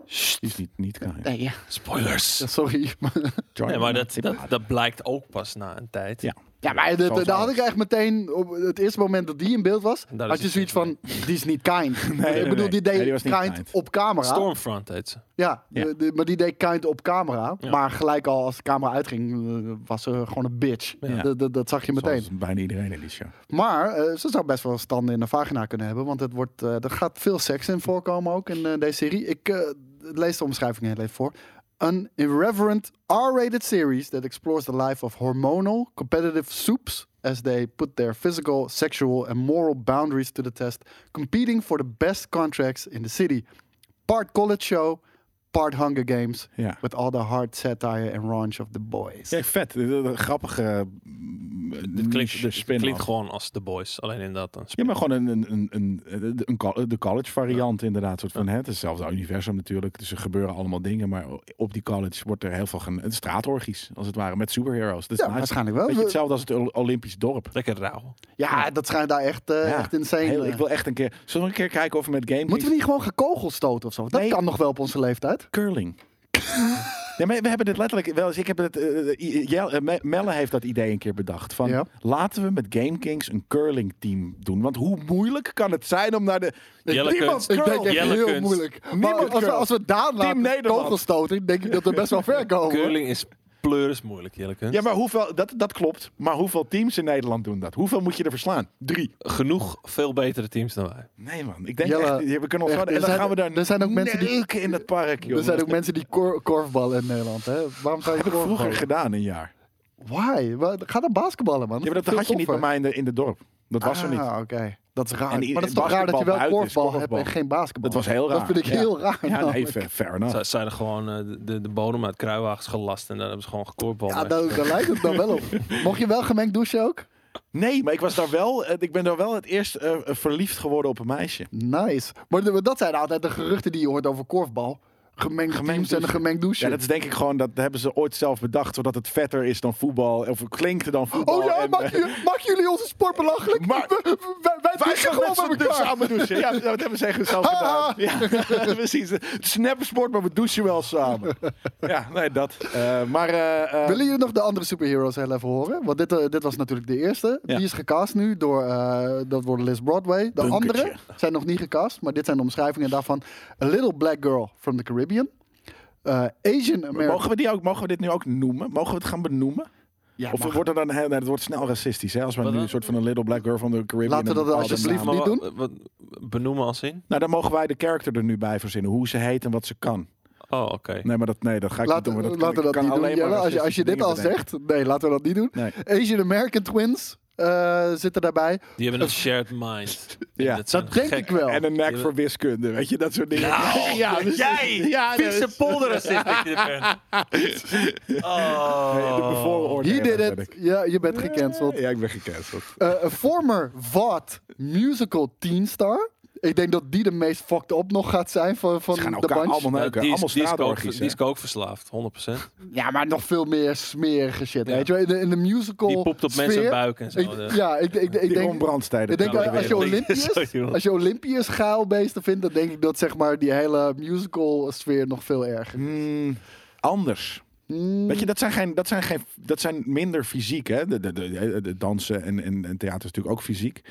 Speaker 4: Sst.
Speaker 2: Die is niet, niet kan.
Speaker 3: Nee, ja.
Speaker 4: Spoilers.
Speaker 3: Ja, sorry. Maar-
Speaker 4: Nee, maar dat, dat, dat blijkt ook pas na een tijd.
Speaker 2: Ja.
Speaker 3: ja, maar dat-
Speaker 2: Zoals
Speaker 3: daar had
Speaker 2: alles.
Speaker 3: ik echt meteen... Op het eerste moment dat die in beeld was...
Speaker 4: Daar is
Speaker 3: had je
Speaker 4: het
Speaker 3: zoiets van,
Speaker 4: tegen.
Speaker 3: die is niet kind.
Speaker 2: nee, nee,
Speaker 3: ik bedoel,
Speaker 2: nee.
Speaker 3: die deed
Speaker 2: Nee, die was niet
Speaker 3: kind,
Speaker 2: kind.
Speaker 3: op camera.
Speaker 4: Stormfront heet ze.
Speaker 3: Ja,
Speaker 2: Ja.
Speaker 3: de- de- maar die deed kind op camera.
Speaker 4: Ja.
Speaker 3: Maar gelijk al als de camera uitging, eh, was ze gewoon een bitch.
Speaker 2: Ja.
Speaker 3: Dat- dat- dat zag je meteen.
Speaker 2: Zoals bijna iedereen in die show.
Speaker 3: Maar eh, ze zou best wel standen in de vagina kunnen hebben. Want het wordt, eh, er gaat veel seks in voorkomen ook in eh, deze serie. Ik eh, lees de omschrijving heel even voor. An irreverent R-rated series that explores the life of hormonal competitive soups as they put their physical, sexual and moral boundaries to the test, competing for the best contracts in the city. Part college show, part Hunger Games,
Speaker 2: Ja.
Speaker 3: with all the hard satire and raunch of the boys.
Speaker 2: Ja, vet. Eh, eh, Grappige. mm,
Speaker 4: Het klinkt,
Speaker 2: niche
Speaker 4: het
Speaker 2: spin-off.
Speaker 4: klinkt gewoon als The Boys. Alleen inderdaad een
Speaker 2: Ja,
Speaker 4: spin
Speaker 2: maar gewoon een, een, een, een, een col- de college variant inderdaad. Soort van, hè, het is hetzelfde universum natuurlijk. Dus er gebeuren allemaal dingen. Maar op die college wordt er heel veel gen- het straatorgies, als het ware, met superheroes. Dus Dat is
Speaker 3: Ja,
Speaker 2: nice.
Speaker 3: waarschijnlijk wel.
Speaker 2: Weet je, hetzelfde als het Ol- Olympisch dorp.
Speaker 4: Lekker rauw.
Speaker 3: Ja, dat schijnt daar echt, eh,
Speaker 2: Ja,
Speaker 3: echt insane.
Speaker 2: Heel,
Speaker 3: eh,
Speaker 2: ik wil echt een keer... Zullen we een keer kijken of we met Game
Speaker 3: Moeten we niet gewoon gekogeld stoten of zo? Want Dat
Speaker 2: Nee.
Speaker 3: kan nog wel op onze leeftijd.
Speaker 2: curling. Ja, maar we hebben dit letterlijk wel eens. Ik heb het. eh, eh, I- Jel- eh, Me- Melle heeft dat idee een keer bedacht. Van
Speaker 3: Ja.
Speaker 2: laten we met Game Kings een curling team doen. Want hoe moeilijk kan het zijn om naar de.
Speaker 4: Jelle
Speaker 2: Niemand
Speaker 4: kunst.
Speaker 3: Ik denk
Speaker 2: curlt.
Speaker 3: echt
Speaker 4: Jelle
Speaker 3: heel
Speaker 4: kunst.
Speaker 3: moeilijk. Maar
Speaker 2: Niemand
Speaker 3: als, we,
Speaker 2: curls.
Speaker 3: als we Daan laten
Speaker 2: Nederland.
Speaker 3: kogels stoten, denk ik dat we best wel ver komen.
Speaker 4: Curling is pleuris moeilijk, Jellekens.
Speaker 2: Ja, maar hoeveel. Dat, dat klopt. Maar hoeveel teams in Nederland doen dat? Hoeveel moet je er verslaan? Drie.
Speaker 4: Genoeg veel betere teams dan wij.
Speaker 2: Nee, man. Ik denk
Speaker 3: Jelle,
Speaker 2: echt. ja, We kunnen ons gewoon.
Speaker 3: echt,
Speaker 2: En
Speaker 3: er
Speaker 2: dan
Speaker 3: zijn-
Speaker 2: gaan we daar.
Speaker 3: er zijn ook mensen die-
Speaker 2: neuken in het park. Joh.
Speaker 3: Er zijn ook mensen die kor- korfballen in Nederland. Hè? Waarom zou je
Speaker 2: Dat heb ik
Speaker 3: korfballen?
Speaker 2: vroeger gedaan een jaar.
Speaker 3: Why? Wa- Ga dan basketballen, man.
Speaker 2: Ja, maar dat had je niet bij mij in, de, in het dorp. Dat was er niet.
Speaker 3: Ah, oké. Dat is raar.
Speaker 2: En i-
Speaker 3: maar dat is toch
Speaker 2: basketbal
Speaker 3: raar dat je wel
Speaker 2: buiten is,
Speaker 3: korfbal hebt en
Speaker 2: korfbal.
Speaker 3: geen basketbal.
Speaker 2: Dat was heel raar.
Speaker 3: Dat vind ik
Speaker 2: Ja.
Speaker 3: heel raar.
Speaker 2: Ja, nee,
Speaker 3: namelijk.
Speaker 2: fair, fair enough.
Speaker 4: Ze zijn er gewoon eh, de, de bodem uit kruiwagens gelast en daar hebben ze gewoon gekorpbal
Speaker 3: Ja,
Speaker 4: mee.
Speaker 3: daar, daar lijkt het dan wel op. Mocht je wel gemengd douchen ook?
Speaker 2: Nee, maar ik, was daar wel, eh, ik ben daar wel het eerst eh, eh, verliefd geworden op een meisje.
Speaker 3: Nice. Maar de- dat zijn altijd de geruchten die je hoort over korfbal. Gemengd,
Speaker 2: Gemengd
Speaker 3: teams en een
Speaker 2: douchen.
Speaker 3: gemengd douche.
Speaker 2: Ja, dat is denk ik gewoon, dat hebben ze ooit zelf bedacht, zodat het vetter is dan voetbal, of klinkt dan voetbal.
Speaker 3: Oh ja,
Speaker 2: en,
Speaker 3: maak,
Speaker 2: eh,
Speaker 3: je, maak jullie onze sport belachelijk?
Speaker 2: Maar-
Speaker 3: We- we- wij, wij
Speaker 2: Wij
Speaker 3: douchen
Speaker 2: gaan met
Speaker 3: gewoon
Speaker 2: z'n
Speaker 3: met
Speaker 2: dus
Speaker 3: elkaar.
Speaker 2: samen douchen. Ja, dat hebben ze echt zelf
Speaker 3: Ha,
Speaker 2: gedaan.
Speaker 3: ha.
Speaker 2: Ja, precies. Het is neppe sport, maar we douchen wel samen. Ja, nee, dat. Eh, maar eh, eh,
Speaker 3: Willen jullie nog de andere superheroes heel even horen? Want dit, eh, dit was natuurlijk de eerste.
Speaker 2: Ja.
Speaker 3: Die is gecast nu door, eh, dat wordt Liz Broadway. De
Speaker 2: Bunkertje.
Speaker 3: andere zijn nog niet gecast, maar dit zijn de omschrijvingen daarvan. A little black girl from the Caribbean. Eh, Asian American.
Speaker 2: mogen, we die ook, mogen we dit nu ook noemen? Mogen we het gaan benoemen?
Speaker 3: Ja,
Speaker 2: of
Speaker 3: mag.
Speaker 2: wordt er dan, heel- nee, dat wordt snel racistisch, hè? Als we
Speaker 4: Wat
Speaker 2: nu
Speaker 4: dan?
Speaker 2: een soort van een little black girl van de Caribbean...
Speaker 3: Laten we
Speaker 2: een
Speaker 3: dat
Speaker 2: bepaalde
Speaker 4: Dus
Speaker 3: alsjeblieft
Speaker 2: naam-
Speaker 3: niet doen?
Speaker 4: wa- wa- nou, benoemen als in?
Speaker 2: Nou, dan mogen wij de character er nu bij verzinnen. Hoe ze heet en wat ze kan.
Speaker 4: Oh, oké.
Speaker 2: Nee, maar dat, nee, dat ga ik
Speaker 3: Laat-
Speaker 2: niet doen. maar dat
Speaker 3: laten we dat
Speaker 2: kan
Speaker 3: niet doen,
Speaker 2: alleen maar
Speaker 3: Jelle. Als je, als je dit al
Speaker 2: racistische
Speaker 3: zegt, nee, laten we dat niet doen.
Speaker 2: dingen bedenken.
Speaker 3: Asian American Twins eh, zitten daarbij.
Speaker 4: Die hebben een shared mind.
Speaker 2: Ja,
Speaker 4: zijn
Speaker 3: dat denk
Speaker 4: gek-
Speaker 3: ik wel.
Speaker 2: Nee. En een nek
Speaker 4: Ja.
Speaker 2: voor wiskunde, weet je, dat soort dingen.
Speaker 4: Nou,
Speaker 2: ja, dus-
Speaker 4: jij!
Speaker 2: Ja, dat
Speaker 4: Vieze
Speaker 2: is-
Speaker 4: polderracist dat je er bent.
Speaker 2: Nee, de
Speaker 4: Oh.
Speaker 2: bevooroordeling
Speaker 3: He did
Speaker 2: ben
Speaker 3: it.
Speaker 2: ik.
Speaker 3: Ja, je bent gecanceld.
Speaker 2: Ja, ik ben gecanceld.
Speaker 3: Eh, een former VOD musical teen star. Ik denk dat die de meest fucked up nog gaat zijn van, van
Speaker 2: Ze gaan
Speaker 3: de
Speaker 2: elkaar
Speaker 3: bunch.
Speaker 2: allemaal neuken.
Speaker 4: die,
Speaker 2: allemaal
Speaker 4: is, die, is ook,
Speaker 2: straatorgies.
Speaker 4: die is
Speaker 2: hè.
Speaker 4: ook verslaafd, 100%.
Speaker 3: Ja, maar nog veel meer smerige shit.
Speaker 4: Ja.
Speaker 3: Weet je wel, in de, in de musical
Speaker 4: Die poept op
Speaker 3: sfeer,
Speaker 4: mensen buik en zo. dus-
Speaker 3: Ik, ja, ik, ik, ik,
Speaker 2: Die Ron
Speaker 3: denk...
Speaker 2: Brandstijden.
Speaker 3: Ik denk
Speaker 4: Nou,
Speaker 3: eh,
Speaker 4: ik
Speaker 3: als je,
Speaker 4: weet het.
Speaker 3: Olympius,
Speaker 4: Sorry, man.
Speaker 3: als je Olympius geilbeesten vindt, dan denk ik dat zeg maar die hele musical sfeer nog veel erger.
Speaker 2: Hmm, anders. Weet je, dat zijn, geen, dat zijn, geen, dat zijn minder fysiek. Hè? De, de, de, de dansen en, en, en theater is natuurlijk ook fysiek.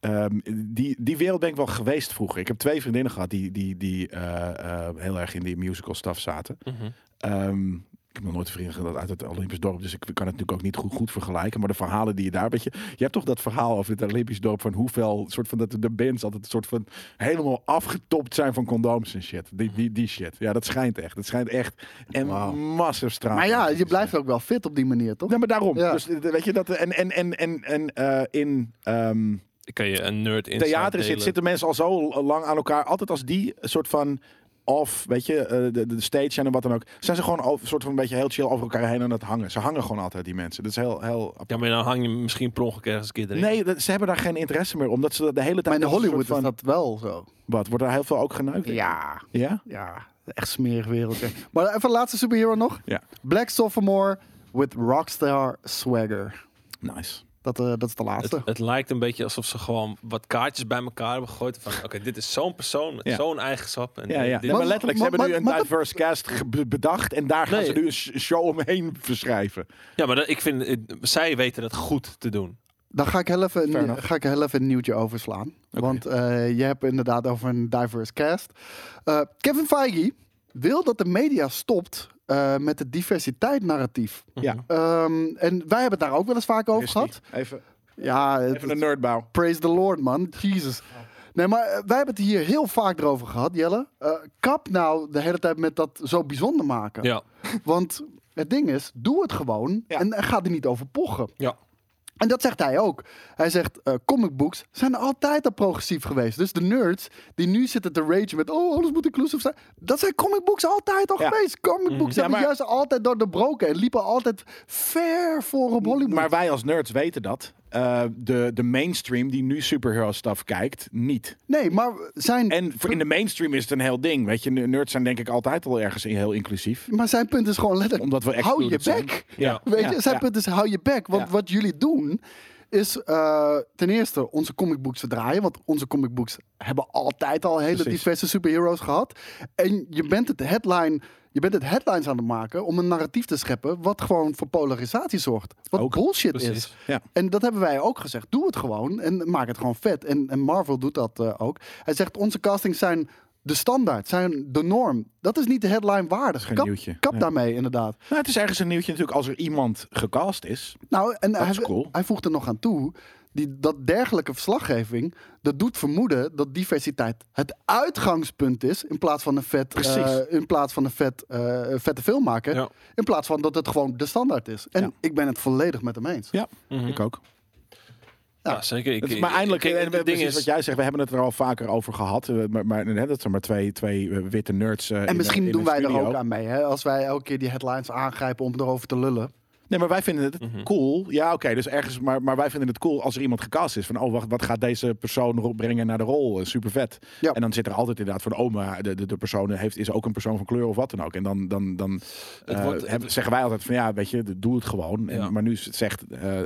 Speaker 2: Ehm, die, die wereld ben ik wel geweest vroeger. Ik heb twee vriendinnen gehad die, die, die eh, eh, heel erg in die musical stuff zaten.
Speaker 4: Mhm.
Speaker 2: Ehm, ik heb nog nooit een vriend gehad uit het Olympisch dorp, dus ik kan het natuurlijk ook niet goed, goed vergelijken. Maar de verhalen die je daar, weet je, je hebt toch dat verhaal over het Olympisch dorp van hoeveel soort van dat de bands altijd een soort van helemaal afgetopt zijn van condooms en shit. Die, die, die shit. Ja, dat schijnt echt. Dat schijnt echt. En
Speaker 3: Wauw.
Speaker 2: massa straat.
Speaker 3: Maar ja, je blijft ook wel fit op die manier, toch?
Speaker 2: eh, Ja, maar daarom.
Speaker 3: Ja.
Speaker 2: Dus eh, weet je dat en en en en en eh, in ehm,
Speaker 4: Ik kan je een nerd in
Speaker 2: theater zit, zitten mensen al zo lang aan elkaar. Altijd als die soort van off, weet je, eh, de, de stage zijn en wat dan ook. Zijn ze gewoon al, soort van een beetje heel chill over elkaar heen aan het hangen. Ze hangen gewoon altijd, die mensen. Dat is heel, heel... apart.
Speaker 4: Ja, maar dan hang je misschien per ongeluk ergens een keer erin.
Speaker 2: Nee, dat- ze hebben daar geen interesse meer. Omdat ze dat de hele tijd...
Speaker 3: Maar in
Speaker 2: als een
Speaker 3: Hollywood
Speaker 2: soort
Speaker 3: is
Speaker 2: van,
Speaker 3: dat wel zo.
Speaker 2: Wat, wordt daar heel veel ook geneukt?
Speaker 3: Ja,
Speaker 2: Ja?
Speaker 3: ja. Echt smerig wereldje. Maar even laatste superhero nog.
Speaker 2: Ja.
Speaker 3: Black Sophomore with Rockstar Swagger.
Speaker 2: Nice.
Speaker 3: Dat, eh, dat is de
Speaker 4: Het,
Speaker 3: laatste.
Speaker 4: het lijkt een beetje alsof ze gewoon wat kaartjes bij elkaar hebben gegooid. Van oké, dit is zo'n persoon met
Speaker 2: Ja.
Speaker 4: zo'n eigenschap. En
Speaker 2: Ja, ja.
Speaker 4: dit-
Speaker 2: maar,
Speaker 3: Maar-
Speaker 2: letterlijk, ze
Speaker 3: maar-
Speaker 2: hebben nu
Speaker 3: maar-
Speaker 2: een
Speaker 3: maar dat-
Speaker 2: diverse cast ge- bedacht. En daar gaan
Speaker 4: Nee.
Speaker 2: ze nu een sh- show omheen verschrijven.
Speaker 4: Ja, maar dat, ik vind, eh, zij weten dat goed te doen.
Speaker 3: Dan ga ik heel even,
Speaker 2: Fair
Speaker 3: een,
Speaker 2: enough.
Speaker 3: ga ik heel even een nieuwtje overslaan. Want eh, je hebt inderdaad over een diverse cast. Eh, Kevin Feige wil dat de media stopt eh, met het diversiteit narratief.
Speaker 4: Mhm.
Speaker 2: Ja.
Speaker 3: Ehm, en wij hebben het daar ook wel eens vaak over
Speaker 2: Is
Speaker 3: gehad.
Speaker 2: die. Even,
Speaker 3: Ja, het-
Speaker 2: even een nerdbouw.
Speaker 3: praise the Lord, man. Jesus. Nee, maar eh, wij hebben het hier heel vaak erover gehad, Jelle. Eh, kap nou de hele tijd met dat zo bijzonder maken.
Speaker 4: Ja,
Speaker 3: Want het ding is, doe het gewoon
Speaker 2: Ja.
Speaker 3: en eh, ga er niet over pochen.
Speaker 4: ja.
Speaker 3: En dat zegt hij ook. Hij zegt, eh comic books zijn altijd al progressief geweest. Dus de nerds die nu zitten te ragen met... oh, alles moet inclusief zijn. Dat zijn comic books altijd al
Speaker 2: Ja.
Speaker 3: geweest. Comic books
Speaker 2: Ja,
Speaker 3: hebben
Speaker 2: maar-
Speaker 3: juist altijd doorbroken... en liepen altijd ver voor op Hollywood.
Speaker 2: Maar wij als nerds weten dat. Eh, de, de mainstream die nu superhero stuff kijkt, niet.
Speaker 3: nee, maar zijn,
Speaker 2: En voor- in de mainstream is het een heel ding. Weet je, nerds zijn denk ik altijd al ergens in- heel inclusief.
Speaker 3: maar zijn punt is gewoon letterlijk...
Speaker 2: Omdat we
Speaker 3: hou je
Speaker 2: excluded zijn.
Speaker 3: bek.
Speaker 2: Ja.
Speaker 3: Weet
Speaker 2: Ja,
Speaker 3: je, zijn
Speaker 2: ja.
Speaker 3: punt is hou je bek. Want
Speaker 2: Ja.
Speaker 3: wat jullie doen is eh, ten eerste onze comic books verdraaien. Want onze comic books hebben altijd al hele
Speaker 2: Precies.
Speaker 3: diverse superheroes gehad. En je bent het headline... Je bent het headlines aan het maken om een narratief te scheppen... wat gewoon voor polarisatie zorgt. Wat
Speaker 2: Ook,
Speaker 3: bullshit
Speaker 4: precies.
Speaker 3: is.
Speaker 2: Ja.
Speaker 3: En dat hebben wij ook gezegd. Doe het gewoon en maak het gewoon vet. En, en Marvel doet dat eh, ook. Hij zegt, onze castings zijn de standaard, zijn de norm. Dat is niet de headline waardig.
Speaker 2: geen
Speaker 3: Kap,
Speaker 2: nieuwtje.
Speaker 3: kap
Speaker 2: Nee.
Speaker 3: daarmee, inderdaad.
Speaker 2: Nou, het is ergens een nieuwtje natuurlijk als er iemand gecast is.
Speaker 3: Nou, en
Speaker 2: Dat
Speaker 3: hij,
Speaker 2: is cool.
Speaker 3: hij voegt er nog aan toe. Die, dat dergelijke verslaggeving, dat doet vermoeden dat diversiteit het uitgangspunt is. In plaats van een vet, eh,
Speaker 2: Precies.
Speaker 3: in plaats van een vet, eh, vette film maken.
Speaker 4: Ja.
Speaker 3: In plaats van dat het gewoon de standaard is. En
Speaker 2: Ja.
Speaker 3: ik ben het volledig met hem eens.
Speaker 2: Ja, ik ook.
Speaker 4: Ja, zeker. Mhm. Ik,
Speaker 2: Het is maar
Speaker 4: ik-
Speaker 2: eindelijk,
Speaker 4: ik-
Speaker 2: en,
Speaker 4: het
Speaker 2: en
Speaker 4: ding
Speaker 2: precies wat
Speaker 4: is,
Speaker 2: jij zegt, we hebben het er al vaker over gehad. Eh, Maar, maar hè, dat zijn maar twee, twee eh, witte nerds. eh, in
Speaker 3: En
Speaker 2: een-
Speaker 3: misschien
Speaker 2: in
Speaker 3: doen
Speaker 2: een
Speaker 3: wij er
Speaker 2: studio.
Speaker 3: ook aan mee. Hè? Als wij elke keer die headlines aangrijpen om erover te lullen.
Speaker 2: Nee, maar wij vinden het cool. Ja, oké, dus ergens, maar, maar wij vinden het cool als er iemand gecast is. Van, oh, wacht, wat gaat deze persoon ro- brengen naar de rol? super vet.
Speaker 3: Ja.
Speaker 2: En dan zit er altijd inderdaad van, oh, maar de, de, de persoon heeft, is ook een persoon van kleur of wat dan ook. En dan, dan, dan eh,
Speaker 4: wordt- het-
Speaker 2: hebben- zeggen wij altijd van, ja, weet je, doe het gewoon. En,
Speaker 4: Ja.
Speaker 2: Maar nu zegt, eh,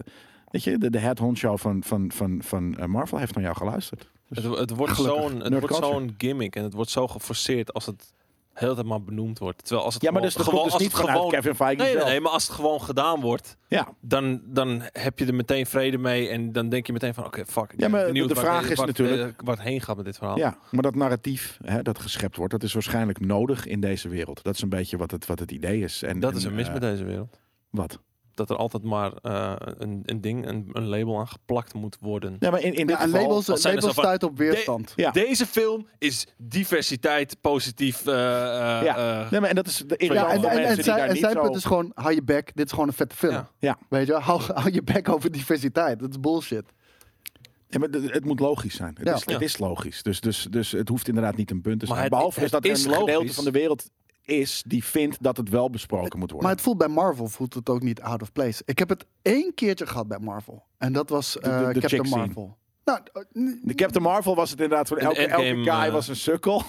Speaker 2: weet je, de, de headhunt show van, van, van, van eh, Marvel heeft naar jou geluisterd.
Speaker 4: het, het wordt
Speaker 2: Gelukkig.
Speaker 4: zo'n het
Speaker 2: Nerd
Speaker 4: wordt
Speaker 2: culture.
Speaker 4: zo'n gimmick en het wordt zo geforceerd als het heel tijd maar benoemd wordt. Terwijl als het
Speaker 2: Ja, maar
Speaker 4: gewoon,
Speaker 2: dus dat
Speaker 4: gewoon,
Speaker 2: komt dus
Speaker 4: als
Speaker 2: niet
Speaker 4: het
Speaker 2: vanuit Kevin
Speaker 4: gewoon
Speaker 2: Feige
Speaker 4: nee, nee,
Speaker 2: zelf.
Speaker 4: nee, maar als het gewoon gedaan wordt,
Speaker 2: Ja.
Speaker 4: dan, dan heb je er meteen vrede mee en dan denk je meteen van oké, fuck. ik
Speaker 2: Ja,
Speaker 4: ben
Speaker 2: maar
Speaker 4: benieuwd
Speaker 2: de
Speaker 4: waar-
Speaker 2: vraag is
Speaker 4: waar-
Speaker 2: natuurlijk-
Speaker 4: eh, waar het heen gaat met dit verhaal.
Speaker 2: Ja, maar dat narratief hè, dat geschept wordt, dat is waarschijnlijk nodig in deze wereld. Dat is een beetje wat het, wat het idee is. En,
Speaker 4: Dat
Speaker 2: en,
Speaker 4: is een mis
Speaker 2: eh,
Speaker 4: met deze wereld.
Speaker 2: Wat?
Speaker 4: Dat er altijd maar eh, een, een ding, een, een label aan geplakt moet worden.
Speaker 2: Ja, maar in, in dit
Speaker 3: en
Speaker 2: geval... dus
Speaker 3: labels,
Speaker 4: als zijn er
Speaker 3: labels
Speaker 4: zo van-
Speaker 3: stuiten op weerstand.
Speaker 2: Ja.
Speaker 4: Deze film is diversiteit positief. eh, eh,
Speaker 2: Ja.
Speaker 4: eh,
Speaker 2: nee, maar en dat is de
Speaker 4: Ja,
Speaker 2: irritant
Speaker 3: Ja, en,
Speaker 2: voor
Speaker 3: en, en,
Speaker 2: mensen die
Speaker 3: zijn,
Speaker 2: daar
Speaker 3: en
Speaker 2: niet
Speaker 3: zijn
Speaker 2: zo-
Speaker 3: punt is gewoon, hou je bek, dit is gewoon een vette film.
Speaker 4: Ja.
Speaker 2: Ja,
Speaker 3: Weet je, wel? hou, hou je bek over diversiteit. Dat is bullshit.
Speaker 2: ja, maar d- het moet logisch zijn. Het,
Speaker 3: Ja.
Speaker 2: is, het
Speaker 4: Ja.
Speaker 2: is logisch. Dus, dus, dus het hoeft inderdaad niet een punt te
Speaker 4: Maar
Speaker 2: zijn.
Speaker 4: het-
Speaker 2: Behalve
Speaker 4: het
Speaker 2: dus dat
Speaker 4: is
Speaker 2: er een gedeelte
Speaker 4: logisch.
Speaker 2: van de wereld is die vindt dat het wel besproken moet worden.
Speaker 3: Maar het voelt bij Marvel voelt het ook niet out of place. Ik heb het één keertje gehad bij Marvel. En dat was eh,
Speaker 2: de chick
Speaker 3: Captain
Speaker 2: scene.
Speaker 3: Marvel. Nou, eh, n-
Speaker 2: de Captain Marvel was het inderdaad voor
Speaker 4: In
Speaker 2: elke,
Speaker 4: Endgame,
Speaker 2: elke guy
Speaker 4: eh,
Speaker 2: was een sukkel.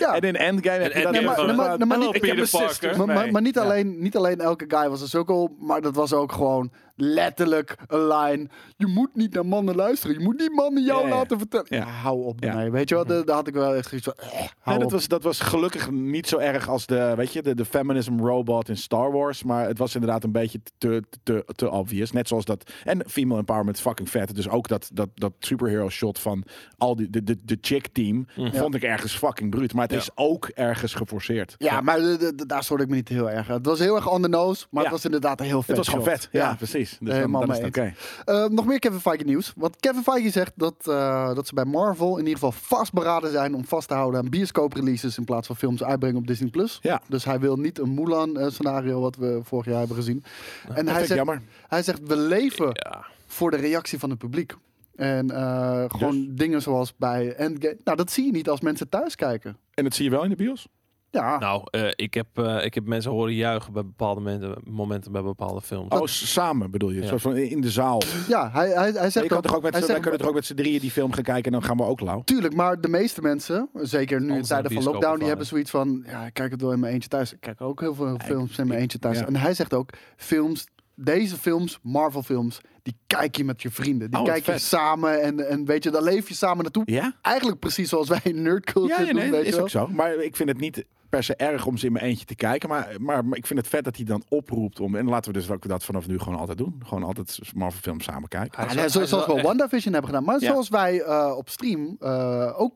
Speaker 3: ja.
Speaker 2: en in Endgame heb
Speaker 4: En
Speaker 2: je dat
Speaker 4: Endgame
Speaker 2: weer
Speaker 3: maar-
Speaker 2: van,
Speaker 3: nee, maar-
Speaker 2: eh,
Speaker 3: nee, maar
Speaker 2: Hello,
Speaker 4: niet-
Speaker 2: Peter
Speaker 4: Peter Parker.
Speaker 2: Sisters.
Speaker 3: maar, maar,
Speaker 2: Nee.
Speaker 3: maar niet,
Speaker 2: Ja.
Speaker 3: alleen, niet alleen elke guy was een sukkel, maar dat was ook gewoon letterlijk een line. Je moet niet naar mannen luisteren. Je moet niet mannen jou
Speaker 2: Ja, ja.
Speaker 3: laten vertellen. Ja,
Speaker 2: Ja.
Speaker 3: hou op
Speaker 2: Ja.
Speaker 3: daarmee. Weet je wel, daar daar had ik wel echt zoiets van... eh,
Speaker 2: En
Speaker 3: hou
Speaker 2: dat
Speaker 3: op.
Speaker 2: was, dat was gelukkig niet zo erg als de, weet je, de, de feminism robot in Star Wars. Maar het was inderdaad een beetje te, te, te obvious. Net zoals dat. En female empowerment fucking vet. Dus ook dat, dat, dat superhero shot van al die, de, de, de chick team. Vond ik ergens fucking bruut. Maar het
Speaker 4: Ja.
Speaker 2: is ook ergens geforceerd.
Speaker 3: Ja, maar de- de- de- daar stoorde ik me niet heel erg aan. Het was heel erg on the nose, maar
Speaker 2: Ja.
Speaker 3: het was inderdaad een heel vet
Speaker 2: Het was gewoon
Speaker 3: shot.
Speaker 2: vet. Ja, precies. Dus dan-
Speaker 3: Helemaal
Speaker 2: dan is
Speaker 3: mee
Speaker 2: het oké.
Speaker 3: Eh, nog meer Kevin Feige nieuws. Want Kevin Feige zegt dat, eh, dat ze bij Marvel in ieder geval vastberaden zijn om vast te houden aan bioscoopreleases in plaats van films uitbrengen op Disney+. Plus.
Speaker 2: Ja.
Speaker 3: Dus hij wil niet een Mulan eh, scenario wat we vorig jaar hebben gezien. en hij
Speaker 2: vind ik
Speaker 3: zegt,
Speaker 2: jammer.
Speaker 3: hij zegt, we leven
Speaker 4: Ja.
Speaker 3: voor de reactie van het publiek. En eh, gewoon
Speaker 2: Dus?
Speaker 3: dingen zoals bij Endgame. Nou, dat zie je niet als mensen thuis kijken.
Speaker 2: En dat zie je wel in de bios.
Speaker 3: Ja,
Speaker 4: Nou, eh, ik, heb, eh, ik heb mensen horen juichen bij bepaalde momenten, momenten bij bepaalde films.
Speaker 2: Oh, s- samen bedoel je.
Speaker 4: Ja.
Speaker 2: Zoals van in in de zaal.
Speaker 3: ja hij, hij, hij zegt
Speaker 2: Je kan toch ook met,
Speaker 3: hij
Speaker 2: wij
Speaker 3: zegt-
Speaker 2: kunnen toch ook met z'n drieën die film gaan kijken en dan gaan we ook lauw.
Speaker 3: Tuurlijk, maar de meeste mensen, zeker nu in
Speaker 4: Anders
Speaker 3: tijden
Speaker 4: een
Speaker 3: van lockdown, die
Speaker 4: bioscoop
Speaker 3: hebben zoiets van: ja, ik kijk het wel in mijn eentje thuis. Ik kijk ook heel veel films in mijn eentje thuis.
Speaker 2: ja.
Speaker 3: En hij zegt ook: films, deze films, Marvel-films, die kijk je met je vrienden. Die
Speaker 2: Oh,
Speaker 3: kijk je
Speaker 2: vet.
Speaker 3: samen en, en weet je, daar leef je samen naartoe.
Speaker 2: Ja?
Speaker 3: Eigenlijk precies zoals wij in nerdculture
Speaker 2: Ja, nee,
Speaker 3: doen.
Speaker 2: nee,
Speaker 3: weet je
Speaker 2: is
Speaker 3: wel.
Speaker 2: ook zo. Maar ik vind het niet per se erg om ze in mijn eentje te kijken. Maar, maar, maar ik vind het vet dat hij dan oproept om... En laten we dus ook dat vanaf nu gewoon altijd doen. Gewoon altijd Marvel films samen kijken.
Speaker 4: Hij
Speaker 3: Ja,
Speaker 4: is
Speaker 3: nee,
Speaker 4: wel- hij
Speaker 3: zo-
Speaker 4: is
Speaker 3: zoals
Speaker 4: wel
Speaker 3: we
Speaker 4: echt-
Speaker 3: WandaVision hebben gedaan. Maar
Speaker 2: Ja.
Speaker 3: zoals wij eh, op stream eh, ook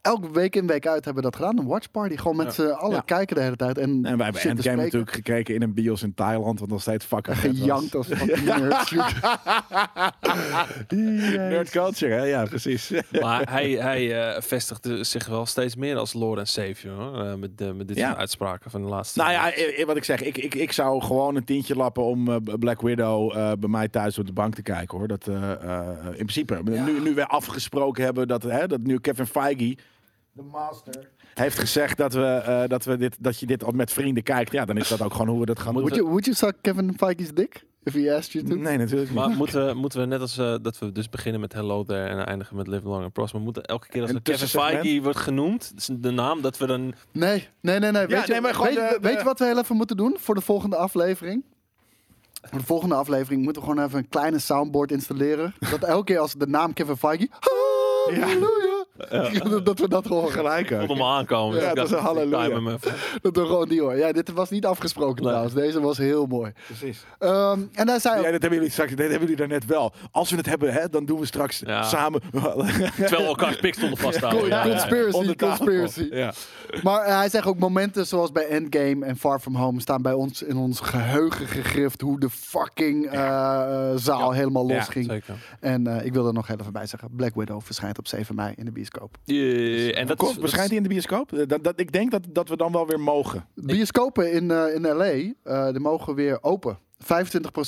Speaker 3: elke week in week uit hebben we dat gedaan. Een watchparty. Gewoon met z'n allen
Speaker 2: Ja.
Speaker 3: kijken de hele tijd. En,
Speaker 2: En wij hebben
Speaker 3: zitten
Speaker 2: Endgame
Speaker 3: spreken.
Speaker 2: natuurlijk gekeken in een bios in Thailand. Want nog steeds fucking vet was.
Speaker 3: Gejankt als fucking nerds.
Speaker 2: Nerd culture, hè? Ja, precies.
Speaker 4: Maar hij, hij eh, vestigde zich wel steeds meer als Lord en Savior hoor, eh, met, de- met dit
Speaker 2: Ja.
Speaker 4: soort uitspraken van de laatste.
Speaker 2: Nou ja, eh, eh, wat ik zeg, ik, ik, ik zou gewoon een tientje lappen om eh, B- Black Widow eh, bij mij thuis op de bank te kijken hoor. Dat, eh, eh, in principe, nu, nu we afgesproken hebben dat, hè, dat nu Kevin Feige, de master, heeft gezegd dat, we, eh, dat, we dit, dat je dit al met vrienden kijkt. Ja, dan is dat ook gewoon hoe we dat gaan doen.
Speaker 3: Would you, would you suck Kevin Feige's dick? If he asked you to?
Speaker 2: Nee, natuurlijk niet.
Speaker 4: Maar moeten we, moeten we net als eh, dat we dus beginnen met Hello There en eindigen met Live Long and Prosper, moeten elke keer als
Speaker 2: Een
Speaker 4: er Kevin
Speaker 2: tussensegment?
Speaker 4: Feige wordt genoemd, dus de naam, dat we dan...
Speaker 3: Nee, nee, nee. nee. Weet, je,
Speaker 2: nee, maar gewoon
Speaker 3: weet,
Speaker 2: de- de-
Speaker 3: weet je wat we heel even moeten doen voor de volgende aflevering? Voor de volgende aflevering moeten we gewoon even een kleine soundboard installeren. Dat elke keer als de naam Kevin Feige... Halleluja! Dat we dat horen.
Speaker 2: Gelijk ook.
Speaker 4: Ik voelde me aankomen.
Speaker 2: Ja,
Speaker 4: Ik
Speaker 2: dat
Speaker 4: dacht,
Speaker 2: is een
Speaker 4: ik time
Speaker 2: halleluja.
Speaker 4: hem even.
Speaker 3: Dat we gewoon die hoor. Ja, dit was niet afgesproken
Speaker 4: Nee.
Speaker 3: trouwens. Deze was heel mooi.
Speaker 2: Precies.
Speaker 3: Ehm, en daar zei
Speaker 2: Ja, dat hebben jullie straks, dat hebben jullie daarnet wel. Als we het hebben, hè, dan doen we straks
Speaker 4: Ja.
Speaker 2: samen.
Speaker 4: Terwijl we elkaar pik stonden vasthouden. Ja, ja, ja.
Speaker 3: conspiracy,
Speaker 2: Onder tafel.
Speaker 3: conspiracy.
Speaker 2: Ja.
Speaker 3: Maar eh, hij zegt ook momenten zoals bij Endgame en Far From Home staan bij ons in ons geheugen gegrift hoe de fucking eh, zaal helemaal los
Speaker 2: Ja,
Speaker 3: ging.
Speaker 4: zeker.
Speaker 3: En eh, ik wil er nog heel even bij zeggen, Black Widow verschijnt op 7 mei in de bioscoop.
Speaker 4: Ja, Dus, en dat
Speaker 2: Kom,
Speaker 4: is- dat
Speaker 2: verschijnt hij in de bioscoop? Eh, Dat, dat, ik denk dat, dat we dan wel weer mogen.
Speaker 3: Bioscopen in, eh, in LA, eh, die mogen weer open.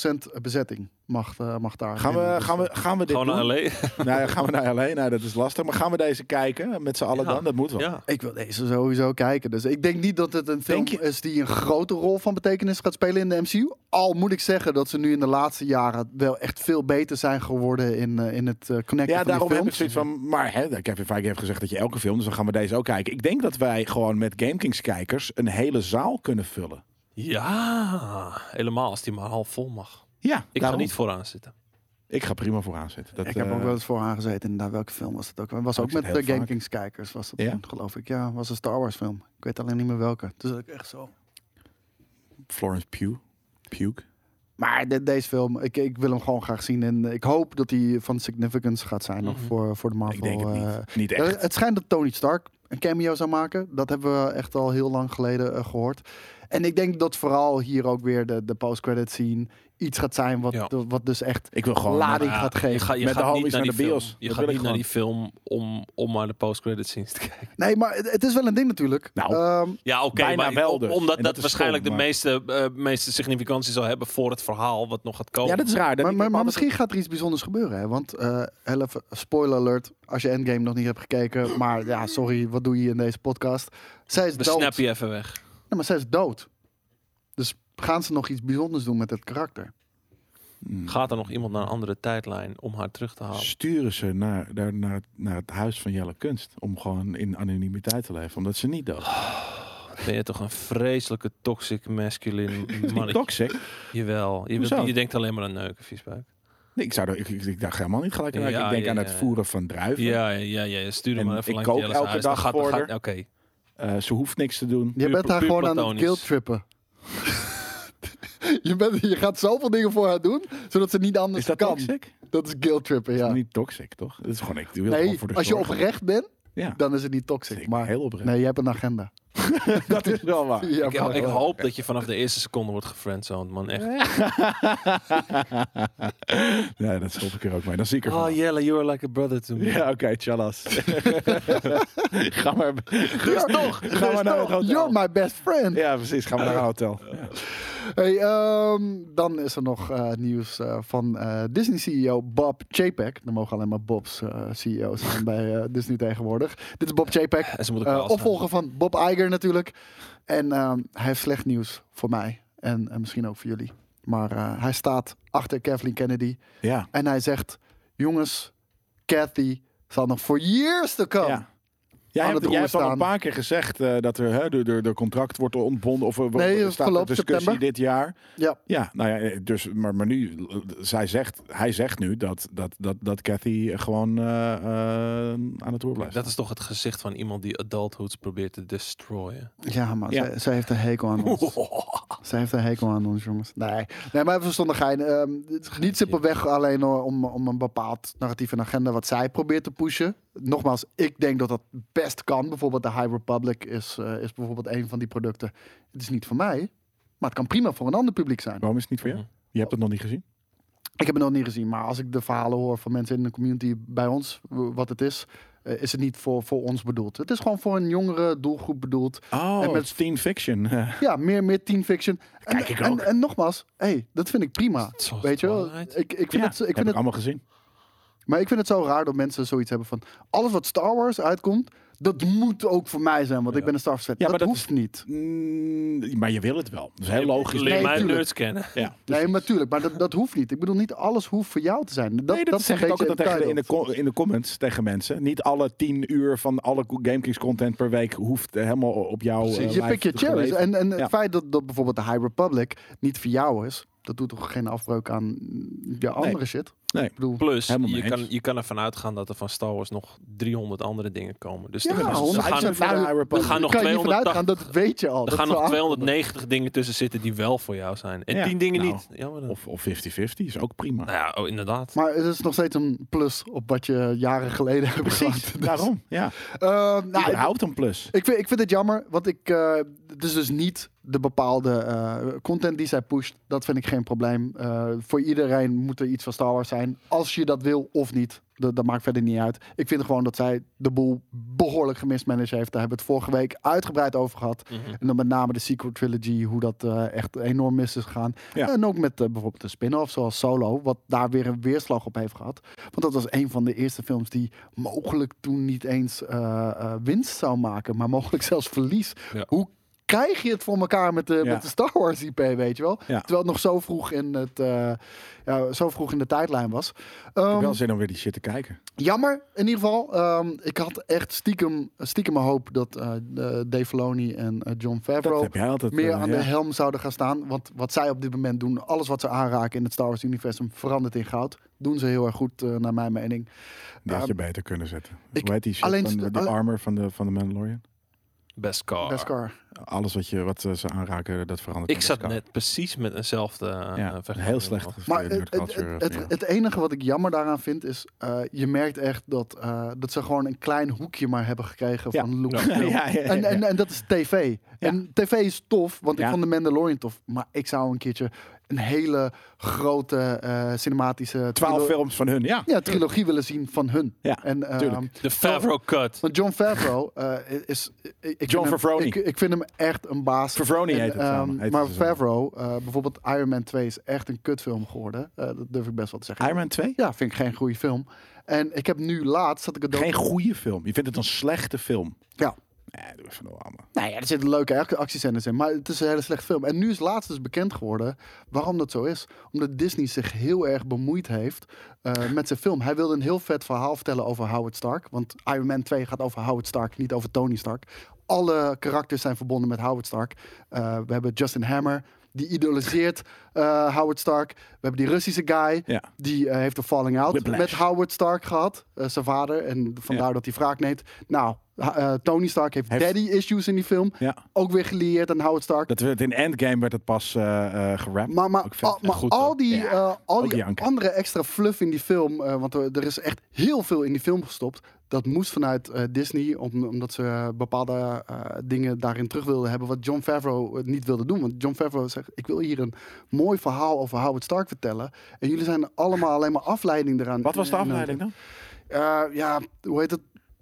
Speaker 3: 25% bezetting mag, eh, mag daar.
Speaker 2: Gaan
Speaker 3: in.
Speaker 2: we, gaan we, gaan we dit
Speaker 4: Gewoon naar
Speaker 2: doen?
Speaker 4: LA.
Speaker 2: Nou, ja, gaan we naar LA? Nou, dat is lastig. Maar gaan we deze kijken met z'n allen
Speaker 4: Ja.
Speaker 2: dan? Dat moet wel.
Speaker 4: Ja.
Speaker 3: Ik wil deze sowieso kijken. Dus ik denk niet dat het een film
Speaker 2: Denk je-
Speaker 3: is die een grote rol van betekenis gaat spelen in de MCU. Al moet ik zeggen dat ze nu in de laatste jaren wel echt veel beter zijn geworden in, eh, in het eh, connecten
Speaker 2: Ja,
Speaker 3: van
Speaker 2: daarom
Speaker 3: die
Speaker 2: heb ik
Speaker 3: films.
Speaker 2: zoiets van. Maar hè, Kevin Feige heeft gezegd dat je elke film, dus dan gaan we deze ook kijken. Ik denk dat wij gewoon met GameKings-kijkers een hele zaal kunnen vullen.
Speaker 4: ja, helemaal als die maar half vol mag.
Speaker 2: Ja,
Speaker 4: Ik
Speaker 2: daarom.
Speaker 4: ga niet vooraan zitten.
Speaker 2: Ik ga prima vooraan zitten. Dat,
Speaker 3: Ik heb
Speaker 2: eh,
Speaker 3: ook wel eens voor haar gezeten. Inderdaad, welke film was dat ook? Het was
Speaker 2: Oh,
Speaker 3: ook
Speaker 2: ik zit
Speaker 3: met de
Speaker 2: heel
Speaker 3: Game
Speaker 2: vaak.
Speaker 3: Kings kijkers, was dat
Speaker 2: Ja?
Speaker 3: toen, geloof ik. Ja, was een Star Wars film. Ik weet alleen niet meer welke. Dus dat ik echt zo.
Speaker 2: Florence Pugh. Pugh.
Speaker 3: Maar de- deze film, ik, ik wil hem gewoon graag zien. En ik hoop dat hij van significance gaat zijn nog
Speaker 4: Mhm.
Speaker 3: voor, voor de Marvel.
Speaker 2: Ik denk het
Speaker 3: eh,
Speaker 2: niet. Niet
Speaker 3: Ja,
Speaker 2: echt.
Speaker 3: Het schijnt dat Tony Stark een cameo zou maken. Dat hebben we echt al heel lang geleden eh, gehoord. En ik denk dat vooral hier ook weer de, de post-credit scene iets gaat zijn wat,
Speaker 4: Ja.
Speaker 3: de- wat dus echt
Speaker 2: Ik wil gewoon.
Speaker 3: lading
Speaker 4: Ja,
Speaker 3: gaat geven.
Speaker 4: Ah, Je, ga, je
Speaker 2: Met de
Speaker 4: gaat niet
Speaker 2: homies
Speaker 4: naar
Speaker 2: naar
Speaker 4: die
Speaker 2: de bios.
Speaker 4: film.
Speaker 2: Dat
Speaker 4: Je
Speaker 2: wil
Speaker 4: gaat
Speaker 2: ik
Speaker 4: niet naar
Speaker 2: gewoon.
Speaker 4: die film om, om maar de post-credits scenes te kijken.
Speaker 3: Nee, maar het, het is wel een ding natuurlijk.
Speaker 2: Nou.
Speaker 3: Ehm,
Speaker 4: Ja, oké,
Speaker 2: Bijna
Speaker 4: maar
Speaker 2: wel
Speaker 4: om-
Speaker 2: dus.
Speaker 4: omdat
Speaker 2: En dat
Speaker 4: dat,
Speaker 2: is
Speaker 4: waarschijnlijk
Speaker 2: stom,
Speaker 4: de
Speaker 2: maar-
Speaker 4: meeste, eh, meeste significantie zal hebben voor het verhaal wat nog gaat komen.
Speaker 2: Ja, dat is raar. dat
Speaker 3: maar,
Speaker 2: ik
Speaker 3: maar, maar
Speaker 2: altijd-
Speaker 3: misschien gaat er iets bijzonders gebeuren. Hè? Want eh, heel even, spoiler alert, als je Endgame nog niet hebt gekeken. Maar ja, sorry, wat doe je in deze podcast? Zij is
Speaker 4: We
Speaker 3: dood.
Speaker 4: snap je even weg.
Speaker 3: Nee, maar zij is dood. Dus gaan ze nog iets bijzonders doen met het karakter?
Speaker 2: Hmm.
Speaker 4: Gaat er nog iemand naar een andere tijdlijn om haar terug te halen?
Speaker 2: sturen ze naar, daar,
Speaker 4: Ah,
Speaker 2: naar, het- naar het huis van Jelle Kunst. Om gewoon in anonimiteit te leven. Omdat ze niet dood. is.
Speaker 4: Ben je toch een vreselijke toxic masculine
Speaker 2: Niet
Speaker 4: mannetje.
Speaker 2: toxic.
Speaker 4: Jawel. Je,
Speaker 2: Hoezo?
Speaker 4: wilt- je denkt alleen maar aan neuken, viesbuik.
Speaker 2: Nee, ik, zou daar, ik, ik, ik dacht helemaal niet gelijk aan.
Speaker 4: Ja,
Speaker 2: ik denk
Speaker 4: ja,
Speaker 2: aan
Speaker 4: ja.
Speaker 2: het voeren van druiven.
Speaker 4: Ja, ja, ja, ja. Stuur hem
Speaker 2: En
Speaker 4: maar even
Speaker 2: ik
Speaker 4: langs
Speaker 2: kook
Speaker 4: Jelle's
Speaker 2: elke
Speaker 4: huis. Dan
Speaker 2: dag
Speaker 4: gaat- dan
Speaker 2: voor
Speaker 4: gaat-
Speaker 2: haar.
Speaker 4: Oké.
Speaker 2: Eh, ze hoeft niks te doen.
Speaker 3: Je bent daar
Speaker 4: puur
Speaker 3: gewoon aan het
Speaker 4: platonisch.
Speaker 3: guilt-trippen. je, bent, je gaat zoveel dingen voor haar doen, zodat ze niet anders
Speaker 2: Is dat
Speaker 3: kan.
Speaker 2: toxic?
Speaker 3: Dat is guilt-trippen, ja.
Speaker 2: Niet toxic, toch? Het is gewoon, ik wil gewoon
Speaker 3: Nee,
Speaker 2: voor de
Speaker 3: als je
Speaker 2: zorg.
Speaker 3: oprecht bent,
Speaker 2: Ja,
Speaker 3: dan is het niet toxic.
Speaker 2: maar
Speaker 3: Maar
Speaker 2: heel oprecht.
Speaker 3: nee, je hebt een agenda.
Speaker 2: dat is wel waar.
Speaker 3: Ja,
Speaker 4: Ik,
Speaker 3: maar-
Speaker 4: ik hoop dat je vanaf de eerste seconde wordt gefriendzoned, man. Echt.
Speaker 2: ja, dat stop ik er ook mee. Dan zie
Speaker 3: Ah,
Speaker 2: ik er
Speaker 4: Oh,
Speaker 2: van.
Speaker 4: Jelle, you are like a brother to me.
Speaker 2: Ja, oké, tjallas. ga maar,
Speaker 4: Dus
Speaker 3: You're-
Speaker 2: ga maar naar het hotel.
Speaker 3: You're my best friend.
Speaker 2: Ja, precies. Ga maar naar een hotel. Ja.
Speaker 3: Hey, ehm, dan is er nog eh, nieuws eh, van eh, Disney-CEO Bob Chapek. Er mogen alleen maar Bob's eh, CEO's zijn bij eh, Disney tegenwoordig. Dit is Bob Chapek,
Speaker 4: En ze moeten
Speaker 3: eh,
Speaker 4: kwaad zijn.
Speaker 3: opvolger van Bob Iger natuurlijk. En ehm, hij heeft slecht nieuws voor mij en, en misschien ook voor jullie. Maar eh, hij staat achter Kathleen Kennedy
Speaker 2: Ja.
Speaker 3: en hij zegt... Jongens, Kathy zal nog voor years to come.
Speaker 2: Ja. Jij
Speaker 3: aan
Speaker 2: hebt,
Speaker 3: het
Speaker 2: jij
Speaker 3: roer
Speaker 2: hebt al een
Speaker 3: staan.
Speaker 2: paar keer gezegd eh, dat er, hè, de, de, de contract wordt ontbonden. Of er
Speaker 3: Nee,
Speaker 2: er staat een
Speaker 3: verloopt
Speaker 2: discussie
Speaker 3: september.
Speaker 2: dit jaar.
Speaker 3: Ja.
Speaker 2: Ja, nou ja, eh, dus, maar, maar nu, eh, zij zegt, hij zegt nu dat, dat, dat, dat Cathy gewoon eh, eh, aan het roer blijft.
Speaker 4: Dat is toch het gezicht van iemand die adulthoods probeert te destroyen.
Speaker 3: Ja, maar
Speaker 2: Ja.
Speaker 3: Zij, zij heeft een hekel aan ons. zij heeft een hekel aan ons, jongens. Nee, nee maar even zonder gein. Ehm, het is niet simpelweg alleen om, om een bepaald narratief en agenda wat zij probeert te pushen. Nogmaals, ik denk dat dat best kan. Bijvoorbeeld de High Republic is, eh, is bijvoorbeeld een van die producten. Het is niet voor mij, maar het kan prima voor een ander publiek zijn.
Speaker 2: Waarom is het niet voor jou?
Speaker 4: Mhm.
Speaker 2: Je hebt het nog niet gezien?
Speaker 3: Ik heb het nog niet gezien, maar als ik de verhalen hoor van mensen in de community bij ons, w- wat het is, eh, is het niet voor, voor ons bedoeld. Het is gewoon voor een jongere doelgroep bedoeld.
Speaker 2: Oh,
Speaker 3: En
Speaker 2: en
Speaker 3: met-
Speaker 2: met Teen Fiction. eh,
Speaker 3: Ja, meer, meer teen fiction. En,
Speaker 2: Kijk ik
Speaker 3: en,
Speaker 2: ook.
Speaker 3: En, nogmaals, hey, dat vind ik prima.
Speaker 4: Zoals
Speaker 3: Weet je wel?
Speaker 4: Twilight.
Speaker 3: Ik, ik
Speaker 2: Ja,
Speaker 3: vind het, ik
Speaker 2: heb
Speaker 3: vind
Speaker 2: ik
Speaker 3: het,
Speaker 2: allemaal gezien.
Speaker 3: maar ik vind het zo raar dat mensen zoiets hebben van... alles wat Star Wars uitkomt, dat moet ook voor mij zijn. Want ik ben een Star Wars fan.
Speaker 2: Ja,
Speaker 3: dat,
Speaker 2: maar dat
Speaker 3: hoeft niet.
Speaker 2: Mm, maar je wil het wel. Dat is heel logisch.
Speaker 4: Leer
Speaker 3: Nee,
Speaker 4: mij
Speaker 3: tuurlijk.
Speaker 4: nerds kennen.
Speaker 2: Ja. Dus
Speaker 3: Nee, maar tuurlijk. Maar dat, dat hoeft niet. Ik bedoel, niet alles hoeft voor jou te zijn. Dat,
Speaker 2: nee, dat, zeg ik
Speaker 3: vergeet
Speaker 2: ook
Speaker 3: je
Speaker 2: altijd tegen de- in, de,
Speaker 3: Tidal.
Speaker 2: co- in de comments tegen mensen. Niet alle tien uur van alle GameKings content per week hoeft eh, helemaal op jou. eh,
Speaker 3: Je
Speaker 2: lijf
Speaker 3: pikt je
Speaker 2: te
Speaker 3: cherries.
Speaker 2: geleven.
Speaker 3: En, en het
Speaker 2: Ja.
Speaker 3: feit dat, dat bijvoorbeeld de High Republic niet voor jou is... dat doet toch geen afbreuk aan je andere shit?
Speaker 2: Nee.
Speaker 3: Ik bedoel,
Speaker 4: Plus,
Speaker 2: Helemaal
Speaker 4: je
Speaker 2: mee
Speaker 4: kan,
Speaker 2: eens.
Speaker 4: je kan ervan uitgaan dat er van Star Wars nog 300 andere dingen komen. Dus
Speaker 3: Ja,
Speaker 4: er gaan- er
Speaker 3: 100%
Speaker 4: gaan,
Speaker 2: voor de High Republic.
Speaker 4: er gaan nog
Speaker 3: kan je niet vanuit
Speaker 4: 280
Speaker 3: gaan, dat weet je al.
Speaker 4: er
Speaker 3: Dat
Speaker 4: gaan
Speaker 3: is
Speaker 4: nog
Speaker 3: wel
Speaker 4: 290 dingen tussen zitten die wel voor jou zijn. En
Speaker 2: Ja,
Speaker 4: 10 dingen
Speaker 2: nou,
Speaker 4: niet. Jammer dan.
Speaker 2: Of, of 50-50 is ook prima.
Speaker 4: nou ja, oh, inderdaad.
Speaker 3: Maar het is nog steeds een plus op wat je jaren geleden hebt
Speaker 2: Precies,
Speaker 3: gehad. Dus,
Speaker 2: daarom. Ja.
Speaker 3: eh, nou, ik-
Speaker 2: Überhaupt een plus.
Speaker 3: ik, vind, ik vind het jammer, want ik, eh, het is dus niet de bepaalde eh, content die zij pusht. Dat vind ik geen probleem. Eh, voor iedereen moet er iets van Star Wars zijn. Als je dat wil of niet, dat, dat maakt verder niet uit. Ik vind gewoon dat zij de boel behoorlijk gemismanaged heeft. Daar hebben we het vorige week uitgebreid over gehad.
Speaker 4: Mhm.
Speaker 3: En dan met name de sequel trilogy, hoe dat eh, echt enorm mis is gegaan.
Speaker 2: Ja.
Speaker 3: En ook met eh, bijvoorbeeld de spin-off zoals Solo, wat daar weer een weerslag op heeft gehad. Want dat was een van de eerste films die mogelijk toen niet eens eh, eh, winst zou maken, maar mogelijk zelfs verlies.
Speaker 4: Ja.
Speaker 3: Hoe krijg je het voor elkaar met de,
Speaker 2: Ja.
Speaker 3: met de Star Wars IP, weet je wel?
Speaker 2: Ja.
Speaker 3: Terwijl het nog zo vroeg in, het, eh, ja, zo vroeg in de tijdlijn was.
Speaker 2: Ik heb
Speaker 3: Ehm,
Speaker 2: wel zin om weer die shit te kijken.
Speaker 3: Jammer, in ieder geval. Ehm, ik had echt stiekem, stiekem mijn hoop dat eh, eh, Dave Filoni en eh, John
Speaker 2: Dat
Speaker 3: Favreau
Speaker 2: heb jij altijd.
Speaker 3: meer
Speaker 2: eh,
Speaker 3: aan
Speaker 2: ja.
Speaker 3: de helm zouden gaan staan. Want wat zij op dit moment doen, alles wat ze aanraken in het Star Wars-universum, verandert in goud. Doen ze heel erg goed, eh, naar mijn mening.
Speaker 2: Die had je
Speaker 3: Ja.
Speaker 2: beter kunnen zetten.
Speaker 3: Ik-
Speaker 2: Hoe heet die shit?
Speaker 3: alleen-
Speaker 2: van, de- die
Speaker 3: alleen-
Speaker 2: armor van de, van de Mandalorian?
Speaker 4: Best car.
Speaker 3: Best car.
Speaker 2: Alles wat, je, wat eh, ze aanraken, dat verandert.
Speaker 4: Ik
Speaker 2: in
Speaker 4: zat
Speaker 2: Beskar.
Speaker 4: net precies met eenzelfde eh, eh,
Speaker 2: Ja,
Speaker 4: vergelijking.
Speaker 2: heel slecht.
Speaker 3: Maar
Speaker 2: eh,
Speaker 3: het,
Speaker 2: nerd
Speaker 3: het,
Speaker 2: culture,
Speaker 3: het,
Speaker 2: ja.
Speaker 3: het, het enige wat ik jammer daaraan vind is, eh, je merkt echt dat, eh, dat ze gewoon een klein hoekje maar hebben gekregen
Speaker 2: Ja.
Speaker 3: van Luke.
Speaker 2: Ja,
Speaker 3: Film.
Speaker 2: ja, ja, ja.
Speaker 3: En, en, en dat is tv.
Speaker 2: Ja.
Speaker 3: En tv is tof, want ik
Speaker 2: Ja.
Speaker 3: vond de Mandalorian tof. Maar ik zou een keertje een hele grote eh, cinematische...
Speaker 2: Twaalf
Speaker 3: trilo-
Speaker 2: films van hun, ja.
Speaker 3: Ja, trilogie willen zien van hun.
Speaker 2: Ja,
Speaker 3: en, ehm,
Speaker 2: tuurlijk.
Speaker 4: De Favreau cut.
Speaker 3: want John Favreau eh, is... Ik, ik vind
Speaker 2: John
Speaker 3: hem-
Speaker 2: Favroni.
Speaker 3: Ik, ik vind hem echt een baas.
Speaker 2: Favroni
Speaker 3: En,
Speaker 2: heet het.
Speaker 3: ehm,
Speaker 2: samen, heet
Speaker 3: maar
Speaker 2: het zo.
Speaker 3: Favreau, eh, bijvoorbeeld Iron Man 2 is echt een kutfilm geworden. Eh, dat durf ik best wel te zeggen.
Speaker 2: Iron Man 2?
Speaker 3: Ja, vind ik geen goede film. En ik heb nu laatst dat ik het ook-
Speaker 2: Geen goede film. Je vindt het een slechte film.
Speaker 3: Ja.
Speaker 2: Nee, doe even normaal. man.
Speaker 3: Nou ja, er zitten leuke ac- actiescènes in, maar het is een hele slechte film. En nu is laatst dus bekend geworden waarom dat zo is. Omdat Disney zich heel erg bemoeid heeft eh, met zijn film. Hij wilde een heel vet verhaal vertellen over Howard Stark. Want Iron Man 2 gaat over Howard Stark, niet over Tony Stark. alle karakters zijn verbonden met Howard Stark. Eh, we hebben Justin Hammer, die idoliseert eh, Howard Stark. We hebben die Russische guy,
Speaker 2: Ja.
Speaker 3: die eh, heeft een falling out
Speaker 2: Whiplash.
Speaker 3: met Howard Stark gehad. eh, zijn vader, en vandaar dat hij wraak neemt. Nou, ha- eh, Tony Stark heeft,
Speaker 2: Heeft-
Speaker 3: daddy issues in die film.
Speaker 2: Ja.
Speaker 3: Ook weer gelieerd aan Howard Stark.
Speaker 2: Dat werd in Endgame werd het pas eh eh gerapt.
Speaker 3: Maar, maar,
Speaker 2: Ook vet.
Speaker 3: al, maar
Speaker 4: goed,
Speaker 3: al
Speaker 4: hoor.
Speaker 3: die,
Speaker 2: Ja,
Speaker 3: eh, al
Speaker 2: ook
Speaker 3: die
Speaker 2: janken.
Speaker 3: andere extra fluff in die film, eh, want er, er is echt heel veel in die film gestopt. Dat moest vanuit eh, Disney, om- omdat ze eh, bepaalde eh, dingen daarin terug wilden hebben. Wat John Favreau eh, niet wilde doen. Want John Favreau zegt: Ik wil hier een mooi verhaal over Howard Stark vertellen. En jullie zijn allemaal alleen maar afleiding eraan.
Speaker 2: Wat was de
Speaker 3: eh,
Speaker 2: afleiding dan?
Speaker 3: Eh, ja, hoe heet het?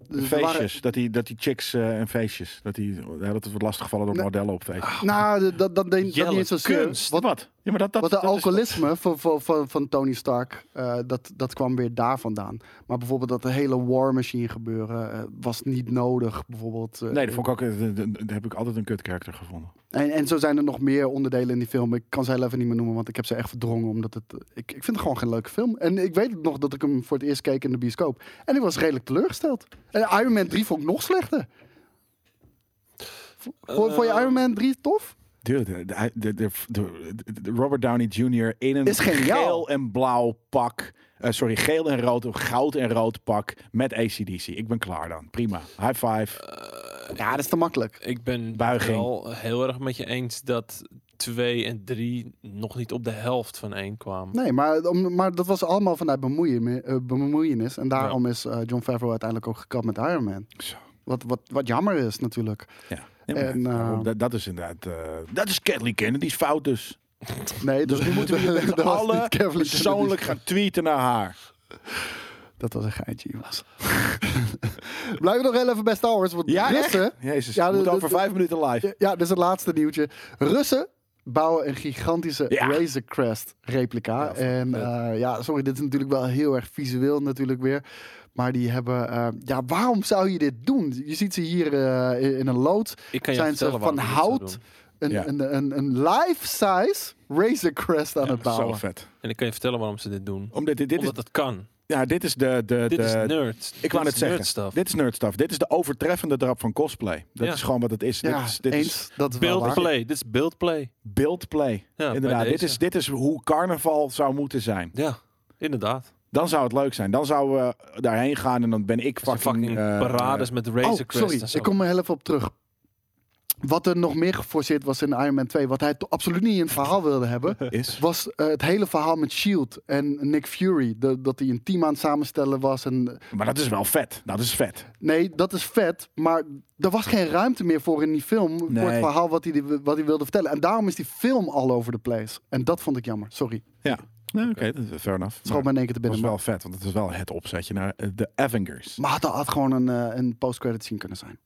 Speaker 3: Er dus waren-
Speaker 2: Feestjes. Dat, die, dat die chicks eh, en feestjes. Dat die ja, dat wordt lastig gevallen door
Speaker 3: Nee.
Speaker 2: modellen op feestjes.
Speaker 3: nou, dat, dat, dat, deed- dat
Speaker 4: Jelle,
Speaker 3: niet eens zozeer.
Speaker 4: kunst.
Speaker 2: Wat? wat? Ja, maar dat, dat,
Speaker 3: Want de
Speaker 2: dat is-
Speaker 3: alcoholisme van, van, van, van Tony Stark, eh, dat, dat kwam weer daar vandaan. Maar bijvoorbeeld dat de hele War Machine gebeuren eh, was niet nodig, bijvoorbeeld. eh.
Speaker 2: Nee, dat vond ik ook, eh, d- d- d- heb ik altijd een kut karakter gevonden.
Speaker 3: en, en zo zijn er nog meer onderdelen in die film. Ik kan ze heel even niet meer noemen, want ik heb ze echt verdrongen. Omdat het, ik, ik vind het gewoon geen leuke film. En ik weet nog dat ik hem voor het eerst keek in de bioscoop. En ik was redelijk teleurgesteld. En Iron Man 3 vond ik nog slechter. Vo- Vond vond je
Speaker 4: Eh.
Speaker 3: Iron Man 3 tof?
Speaker 2: Dude, de, de, de, de- de- de Robert Downey Jr. in een
Speaker 3: Is geniaal.
Speaker 2: geel en blauw pak. Eh, sorry, geel en rood, of goud en rood pak met ACDC. Ik ben klaar dan. Prima. High five.
Speaker 3: Ja, dat is te makkelijk.
Speaker 4: Ik ben
Speaker 2: Buiging.
Speaker 4: wel heel erg met je eens dat 2 en 3 nog niet op de helft van 1 kwamen.
Speaker 3: Nee, maar, om, maar dat was allemaal vanuit bemoeien, eh, bemoeienis. En daarom is eh, John Favreau uiteindelijk ook gekapt met Iron Man.
Speaker 2: Zo.
Speaker 3: Wat, wat, wat jammer is natuurlijk.
Speaker 2: Ja. Ja, maar
Speaker 3: En,
Speaker 2: daarom,
Speaker 3: eh,
Speaker 2: dat, dat is inderdaad... eh, dat is Kathleen Kennedy's fout dus.
Speaker 3: Nee,
Speaker 2: Dus
Speaker 3: dat-
Speaker 2: we moeten
Speaker 3: dat-
Speaker 2: hier met
Speaker 3: dat was niet
Speaker 2: alle
Speaker 3: Kevin Kennedy.
Speaker 2: persoonlijk gaan tweeten naar haar.
Speaker 3: Dat was een geintje, jongens. Blijven we nog heel even bij Star Wars. Want Russen,
Speaker 2: Jezus,
Speaker 3: Ja,
Speaker 2: ja,
Speaker 3: de-
Speaker 2: moet
Speaker 3: de-
Speaker 2: over
Speaker 3: de-
Speaker 2: vijf minuten live.
Speaker 3: ja, dit is het laatste nieuwtje. Russen bouwen een gigantische
Speaker 2: Ja.
Speaker 3: Razor Crest replica.
Speaker 2: Ja,
Speaker 3: en eh, ja, sorry, dit is natuurlijk wel heel erg visueel natuurlijk weer. Maar die hebben... eh, ja, waarom zou je dit doen? Je ziet ze hier eh, in- in een loods.
Speaker 4: Ik kan je
Speaker 3: zijn ze
Speaker 4: vertellen
Speaker 3: van
Speaker 4: waarom ik dit
Speaker 3: hout
Speaker 4: zou doen.
Speaker 3: een,
Speaker 2: Ja.
Speaker 3: een, een, een life-size Razor Crest aan het
Speaker 2: Zo
Speaker 3: bouwen.
Speaker 2: vet.
Speaker 4: En ik kan je vertellen waarom ze dit doen.
Speaker 2: Omdat dit, dit, is,
Speaker 4: Omdat het kan.
Speaker 2: ja, dit is de... de,
Speaker 4: Dit is
Speaker 2: de-
Speaker 4: nerd.
Speaker 2: Ik wou
Speaker 4: dit
Speaker 2: net
Speaker 4: is
Speaker 2: zeggen,
Speaker 4: nerd stuff.
Speaker 2: dit is nerdstaf. Dit is de overtreffende drap van cosplay. Dat
Speaker 4: Ja.
Speaker 2: is gewoon wat het is.
Speaker 3: Ja,
Speaker 2: dit is, dit is
Speaker 3: eens. Dat is wel
Speaker 4: Build
Speaker 3: waar.
Speaker 4: play. Dit is build play.
Speaker 2: build play.
Speaker 4: Ja,
Speaker 2: Inderdaad,
Speaker 4: bij
Speaker 2: dit
Speaker 4: deze.
Speaker 2: is, dit is hoe carnaval zou moeten zijn.
Speaker 4: Ja, inderdaad.
Speaker 2: Dan zou het leuk zijn. Dan zouden we daarheen gaan en dan ben ik
Speaker 4: Fucking,
Speaker 2: fucking...
Speaker 4: fucking
Speaker 2: eh,
Speaker 4: parades met Razor
Speaker 3: Oh,
Speaker 4: Crest
Speaker 3: sorry.
Speaker 4: en zo.
Speaker 3: Ik kom er heel even op terug. Wat er nog meer geforceerd was in Iron Man 2... wat hij to- absoluut niet in het verhaal wilde hebben...
Speaker 2: eh, is.
Speaker 3: was eh, het hele verhaal met S.H.I.E.L.D. en Nick Fury. De- dat hij een team aan het samenstellen was. En,
Speaker 2: eh, Maar dat is wel vet. Dat is vet.
Speaker 3: nee, dat is vet. Maar er was geen ruimte meer voor in die film...
Speaker 2: Nee.
Speaker 3: voor het verhaal wat hij, wat hij wilde vertellen. En daarom is die film all over the place. En dat vond ik jammer. Sorry.
Speaker 2: Ja. Nee, Oké, dat is fair enough.
Speaker 3: Schoot me
Speaker 2: Maar
Speaker 3: in één keer te
Speaker 2: dat is
Speaker 3: binnen.
Speaker 2: wel vet, want het is wel het opzetje naar eh, de Avengers.
Speaker 3: Maar dat had gewoon een, eh, een post-credit scene kunnen zijn.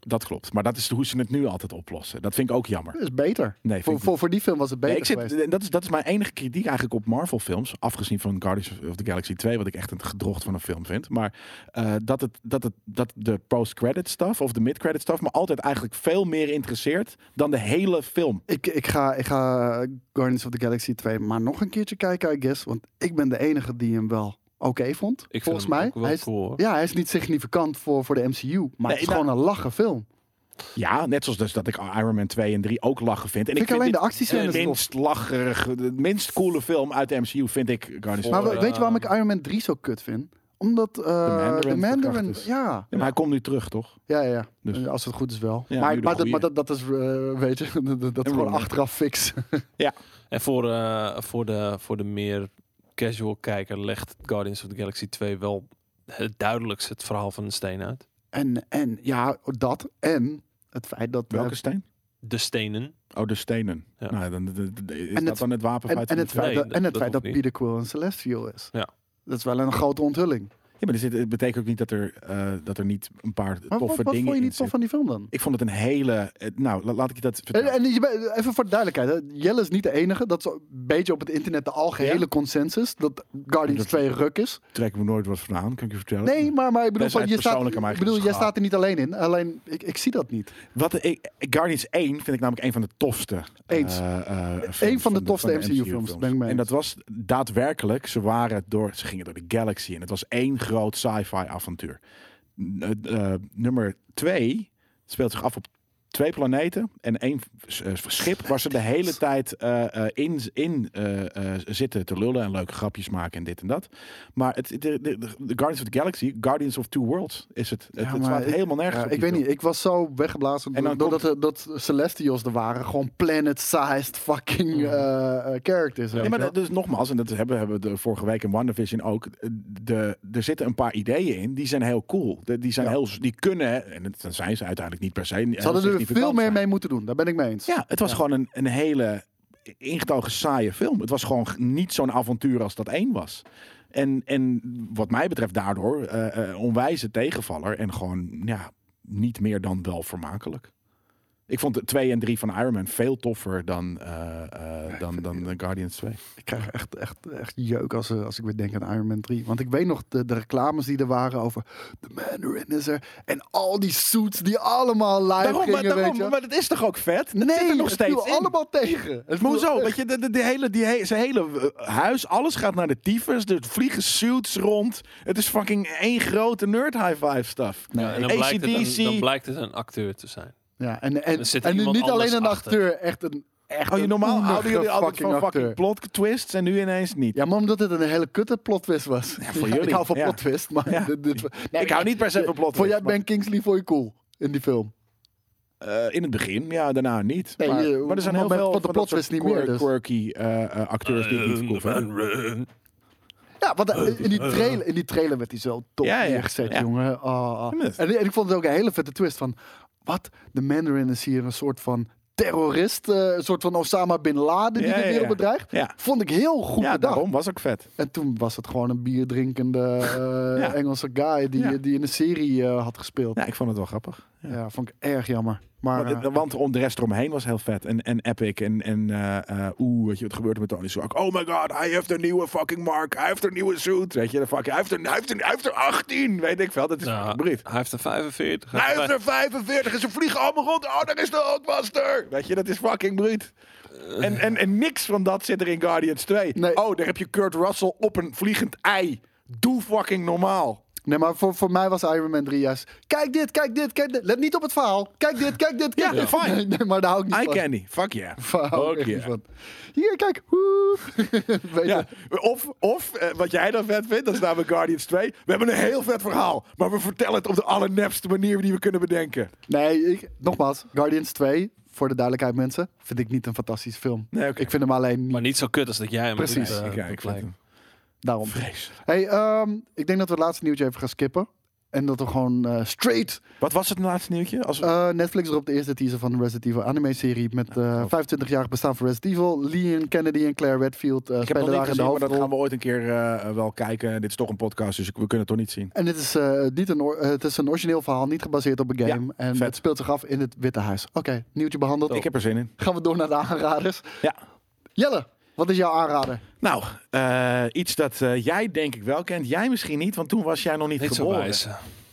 Speaker 2: Dat klopt. Maar dat is hoe ze het nu altijd oplossen. Dat vind ik ook jammer.
Speaker 3: Dat is beter.
Speaker 2: Nee, vind
Speaker 3: Voor,
Speaker 2: ik
Speaker 3: voor, voor die film was het beter
Speaker 2: Nee, ik
Speaker 3: geweest.
Speaker 2: zit, dat, is, dat is mijn enige kritiek eigenlijk op Marvel-films. Afgezien van Guardians of the Galaxy 2, wat ik echt een gedrocht van een film vind. Maar eh, dat, het, dat, het, dat de post-credit stuff of de mid-credit stuff me altijd eigenlijk veel meer interesseert dan de hele film.
Speaker 3: Ik, ik, ga, ik ga Guardians of the Galaxy 2 maar nog een keertje kijken, I guess. Want ik ben de enige die hem wel oké vond.
Speaker 4: Ik vind
Speaker 3: volgens
Speaker 4: hem
Speaker 3: mij.
Speaker 4: ook wel
Speaker 3: hij is,
Speaker 4: cool, hoor.
Speaker 3: ja, hij is niet significant voor, voor de MCU. Maar
Speaker 2: Nee,
Speaker 3: het is
Speaker 2: nou-
Speaker 3: gewoon een lachen film.
Speaker 2: Ja, net zoals dus dat ik Iron Man 2 en 3 ook lachen vind. En
Speaker 3: Vind ik
Speaker 2: vind
Speaker 3: alleen de
Speaker 2: dit
Speaker 3: actiescènes
Speaker 2: de
Speaker 3: tof.
Speaker 2: minst lacherige, de minst coole film uit de MCU vind ik Guardians of the
Speaker 3: Maar
Speaker 4: Voor,
Speaker 2: Galaxy.
Speaker 3: we-
Speaker 4: eh,
Speaker 3: weet je waarom ik Iron Man 3 zo kut vind? Omdat eh,
Speaker 2: Mandarin
Speaker 3: de Mandarin...
Speaker 2: verkracht is.
Speaker 3: Ja,
Speaker 2: Ja, maar hij komt nu terug, toch?
Speaker 3: ja, ja.
Speaker 2: Dus-
Speaker 3: Eh, Als het goed is wel.
Speaker 2: Ja, nu
Speaker 3: maar
Speaker 2: de
Speaker 3: maar, dat,
Speaker 2: goeie.
Speaker 3: maar dat, dat is, eh, weet je, dat- dat, dat is gewoon
Speaker 2: Wrong.
Speaker 3: achteraf fix.
Speaker 4: En voor, eh, voor, de, voor de meer casual kijker legt Guardians of the Galaxy 2 wel het duidelijkst het verhaal van de steen uit.
Speaker 3: En, en ja, dat en het feit dat... we
Speaker 2: Welke steen?
Speaker 4: De stenen.
Speaker 2: Oh, de stenen.
Speaker 4: Ja.
Speaker 2: Nou, dan, dan- dan- is
Speaker 3: het-
Speaker 2: dat dan het wapen
Speaker 3: En, en het feit
Speaker 4: Nee,
Speaker 3: dat,
Speaker 4: dat-
Speaker 3: en het
Speaker 4: dat
Speaker 3: feit dat
Speaker 4: hoeft
Speaker 3: Peter Quill een Celestial is.
Speaker 4: Ja.
Speaker 3: Dat is wel een grote onthulling.
Speaker 2: Ja, maar er zit- het betekent ook niet dat er, eh, dat er niet een paar
Speaker 3: Maar
Speaker 2: toffe
Speaker 3: wat, wat
Speaker 2: dingen
Speaker 3: vond je
Speaker 2: in
Speaker 3: niet tof
Speaker 2: zitten.
Speaker 3: van die film dan?
Speaker 2: Ik vond het een hele... eh, nou, la- laat ik je dat
Speaker 3: En,
Speaker 2: vertellen.
Speaker 3: en je bent- even voor de duidelijkheid. hè, Jelle is niet de enige. Dat is een beetje op het internet de algehele
Speaker 2: Ja.
Speaker 3: consensus. Dat Guardians
Speaker 2: Dat-
Speaker 3: 2 ruk is.
Speaker 2: Trek me nooit wat vandaan, kan ik je vertellen.
Speaker 3: Nee, maar, maar ik bedoel,
Speaker 2: Best
Speaker 3: van,
Speaker 2: uit
Speaker 3: je staat,
Speaker 2: persoonlijke
Speaker 3: ik
Speaker 2: eigen
Speaker 3: bedoel jij
Speaker 2: schaal.
Speaker 3: staat er niet alleen in. Alleen, ik, ik zie dat niet.
Speaker 2: Wat, ik, Guardians 1 vind ik namelijk een van de tofste.
Speaker 3: Eens.
Speaker 2: eh, eh, films
Speaker 3: Eén van de tofste MCU-films, ben ik mee
Speaker 2: En dat
Speaker 3: eens.
Speaker 2: was daadwerkelijk, ze, waren door, ze gingen door de galaxy. En het was één groot sci-fi avontuur. eh, eh, nummer 2 speelt zich af op twee planeten. En één s- eh, schip waar ze de hele tijd eh, eh, in, in eh, eh, zitten te lullen en leuke grapjes maken en dit en dat. Maar het, de, de, de Guardians of the Galaxy, Guardians of Two Worlds is het. Het,
Speaker 3: Ja,
Speaker 2: het
Speaker 3: maar
Speaker 2: slaat
Speaker 3: ik-
Speaker 2: helemaal nergens
Speaker 3: Ja,
Speaker 2: op.
Speaker 3: ik
Speaker 2: die
Speaker 3: weet
Speaker 2: film.
Speaker 3: niet, ik was zo weggeblazen
Speaker 2: En dan
Speaker 3: doordat er- dat Celestials er waren. Gewoon planet-sized fucking eh, eh, characters. weet
Speaker 2: Nee, maar
Speaker 3: je
Speaker 2: dat dus nogmaals, en dat hebben, hebben we de vorige week in WandaVision ook. eh, De, er zitten een paar ideeën in, die zijn heel cool. De- die, zijn
Speaker 3: Ja.
Speaker 2: heel, die kunnen, en dat zijn ze uiteindelijk niet per se.
Speaker 3: wel. Ze hadden er veel meer mee moeten doen, daar ben ik mee eens.
Speaker 2: Ja, het was gewoon een, een hele ingetogen saaie film. Het was gewoon g- niet zo'n avontuur als dat één was. En, en wat mij betreft daardoor eh, eh, onwijze tegenvaller en gewoon ja, niet meer dan wel vermakelijk. Ik vond de 2 en 3 van Iron Man veel toffer dan, eh, eh, dan, dan eh, Guardians 2.
Speaker 3: Ik krijg echt, echt, echt jeuk als, eh, als ik weer denk aan Iron Man 3. Want ik weet nog de, de reclames die er waren over The Mandarin is er. En al die suits die allemaal live
Speaker 2: Daarom, maar,
Speaker 3: gingen,
Speaker 2: daarom,
Speaker 3: weet je.
Speaker 2: maar dat is toch ook vet? Dat
Speaker 3: nee,
Speaker 2: zit er nog
Speaker 3: het viel
Speaker 2: steeds in.
Speaker 3: allemaal tegen. Het
Speaker 2: Maar
Speaker 3: viel
Speaker 2: hoezo?
Speaker 3: echt-
Speaker 2: Weet je, de, de, de hele, die he- zijn hele eh, huis, alles gaat naar de tyfus. Er vliegen suits rond. Het is fucking één grote nerd high-five stuff.
Speaker 4: Ja, en dan blijkt, het een, dan blijkt het een acteur te zijn.
Speaker 3: Ja, en, en,
Speaker 4: Er zit
Speaker 3: en nu
Speaker 4: iemand
Speaker 3: niet alleen
Speaker 4: anders
Speaker 3: een
Speaker 4: achter.
Speaker 3: acteur, echt een echt
Speaker 2: Oh, je
Speaker 3: een
Speaker 2: normaal
Speaker 3: oenige
Speaker 2: houden jullie altijd
Speaker 3: fucking
Speaker 2: van fucking
Speaker 3: acteur.
Speaker 2: plot twists en nu ineens niet.
Speaker 3: Ja, maar omdat het een hele kutte plot twist was.
Speaker 2: voor
Speaker 3: Ja, Ik
Speaker 2: jullie,
Speaker 3: hou van
Speaker 2: ja.
Speaker 3: plot twist, maar
Speaker 2: Ja.
Speaker 3: dit, dit-
Speaker 2: ik hou niet per se van plot
Speaker 3: Vond jij
Speaker 2: twists, maar-
Speaker 3: Ben Kingsley voor je cool in die film?
Speaker 2: Eh, in het begin, ja, daarna niet.
Speaker 3: Nee,
Speaker 2: maar,
Speaker 3: je-
Speaker 2: maar er zijn
Speaker 3: maar
Speaker 2: heel
Speaker 3: met-
Speaker 2: veel van
Speaker 3: want de
Speaker 2: dat
Speaker 3: plot twist
Speaker 2: soort
Speaker 3: niet meer,
Speaker 2: quirk-
Speaker 3: dus.
Speaker 2: quirky eh, eh, acteurs die ik niet cool vind.
Speaker 3: Ja, want eh, in die trailer, in die trailer werd hij zo top
Speaker 2: Ja, ja,
Speaker 3: neergezet,
Speaker 2: ja.
Speaker 3: jongen. Ah, ah.
Speaker 2: Ja, maar-
Speaker 3: En, en ik vond het ook een hele vette twist van... Wat? De Mandarin is hier een soort van terrorist. eh, een soort van Osama Bin Laden die
Speaker 2: Ja,
Speaker 3: de
Speaker 2: ja,
Speaker 3: wereld
Speaker 2: ja.
Speaker 3: bedreigt.
Speaker 2: Ja.
Speaker 3: Vond ik heel goed
Speaker 2: Ja,
Speaker 3: bedacht.
Speaker 2: daarom was ook vet.
Speaker 3: En toen was het gewoon een bierdrinkende eh,
Speaker 2: Ja.
Speaker 3: Engelse guy... Die,
Speaker 2: Ja.
Speaker 3: die in een serie eh, had gespeeld.
Speaker 2: Ja, ik vond het wel grappig.
Speaker 3: Ja. vond ik erg jammer. Maar,
Speaker 2: Want,
Speaker 3: eh,
Speaker 2: het- want om de rest eromheen was heel vet. En, en epic. En, en eh, eh, oeh, weet je wat gebeurt er met Tony Stark? Oh my god, hij heeft een nieuwe fucking mark. Hij heeft een nieuwe suit. Weet je, de fucking, hij, heeft een, hij, heeft een, hij heeft er 18. Weet ik veel, dat is
Speaker 4: Ja,
Speaker 2: fucking breed.
Speaker 4: hij heeft er 45.
Speaker 2: Hij heeft er 45 en ze vliegen allemaal rond. Oh, daar is de Hulkbuster. Weet je, dat is fucking bruut. En, en, en niks van dat zit er in Guardians 2.
Speaker 3: Nee.
Speaker 2: Oh, daar heb je Kurt Russell op een vliegend ei. Doe fucking normaal.
Speaker 3: Nee, maar voor, voor mij was Iron Man 3 juist... Kijk dit, kijk dit, kijk dit. Let niet op het verhaal. Kijk dit, kijk dit, kijk
Speaker 2: Ja,
Speaker 3: dit.
Speaker 2: fijn.
Speaker 3: Nee, nee, maar daar hou ik niet
Speaker 2: Eye
Speaker 3: van.
Speaker 2: candy. Fuck yeah.
Speaker 3: Daar hou ik
Speaker 2: Fuck
Speaker 3: echt niet
Speaker 2: yeah.
Speaker 3: van. Hier, kijk. Woe. Weet
Speaker 2: Ja,
Speaker 3: je?
Speaker 2: of, of eh, wat jij dan vet vindt, dat is namelijk Guardians 2. We hebben een heel vet verhaal, maar we vertellen het op de allernepste manier die we kunnen bedenken.
Speaker 3: Nee, ik, nogmaals. Guardians 2, voor de duidelijkheid mensen... vind ik niet een fantastische film.
Speaker 2: Nee, oké.
Speaker 3: Ik vind hem alleen niet
Speaker 4: Maar niet zo kut als dat jij hem
Speaker 3: Precies.
Speaker 4: doet, eh,
Speaker 2: Ik- ik
Speaker 4: doet
Speaker 2: vind
Speaker 4: lijken.
Speaker 2: hem
Speaker 3: daarom.
Speaker 2: Vrees.
Speaker 3: Hey, ehm, ik denk dat we het laatste nieuwtje even gaan skippen. En dat we gewoon eh, straight
Speaker 2: Wat was het laatste nieuwtje? Als...
Speaker 3: eh, Netflix erop de eerste teaser van de Resident Evil anime-serie... met eh 25-jarig bestaan van Resident Evil. Leon Kennedy en Claire Redfield eh,
Speaker 2: ik heb het
Speaker 3: spelen
Speaker 2: nog
Speaker 3: daar
Speaker 2: niet
Speaker 3: in
Speaker 2: gezien,
Speaker 3: de
Speaker 2: maar dat
Speaker 3: hoofdrol.
Speaker 2: gaan we ooit een keer eh, wel kijken. Dit is toch een podcast, dus ik- we kunnen het toch niet zien.
Speaker 3: En dit is, eh, niet een or- eh, het is een origineel verhaal, niet gebaseerd op een game.
Speaker 2: Ja,
Speaker 3: en
Speaker 2: vet.
Speaker 3: het speelt zich af in het Witte Huis. Oké, nieuwtje behandeld.
Speaker 2: Ik heb er zin in.
Speaker 3: Gaan we door naar de aanraders.
Speaker 2: Ja.
Speaker 3: Jelle, wat is jouw aanrader?
Speaker 2: Nou, eh, iets dat eh, jij denk ik wel kent. Jij misschien niet, want toen was jij nog niet,
Speaker 4: Niet zo
Speaker 2: geboren.
Speaker 4: wijs.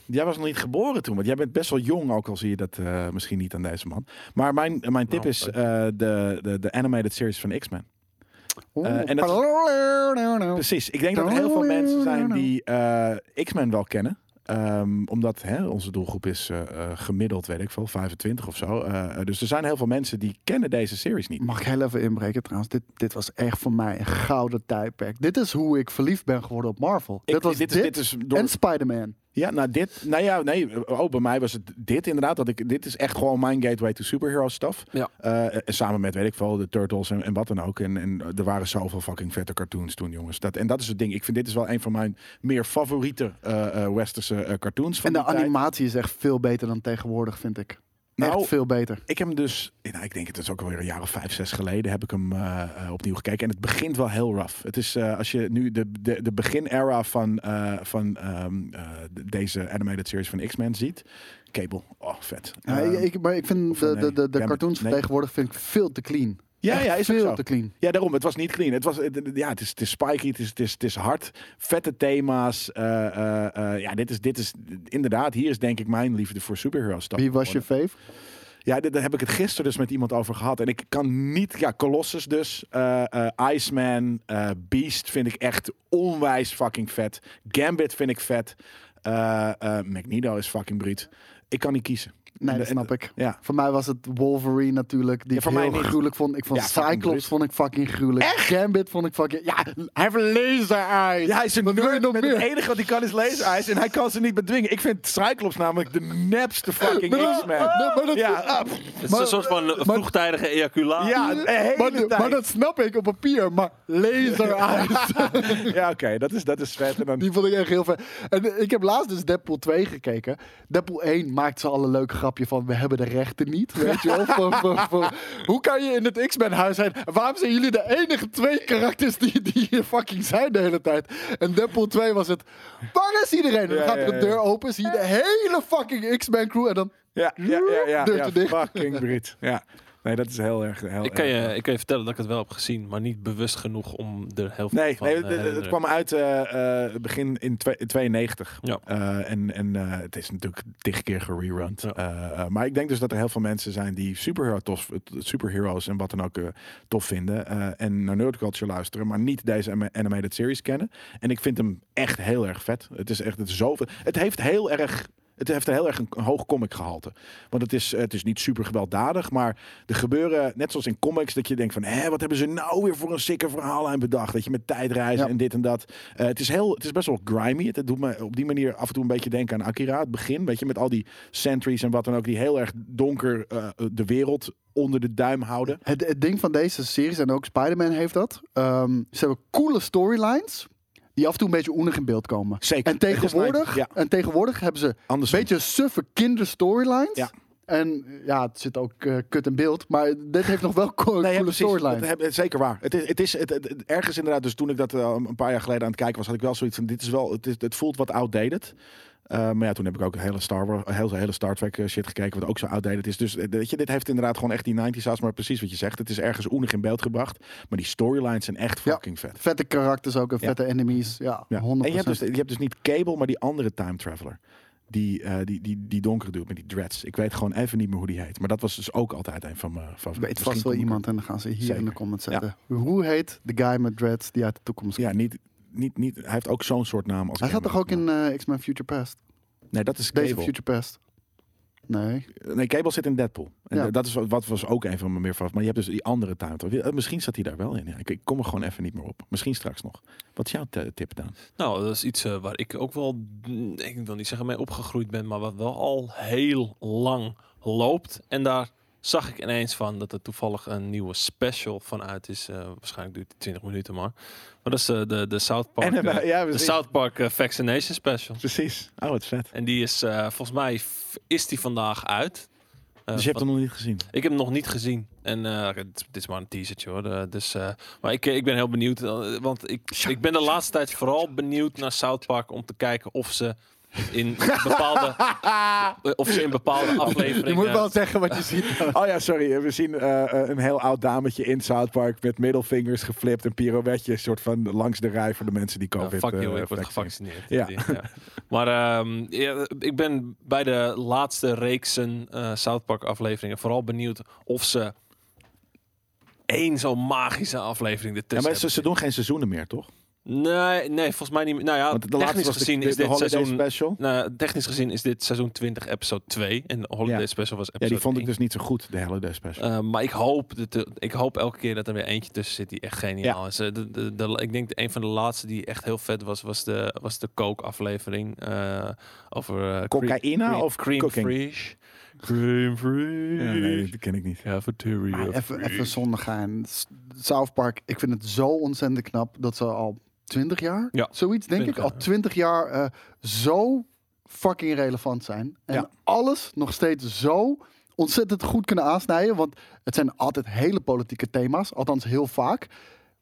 Speaker 2: Jij was nog niet geboren toen, want jij bent best wel jong, ook al zie je dat eh, misschien niet aan deze man. Maar mijn, mijn tip
Speaker 4: Nou,
Speaker 2: is eh, de, de, de animated series van X-Men.
Speaker 3: Oeh,
Speaker 2: Eh, en dat- Precies. Ik denk dat er heel veel mensen zijn die eh, X-Men wel kennen. Ehm, omdat hè, onze doelgroep is eh, eh, gemiddeld, weet ik veel, 25 of zo. Eh, dus er zijn heel veel mensen die kennen deze series niet.
Speaker 3: Mag ik heel even inbreken trouwens? Dit, dit was echt voor mij een gouden tijdperk. Dit is hoe ik verliefd ben geworden op Marvel.
Speaker 2: Ik-
Speaker 3: dit was
Speaker 2: dit
Speaker 3: dit,
Speaker 2: is- dit is door-
Speaker 3: en Spider-Man.
Speaker 2: Ja, nou dit, nou ja, nee, oh, bij mij was het dit inderdaad. Dat ik, dit is echt gewoon mijn gateway to superhero stuff.
Speaker 4: Ja.
Speaker 2: Eh, eh, samen met, weet ik veel, de Turtles en, en wat dan ook. En, en er waren zoveel fucking vette cartoons toen, jongens. Dat, en dat is het ding. Ik vind dit is wel een van mijn meer favoriete eh, eh, westerse eh, cartoons van
Speaker 3: En de
Speaker 2: die tijd.
Speaker 3: animatie is echt veel beter dan tegenwoordig, vind ik.
Speaker 2: Nou,
Speaker 3: echt veel beter.
Speaker 2: Ik heb hem dus, eh, nou, ik denk het is ook alweer een jaar of vijf, zes geleden, heb ik hem eh, eh, opnieuw gekeken. En het begint wel heel rough. Het is, eh, als je nu de, de, de begin-era van, eh, van ehm, eh, de- deze animated series van X-Men ziet. Cable, oh vet.
Speaker 3: Ja,
Speaker 2: Ehm,
Speaker 3: ik, maar ik vind
Speaker 2: of
Speaker 3: de,
Speaker 2: nee,
Speaker 3: de, de, de
Speaker 2: ja,
Speaker 3: cartoons van
Speaker 2: nee.
Speaker 3: tegenwoordig vind ik veel te clean.
Speaker 2: ja,
Speaker 3: Echt
Speaker 2: ja, is ook
Speaker 3: veel
Speaker 2: zo.
Speaker 3: te clean.
Speaker 2: Ja, daarom. Het was niet clean. Het, was, het, het- ja, het, is, het is spiky, het is, het, is, het is hard. Vette thema's. eh, eh, eh, ja, dit is, dit is inderdaad, hier is denk ik mijn liefde voor superhero stuff.
Speaker 3: Wie was je fave?
Speaker 2: Ja, dit- daar heb ik het gisteren dus met iemand over gehad. En ik kan niet... Ja, Colossus dus. eh, eh, Iceman. eh, Beast vind ik echt onwijs fucking vet. Gambit vind ik vet. Eh eh, Magneto is fucking bruut. Ik kan niet kiezen.
Speaker 3: Nee,
Speaker 2: En-
Speaker 3: dat
Speaker 2: en-
Speaker 3: snap ik.
Speaker 2: Ja.
Speaker 3: Voor mij was het Wolverine natuurlijk, die
Speaker 2: Ja, voor
Speaker 3: ik heel
Speaker 2: mij niet.
Speaker 3: gruwelijk vond. Ik vond
Speaker 2: Ja, fucking bruut.
Speaker 3: Cyclops vond ik fucking gruwelijk. Gambit vond ik fucking... Ja, hij heeft een laser eyes.
Speaker 2: Ja, hij is een
Speaker 3: Wat wil je
Speaker 2: nerd.
Speaker 3: nog
Speaker 2: met
Speaker 3: meer?
Speaker 2: Het enige wat hij kan is laser-eyes. En hij kan ze niet bedwingen. Ik vind Cyclops namelijk de nepste fucking
Speaker 3: Nee,
Speaker 2: X-Man.
Speaker 3: nee, maar dat-
Speaker 2: ja, ah, pff.
Speaker 4: Het is
Speaker 3: Maar-
Speaker 4: een soort van eh,
Speaker 3: maar-
Speaker 4: vroegtijdige ejaculatie.
Speaker 2: ja, de hele
Speaker 3: Maar,
Speaker 2: tijd.
Speaker 3: maar dat snap ik op papier, maar laser eyes.
Speaker 2: Ja, oké. dat, is, dat is vet. En dan,
Speaker 3: Die vond ik echt heel vet. En ik heb laatst dus Deadpool 2 gekeken. Deadpool 1 maakt ze al een leuk grapje van... we hebben de rechten niet, weet je wel. Van- van- van- hoe kan je in het X-Men huis zijn? Waarom zijn jullie de enige twee karakters die, die hier fucking zijn de hele tijd? En Deadpool 2 was het... waar is iedereen? En dan
Speaker 2: Ja,
Speaker 3: gaat er
Speaker 2: ja,
Speaker 3: een
Speaker 2: ja.
Speaker 3: deur open, zie je de hele fucking X-Men crew... en dan
Speaker 2: ja, ja, ja, ja,
Speaker 3: Deur
Speaker 2: ja,
Speaker 3: te dicht.
Speaker 2: Fucking Brit. Ja. Nee, dat is heel erg. Heel
Speaker 4: Ik kan,
Speaker 2: erg.
Speaker 4: je, ik kan je vertellen dat ik het wel heb gezien, maar niet bewust genoeg om de helft
Speaker 2: Nee,
Speaker 4: van
Speaker 2: nee
Speaker 4: eh,
Speaker 2: het- het, het
Speaker 4: herinneren.
Speaker 2: kwam uit eh, eh, begin in twe- 92.
Speaker 4: Ja.
Speaker 2: Eh, en en eh, het is natuurlijk tig keer gererund.
Speaker 4: Ja.
Speaker 2: Eh, eh, maar ik denk dus dat er heel veel mensen zijn die superhero tof, superheroes en wat dan ook eh, tof vinden. eh, en naar nerdculture luisteren, maar niet deze anima- animated series kennen. En ik vind hem echt heel erg vet. Het is echt het is zoveel. Het heeft heel erg. Het heeft heel erg een, een hoog comic gehalte. Want het is, het is niet super gewelddadig. Maar er gebeuren, net zoals in comics, dat je denkt van... Hé, wat hebben ze nou weer voor een sikke verhaallijn bedacht? Dat je met tijdreizen
Speaker 3: Ja.
Speaker 2: en dit en dat. Eh, het, is heel, het is best wel grimy. Het, het doet me op die manier af en toe een beetje denken aan Akira. Het begin, weet je, met al die sentries en wat dan ook... die heel erg donker eh, de wereld onder de duim houden.
Speaker 3: Het, het ding van deze series, en ook Spider-Man heeft dat. ehm, ze hebben coole storylines. Die af en toe een beetje oenig in beeld komen.
Speaker 2: Zeker.
Speaker 3: En
Speaker 2: Het is
Speaker 3: tegenwoordig,
Speaker 2: mijn- ja.
Speaker 3: en tegenwoordig hebben ze een
Speaker 2: Anders
Speaker 3: beetje suffe kinderstorylines.
Speaker 2: Ja.
Speaker 3: En ja, het zit ook eh, kut in beeld. Maar dit heeft nog wel co-
Speaker 2: Nee, ja,
Speaker 3: coole
Speaker 2: precies.
Speaker 3: storylines.
Speaker 2: Dat heb- het- zeker waar. Het is, het is het, het- het- ergens inderdaad, dus toen ik dat eh, een paar jaar geleden aan het kijken was, had ik wel zoiets van: dit is wel, het, is, het voelt wat outdated. Eh, maar ja, toen heb ik ook hele Star, Wars, hele, hele Star Trek eh, shit gekeken, wat ook zo outdated is. Dus eh, weet je, dit heeft inderdaad gewoon echt die 90s saus, maar precies wat je zegt. Het is ergens oenig in beeld gebracht, maar die storylines zijn echt
Speaker 3: Ja.
Speaker 2: fucking vet.
Speaker 3: Vette karakters ook en
Speaker 2: Ja.
Speaker 3: vette enemies. Ja,
Speaker 2: Ja.
Speaker 3: 100%.
Speaker 2: En je hebt, dus, je hebt dus niet Cable, maar die andere time traveler. Die, eh die, die, die donkere dude met die dreads. Ik weet gewoon even niet meer hoe die heet. Maar dat was dus ook altijd een van mijn
Speaker 3: Ik
Speaker 2: favorieten.
Speaker 3: weet vast
Speaker 2: Misschien
Speaker 3: wel
Speaker 2: kom ik
Speaker 3: iemand en dan gaan ze hier in de
Speaker 2: Zeker.
Speaker 3: comments
Speaker 2: Ja.
Speaker 3: zetten. Hoe heet de guy met dreads die uit de toekomst komt?
Speaker 2: Ja, niet, niet, niet, hij heeft ook zo'n soort naam. Als
Speaker 3: Hij zat
Speaker 2: Cameron.
Speaker 3: toch ook in eh, X-Men Future Past?
Speaker 2: Nee, dat is
Speaker 3: Deze
Speaker 2: Cable.
Speaker 3: Future Past. Nee.
Speaker 2: Nee, Cable zit in Deadpool. En
Speaker 3: Ja.
Speaker 2: dat is wat- wat was ook een van mijn meer van. Maar je hebt dus die andere tuin. Eh, Misschien zat hij daar wel in. Ja, Ik, ik kom er gewoon even niet meer op. Misschien straks nog. Wat is jouw t- tip dan?
Speaker 4: Nou, dat is iets eh, waar ik ook wel, mm, ik wil niet zeggen mee opgegroeid ben, maar wat wel al heel lang loopt. En daar zag ik ineens van dat er toevallig een nieuwe special van uit is. Eh, waarschijnlijk duurt die 20 minuten maar. Maar dat is eh, de, de South Park,
Speaker 2: En, eh,
Speaker 4: eh,
Speaker 2: ja,
Speaker 4: de
Speaker 2: precies.
Speaker 4: South Park eh, Vaccination Special.
Speaker 2: Precies. Oh, het is vet.
Speaker 4: En die is, eh, volgens mij f- is die vandaag uit. Eh,
Speaker 2: Dus je hebt hem nog niet gezien.
Speaker 4: ik heb hem nog niet gezien. En eh, het- dit is maar een teasertje hoor. Eh, dus, eh, maar ik, ik ben heel benieuwd. eh, want ik, ik ben de laatste tijd vooral benieuwd naar South Park om te kijken of ze in bepaalde, eh, of ze in bepaalde afleveringen.
Speaker 3: Je moet wel zeggen wat je ziet.
Speaker 2: Oh ja, sorry. Eh, We zien eh, eh, een heel oud dametje in South Park met middelvingers geflipt en pirouetje. Soort van langs de rij voor de mensen die
Speaker 4: Ja,
Speaker 2: COVID
Speaker 4: fuck you,
Speaker 2: eh,
Speaker 4: ik word
Speaker 2: vaccin-
Speaker 4: gevaccineerd.
Speaker 2: Ja.
Speaker 4: Die- ja. Maar ehm, ja, ik ben bij de laatste reeksen eh South Park afleveringen vooral benieuwd of ze één zo'n magische aflevering
Speaker 2: Ja,
Speaker 4: ertussen
Speaker 2: maar ze, ze doen geen seizoenen meer, toch?
Speaker 4: Nee, nee, volgens mij niet meer. Nou ja,
Speaker 2: Want de laatste
Speaker 4: technisch
Speaker 2: was de,
Speaker 4: gezien
Speaker 2: de,
Speaker 4: is
Speaker 2: de
Speaker 4: dit
Speaker 2: Holiday
Speaker 4: seizoen...
Speaker 2: Special.
Speaker 4: Nou, technisch gezien is dit seizoen 20, episode 2. En de Holiday
Speaker 2: Ja.
Speaker 4: Special was
Speaker 2: Ja,
Speaker 4: episode
Speaker 2: die vond ik
Speaker 4: 1.
Speaker 2: dus niet zo goed, de Holiday Special.
Speaker 4: Eh, maar ik hoop, dat er- ik hoop elke keer dat er weer eentje tussen zit die echt geniaal is. Eh, de- de- de- ik denk de, een van de laatste die echt heel vet was, was de, was de Coke-aflevering. eh, over eh,
Speaker 2: Cocaïna
Speaker 4: cream,
Speaker 2: of
Speaker 4: cream
Speaker 2: cooking?
Speaker 4: Fresh. Cream Fresh.
Speaker 2: Ja, Ah, nee, dat ken ik niet.
Speaker 4: Cafeteria
Speaker 3: Maar even,
Speaker 4: fresh.
Speaker 3: even zonder gaan. S- South Park, ik vind het zo ontzettend knap dat ze al 20 jaar,
Speaker 4: Ja,
Speaker 3: zoiets denk
Speaker 4: 20
Speaker 3: ik, al
Speaker 4: jaar.
Speaker 3: 20 jaar eh, zo fucking relevant zijn. En
Speaker 2: Ja.
Speaker 3: alles nog steeds zo ontzettend goed kunnen aansnijden. Want het zijn altijd hele politieke thema's, althans heel vaak.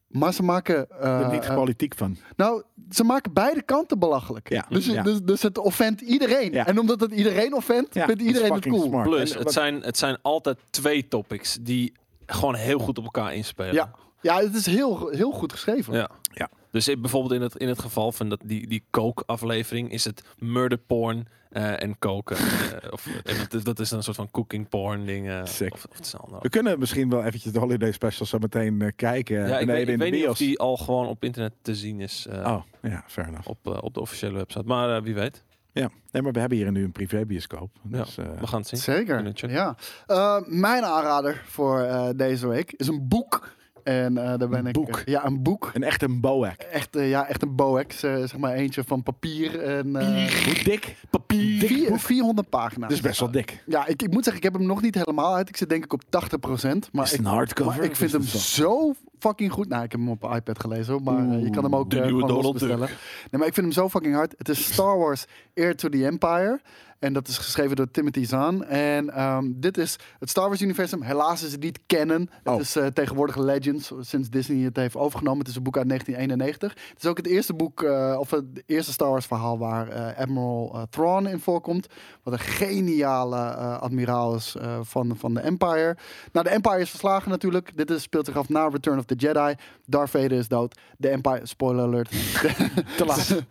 Speaker 3: Maar ze maken. eh,
Speaker 2: er niet
Speaker 3: eh,
Speaker 2: politiek van.
Speaker 3: nou, ze maken beide kanten belachelijk.
Speaker 2: Ja,
Speaker 3: Dus, je-
Speaker 2: ja.
Speaker 3: Dus, dus het offent iedereen.
Speaker 2: Ja.
Speaker 3: En omdat het iedereen offent,
Speaker 2: Ja,
Speaker 3: vindt
Speaker 2: dat is
Speaker 3: iedereen het
Speaker 2: fucking
Speaker 3: cool.
Speaker 2: smart.
Speaker 4: Plus,
Speaker 2: En
Speaker 4: het
Speaker 2: wat-
Speaker 4: zijn, het zijn altijd twee topics die gewoon heel goed op elkaar inspelen.
Speaker 3: Ja. ja, het is heel, heel goed geschreven.
Speaker 4: Ja.
Speaker 2: Ja.
Speaker 4: Dus ik, bijvoorbeeld in het, in het geval van dat, die, die coke-aflevering is het murder porn eh, en koken. Eh, of, eh, dat, is- dat is een soort van cooking porn ding. eh,
Speaker 2: Sick.
Speaker 4: Of, of het is een
Speaker 2: We
Speaker 4: andere.
Speaker 2: kunnen misschien wel eventjes de holiday special zo meteen eh, kijken.
Speaker 4: Ja, ik
Speaker 2: beneden
Speaker 4: weet, ik
Speaker 2: in de
Speaker 4: weet niet of
Speaker 2: bios.
Speaker 4: die al gewoon op internet te zien is eh,
Speaker 2: Oh, ja, fair enough.
Speaker 4: op, eh, op de officiële website. Maar eh, wie weet.
Speaker 2: Ja, nee, maar we hebben hier nu een privébioscoop. Dus, eh,
Speaker 4: We gaan het zien.
Speaker 3: Zeker,
Speaker 4: Minuutje.
Speaker 3: ja. Eh, mijn aanrader voor eh, deze week is een boek. En eh, daar ben ik...
Speaker 2: boek?
Speaker 3: ja, een boek.
Speaker 2: een echt een boek.
Speaker 3: Echt, eh, ja, echt een boex. eh, zeg maar eentje van papier. En, eh,
Speaker 2: Hoe dik? Papier.
Speaker 3: vier-
Speaker 2: Dik boek.
Speaker 3: 400 pagina's.
Speaker 2: Dat is best wel dik.
Speaker 3: Ja, ik, ik moet zeggen, ik heb hem nog niet helemaal uit. Ik zit denk ik op 80%. Maar
Speaker 2: Is het
Speaker 3: ik,
Speaker 2: een hardcover?
Speaker 3: maar
Speaker 4: dus
Speaker 3: ik vind
Speaker 2: Is het
Speaker 3: hem
Speaker 2: een soft-
Speaker 3: zo fucking goed. Nou, ik heb hem op iPad gelezen, hoor, maar eh, je kan hem ook
Speaker 4: de
Speaker 3: eh,
Speaker 4: nieuwe
Speaker 3: gewoon
Speaker 4: Donald
Speaker 3: losbestellen. Nee, maar ik vind hem zo fucking hard. Het is Star Wars Heir to the Empire. En dat is geschreven door Timothy Zahn. En ehm, dit is het Star Wars universum. Helaas is het niet canon.
Speaker 2: Oh.
Speaker 3: Het is eh, tegenwoordig Legends, sinds Disney het heeft overgenomen. Het is een boek uit 1991. Het is ook het eerste boek, eh, of het eerste Star Wars verhaal waar eh, Admiral eh, Thrawn in voorkomt. Wat een geniale eh, admiraal is eh, van, van de Empire. Nou, de Empire is verslagen natuurlijk. Dit is, speelt zich af na Return of the Jedi. Darth Vader is dood. De Empire, spoiler alert. Te laat.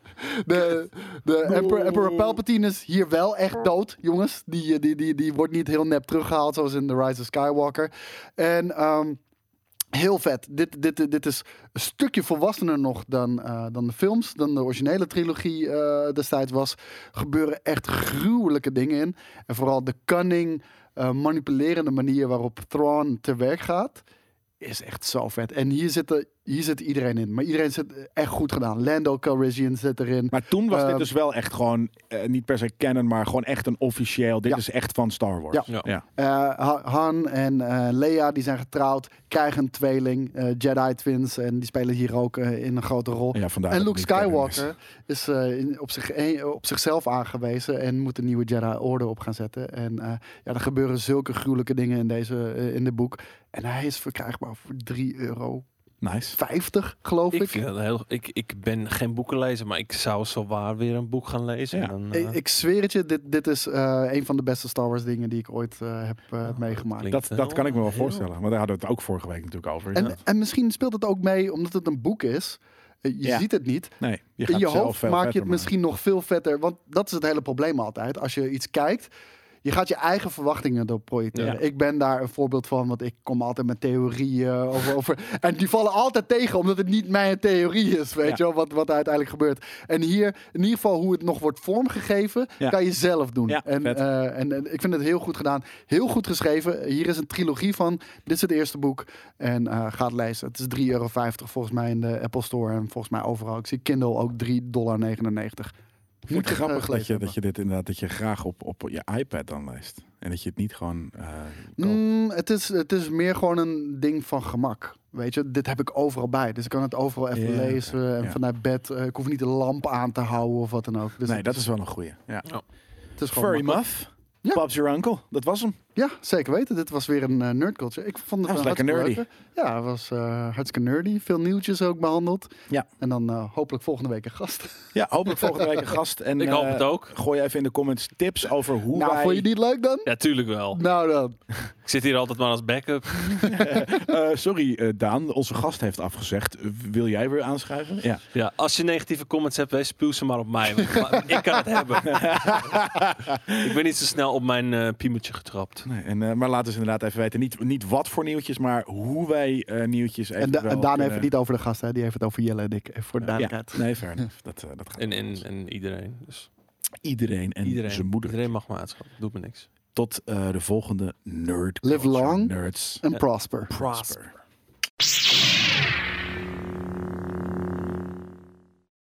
Speaker 3: De, de Emperor, Emperor Palpatine is hier wel echt dood, jongens. Die, eh, die, die, die wordt niet heel nep teruggehaald, zoals in The Rise of Skywalker. En ehm, heel vet. Dit, dit, dit is een stukje volwassener nog dan, eh, dan de films, dan de originele trilogie eh, destijds was. Gebeuren echt gruwelijke dingen in. En vooral de cunning, eh, manipulerende manier waarop Thrawn te werk gaat is echt zo vet. En hier zit, hier zit iedereen in. Maar iedereen zit echt goed gedaan. Lando Calrissian zit erin.
Speaker 2: Maar toen was dit
Speaker 3: Eh,
Speaker 2: dus wel echt gewoon, eh, niet per se canon, maar gewoon echt een officieel. Dit
Speaker 3: Ja.
Speaker 2: is echt van Star Wars.
Speaker 3: Ja.
Speaker 4: Ja.
Speaker 3: Eh, Ha- Han en eh, Leia, die zijn getrouwd, krijgen een tweeling, eh, Jedi Twins. En die spelen hier ook eh, in een grote rol.
Speaker 2: Ja, vandaar
Speaker 3: en
Speaker 2: dat
Speaker 3: Luke
Speaker 2: het niet canon is.
Speaker 3: Skywalker is eh, in- op, zich, eh, op zichzelf aangewezen en moet een nieuwe Jedi Order op gaan zetten. En eh, ja, er gebeuren zulke gruwelijke dingen in, deze, eh, in dit boek. En hij is verkrijgbaar voor 3,50 euro,
Speaker 2: Nice.
Speaker 3: geloof ik.
Speaker 4: Ik, vind dat heel, ik, ik ben geen boekenlezer, maar ik zou zo waar weer een boek gaan lezen.
Speaker 2: Ja.
Speaker 4: En dan,
Speaker 3: Ik,
Speaker 4: eh,
Speaker 3: ik zweer het je, dit, dit is eh, een van de beste Star Wars dingen die ik ooit eh, heb eh, meegemaakt.
Speaker 4: klinkt eh,
Speaker 2: Dat, dat kan ik me wel
Speaker 4: heel-
Speaker 2: voorstellen. Maar daar hadden we het ook vorige week natuurlijk over.
Speaker 3: En,
Speaker 2: Ja.
Speaker 3: en misschien speelt het ook mee omdat het een boek is. Eh, Je
Speaker 2: Ja.
Speaker 3: ziet het niet.
Speaker 2: nee, je gaat
Speaker 3: In je
Speaker 2: zelf
Speaker 3: hoofd
Speaker 2: veel
Speaker 3: maak
Speaker 2: vetter
Speaker 3: je het
Speaker 2: maken.
Speaker 3: misschien nog veel vetter. Want dat is het hele probleem altijd. Als je iets kijkt, je gaat je eigen verwachtingen erop projecteren.
Speaker 2: Ja.
Speaker 3: Ik ben daar een voorbeeld van, want ik kom altijd met theorieën over, over. En die vallen altijd tegen, omdat het niet mijn theorie is, weet
Speaker 2: Ja.
Speaker 3: je wel, wat, wat er uiteindelijk gebeurt. En hier, in ieder geval hoe het nog wordt vormgegeven,
Speaker 2: Ja.
Speaker 3: kan je zelf doen.
Speaker 2: Ja,
Speaker 3: en,
Speaker 2: vet.
Speaker 3: eh, en, en ik vind het heel goed gedaan. Heel goed geschreven. Hier is een trilogie van. Dit is het eerste boek. En eh, ga het lezen. Het is 3,50 euro volgens mij in de Apple Store. En volgens mij overal. Ik zie Kindle ook 3,99 dollar.
Speaker 2: Moet
Speaker 3: eh,
Speaker 2: grappig dat je, dat je dit inderdaad dat je graag op, op je iPad dan leest. En dat je het niet gewoon. eh, koopt.
Speaker 3: Mm, het, is, het is meer gewoon een ding van gemak. Weet je, dit heb ik overal bij. Dus ik kan het overal even
Speaker 2: Ja, oké.
Speaker 3: lezen. En
Speaker 2: Ja.
Speaker 3: vanuit bed. eh, ik hoef niet de lamp aan te houden of wat dan ook. Dus
Speaker 2: nee,
Speaker 3: het,
Speaker 2: dat is wel een goeie. Ja.
Speaker 3: het is gewoon
Speaker 2: Furry
Speaker 3: makkelijk.
Speaker 2: Muff.
Speaker 3: Ja.
Speaker 2: Pops Your Uncle. Dat was hem.
Speaker 3: Ja, zeker weten. Dit was weer een eh, nerdculture. Ik vond het
Speaker 2: Hij was
Speaker 3: een
Speaker 2: lekker
Speaker 3: hartstikke leuke. Ja, het was eh, hartstikke nerdy. Veel nieuwtjes ook behandeld.
Speaker 2: Ja.
Speaker 3: En dan eh, hopelijk volgende week een gast.
Speaker 2: Ja, hopelijk volgende week een gast. En,
Speaker 4: Ik hoop
Speaker 2: eh,
Speaker 4: het ook.
Speaker 2: Gooi even in de comments tips over hoe
Speaker 3: nou,
Speaker 2: wij...
Speaker 3: vond je die leuk dan?
Speaker 4: Ja, tuurlijk wel.
Speaker 3: Nou dan.
Speaker 4: Ik zit hier altijd maar als backup.
Speaker 2: Eh, sorry eh, Daan, onze gast heeft afgezegd. Wil jij weer aanschuiven? Ja.
Speaker 4: Ja, als je negatieve comments hebt, wees, spuw ze maar op mij. want- maar ik kan het hebben. ik ben niet zo snel op mijn eh piemetje getrapt.
Speaker 2: Nee, en, eh, maar laat eens inderdaad even weten. Niet, niet wat voor nieuwtjes, maar hoe wij eh, nieuwtjes even
Speaker 3: En, da- en Daan heeft het niet over de gast, hè. Die heeft het over Jelle en ik. Even voor de duidelijkheid.
Speaker 2: Ja, nee, fair enough. Dat, eh, dat gaat
Speaker 4: En, en, en iedereen. Dus
Speaker 2: iedereen en
Speaker 4: iedereen,
Speaker 2: zijn moeder.
Speaker 4: iedereen mag me uitschatten. Doet me niks.
Speaker 2: Tot eh, de volgende Nerd
Speaker 3: Live
Speaker 2: Culture
Speaker 3: long
Speaker 2: Nerds.
Speaker 3: En prosper.
Speaker 2: Prosper.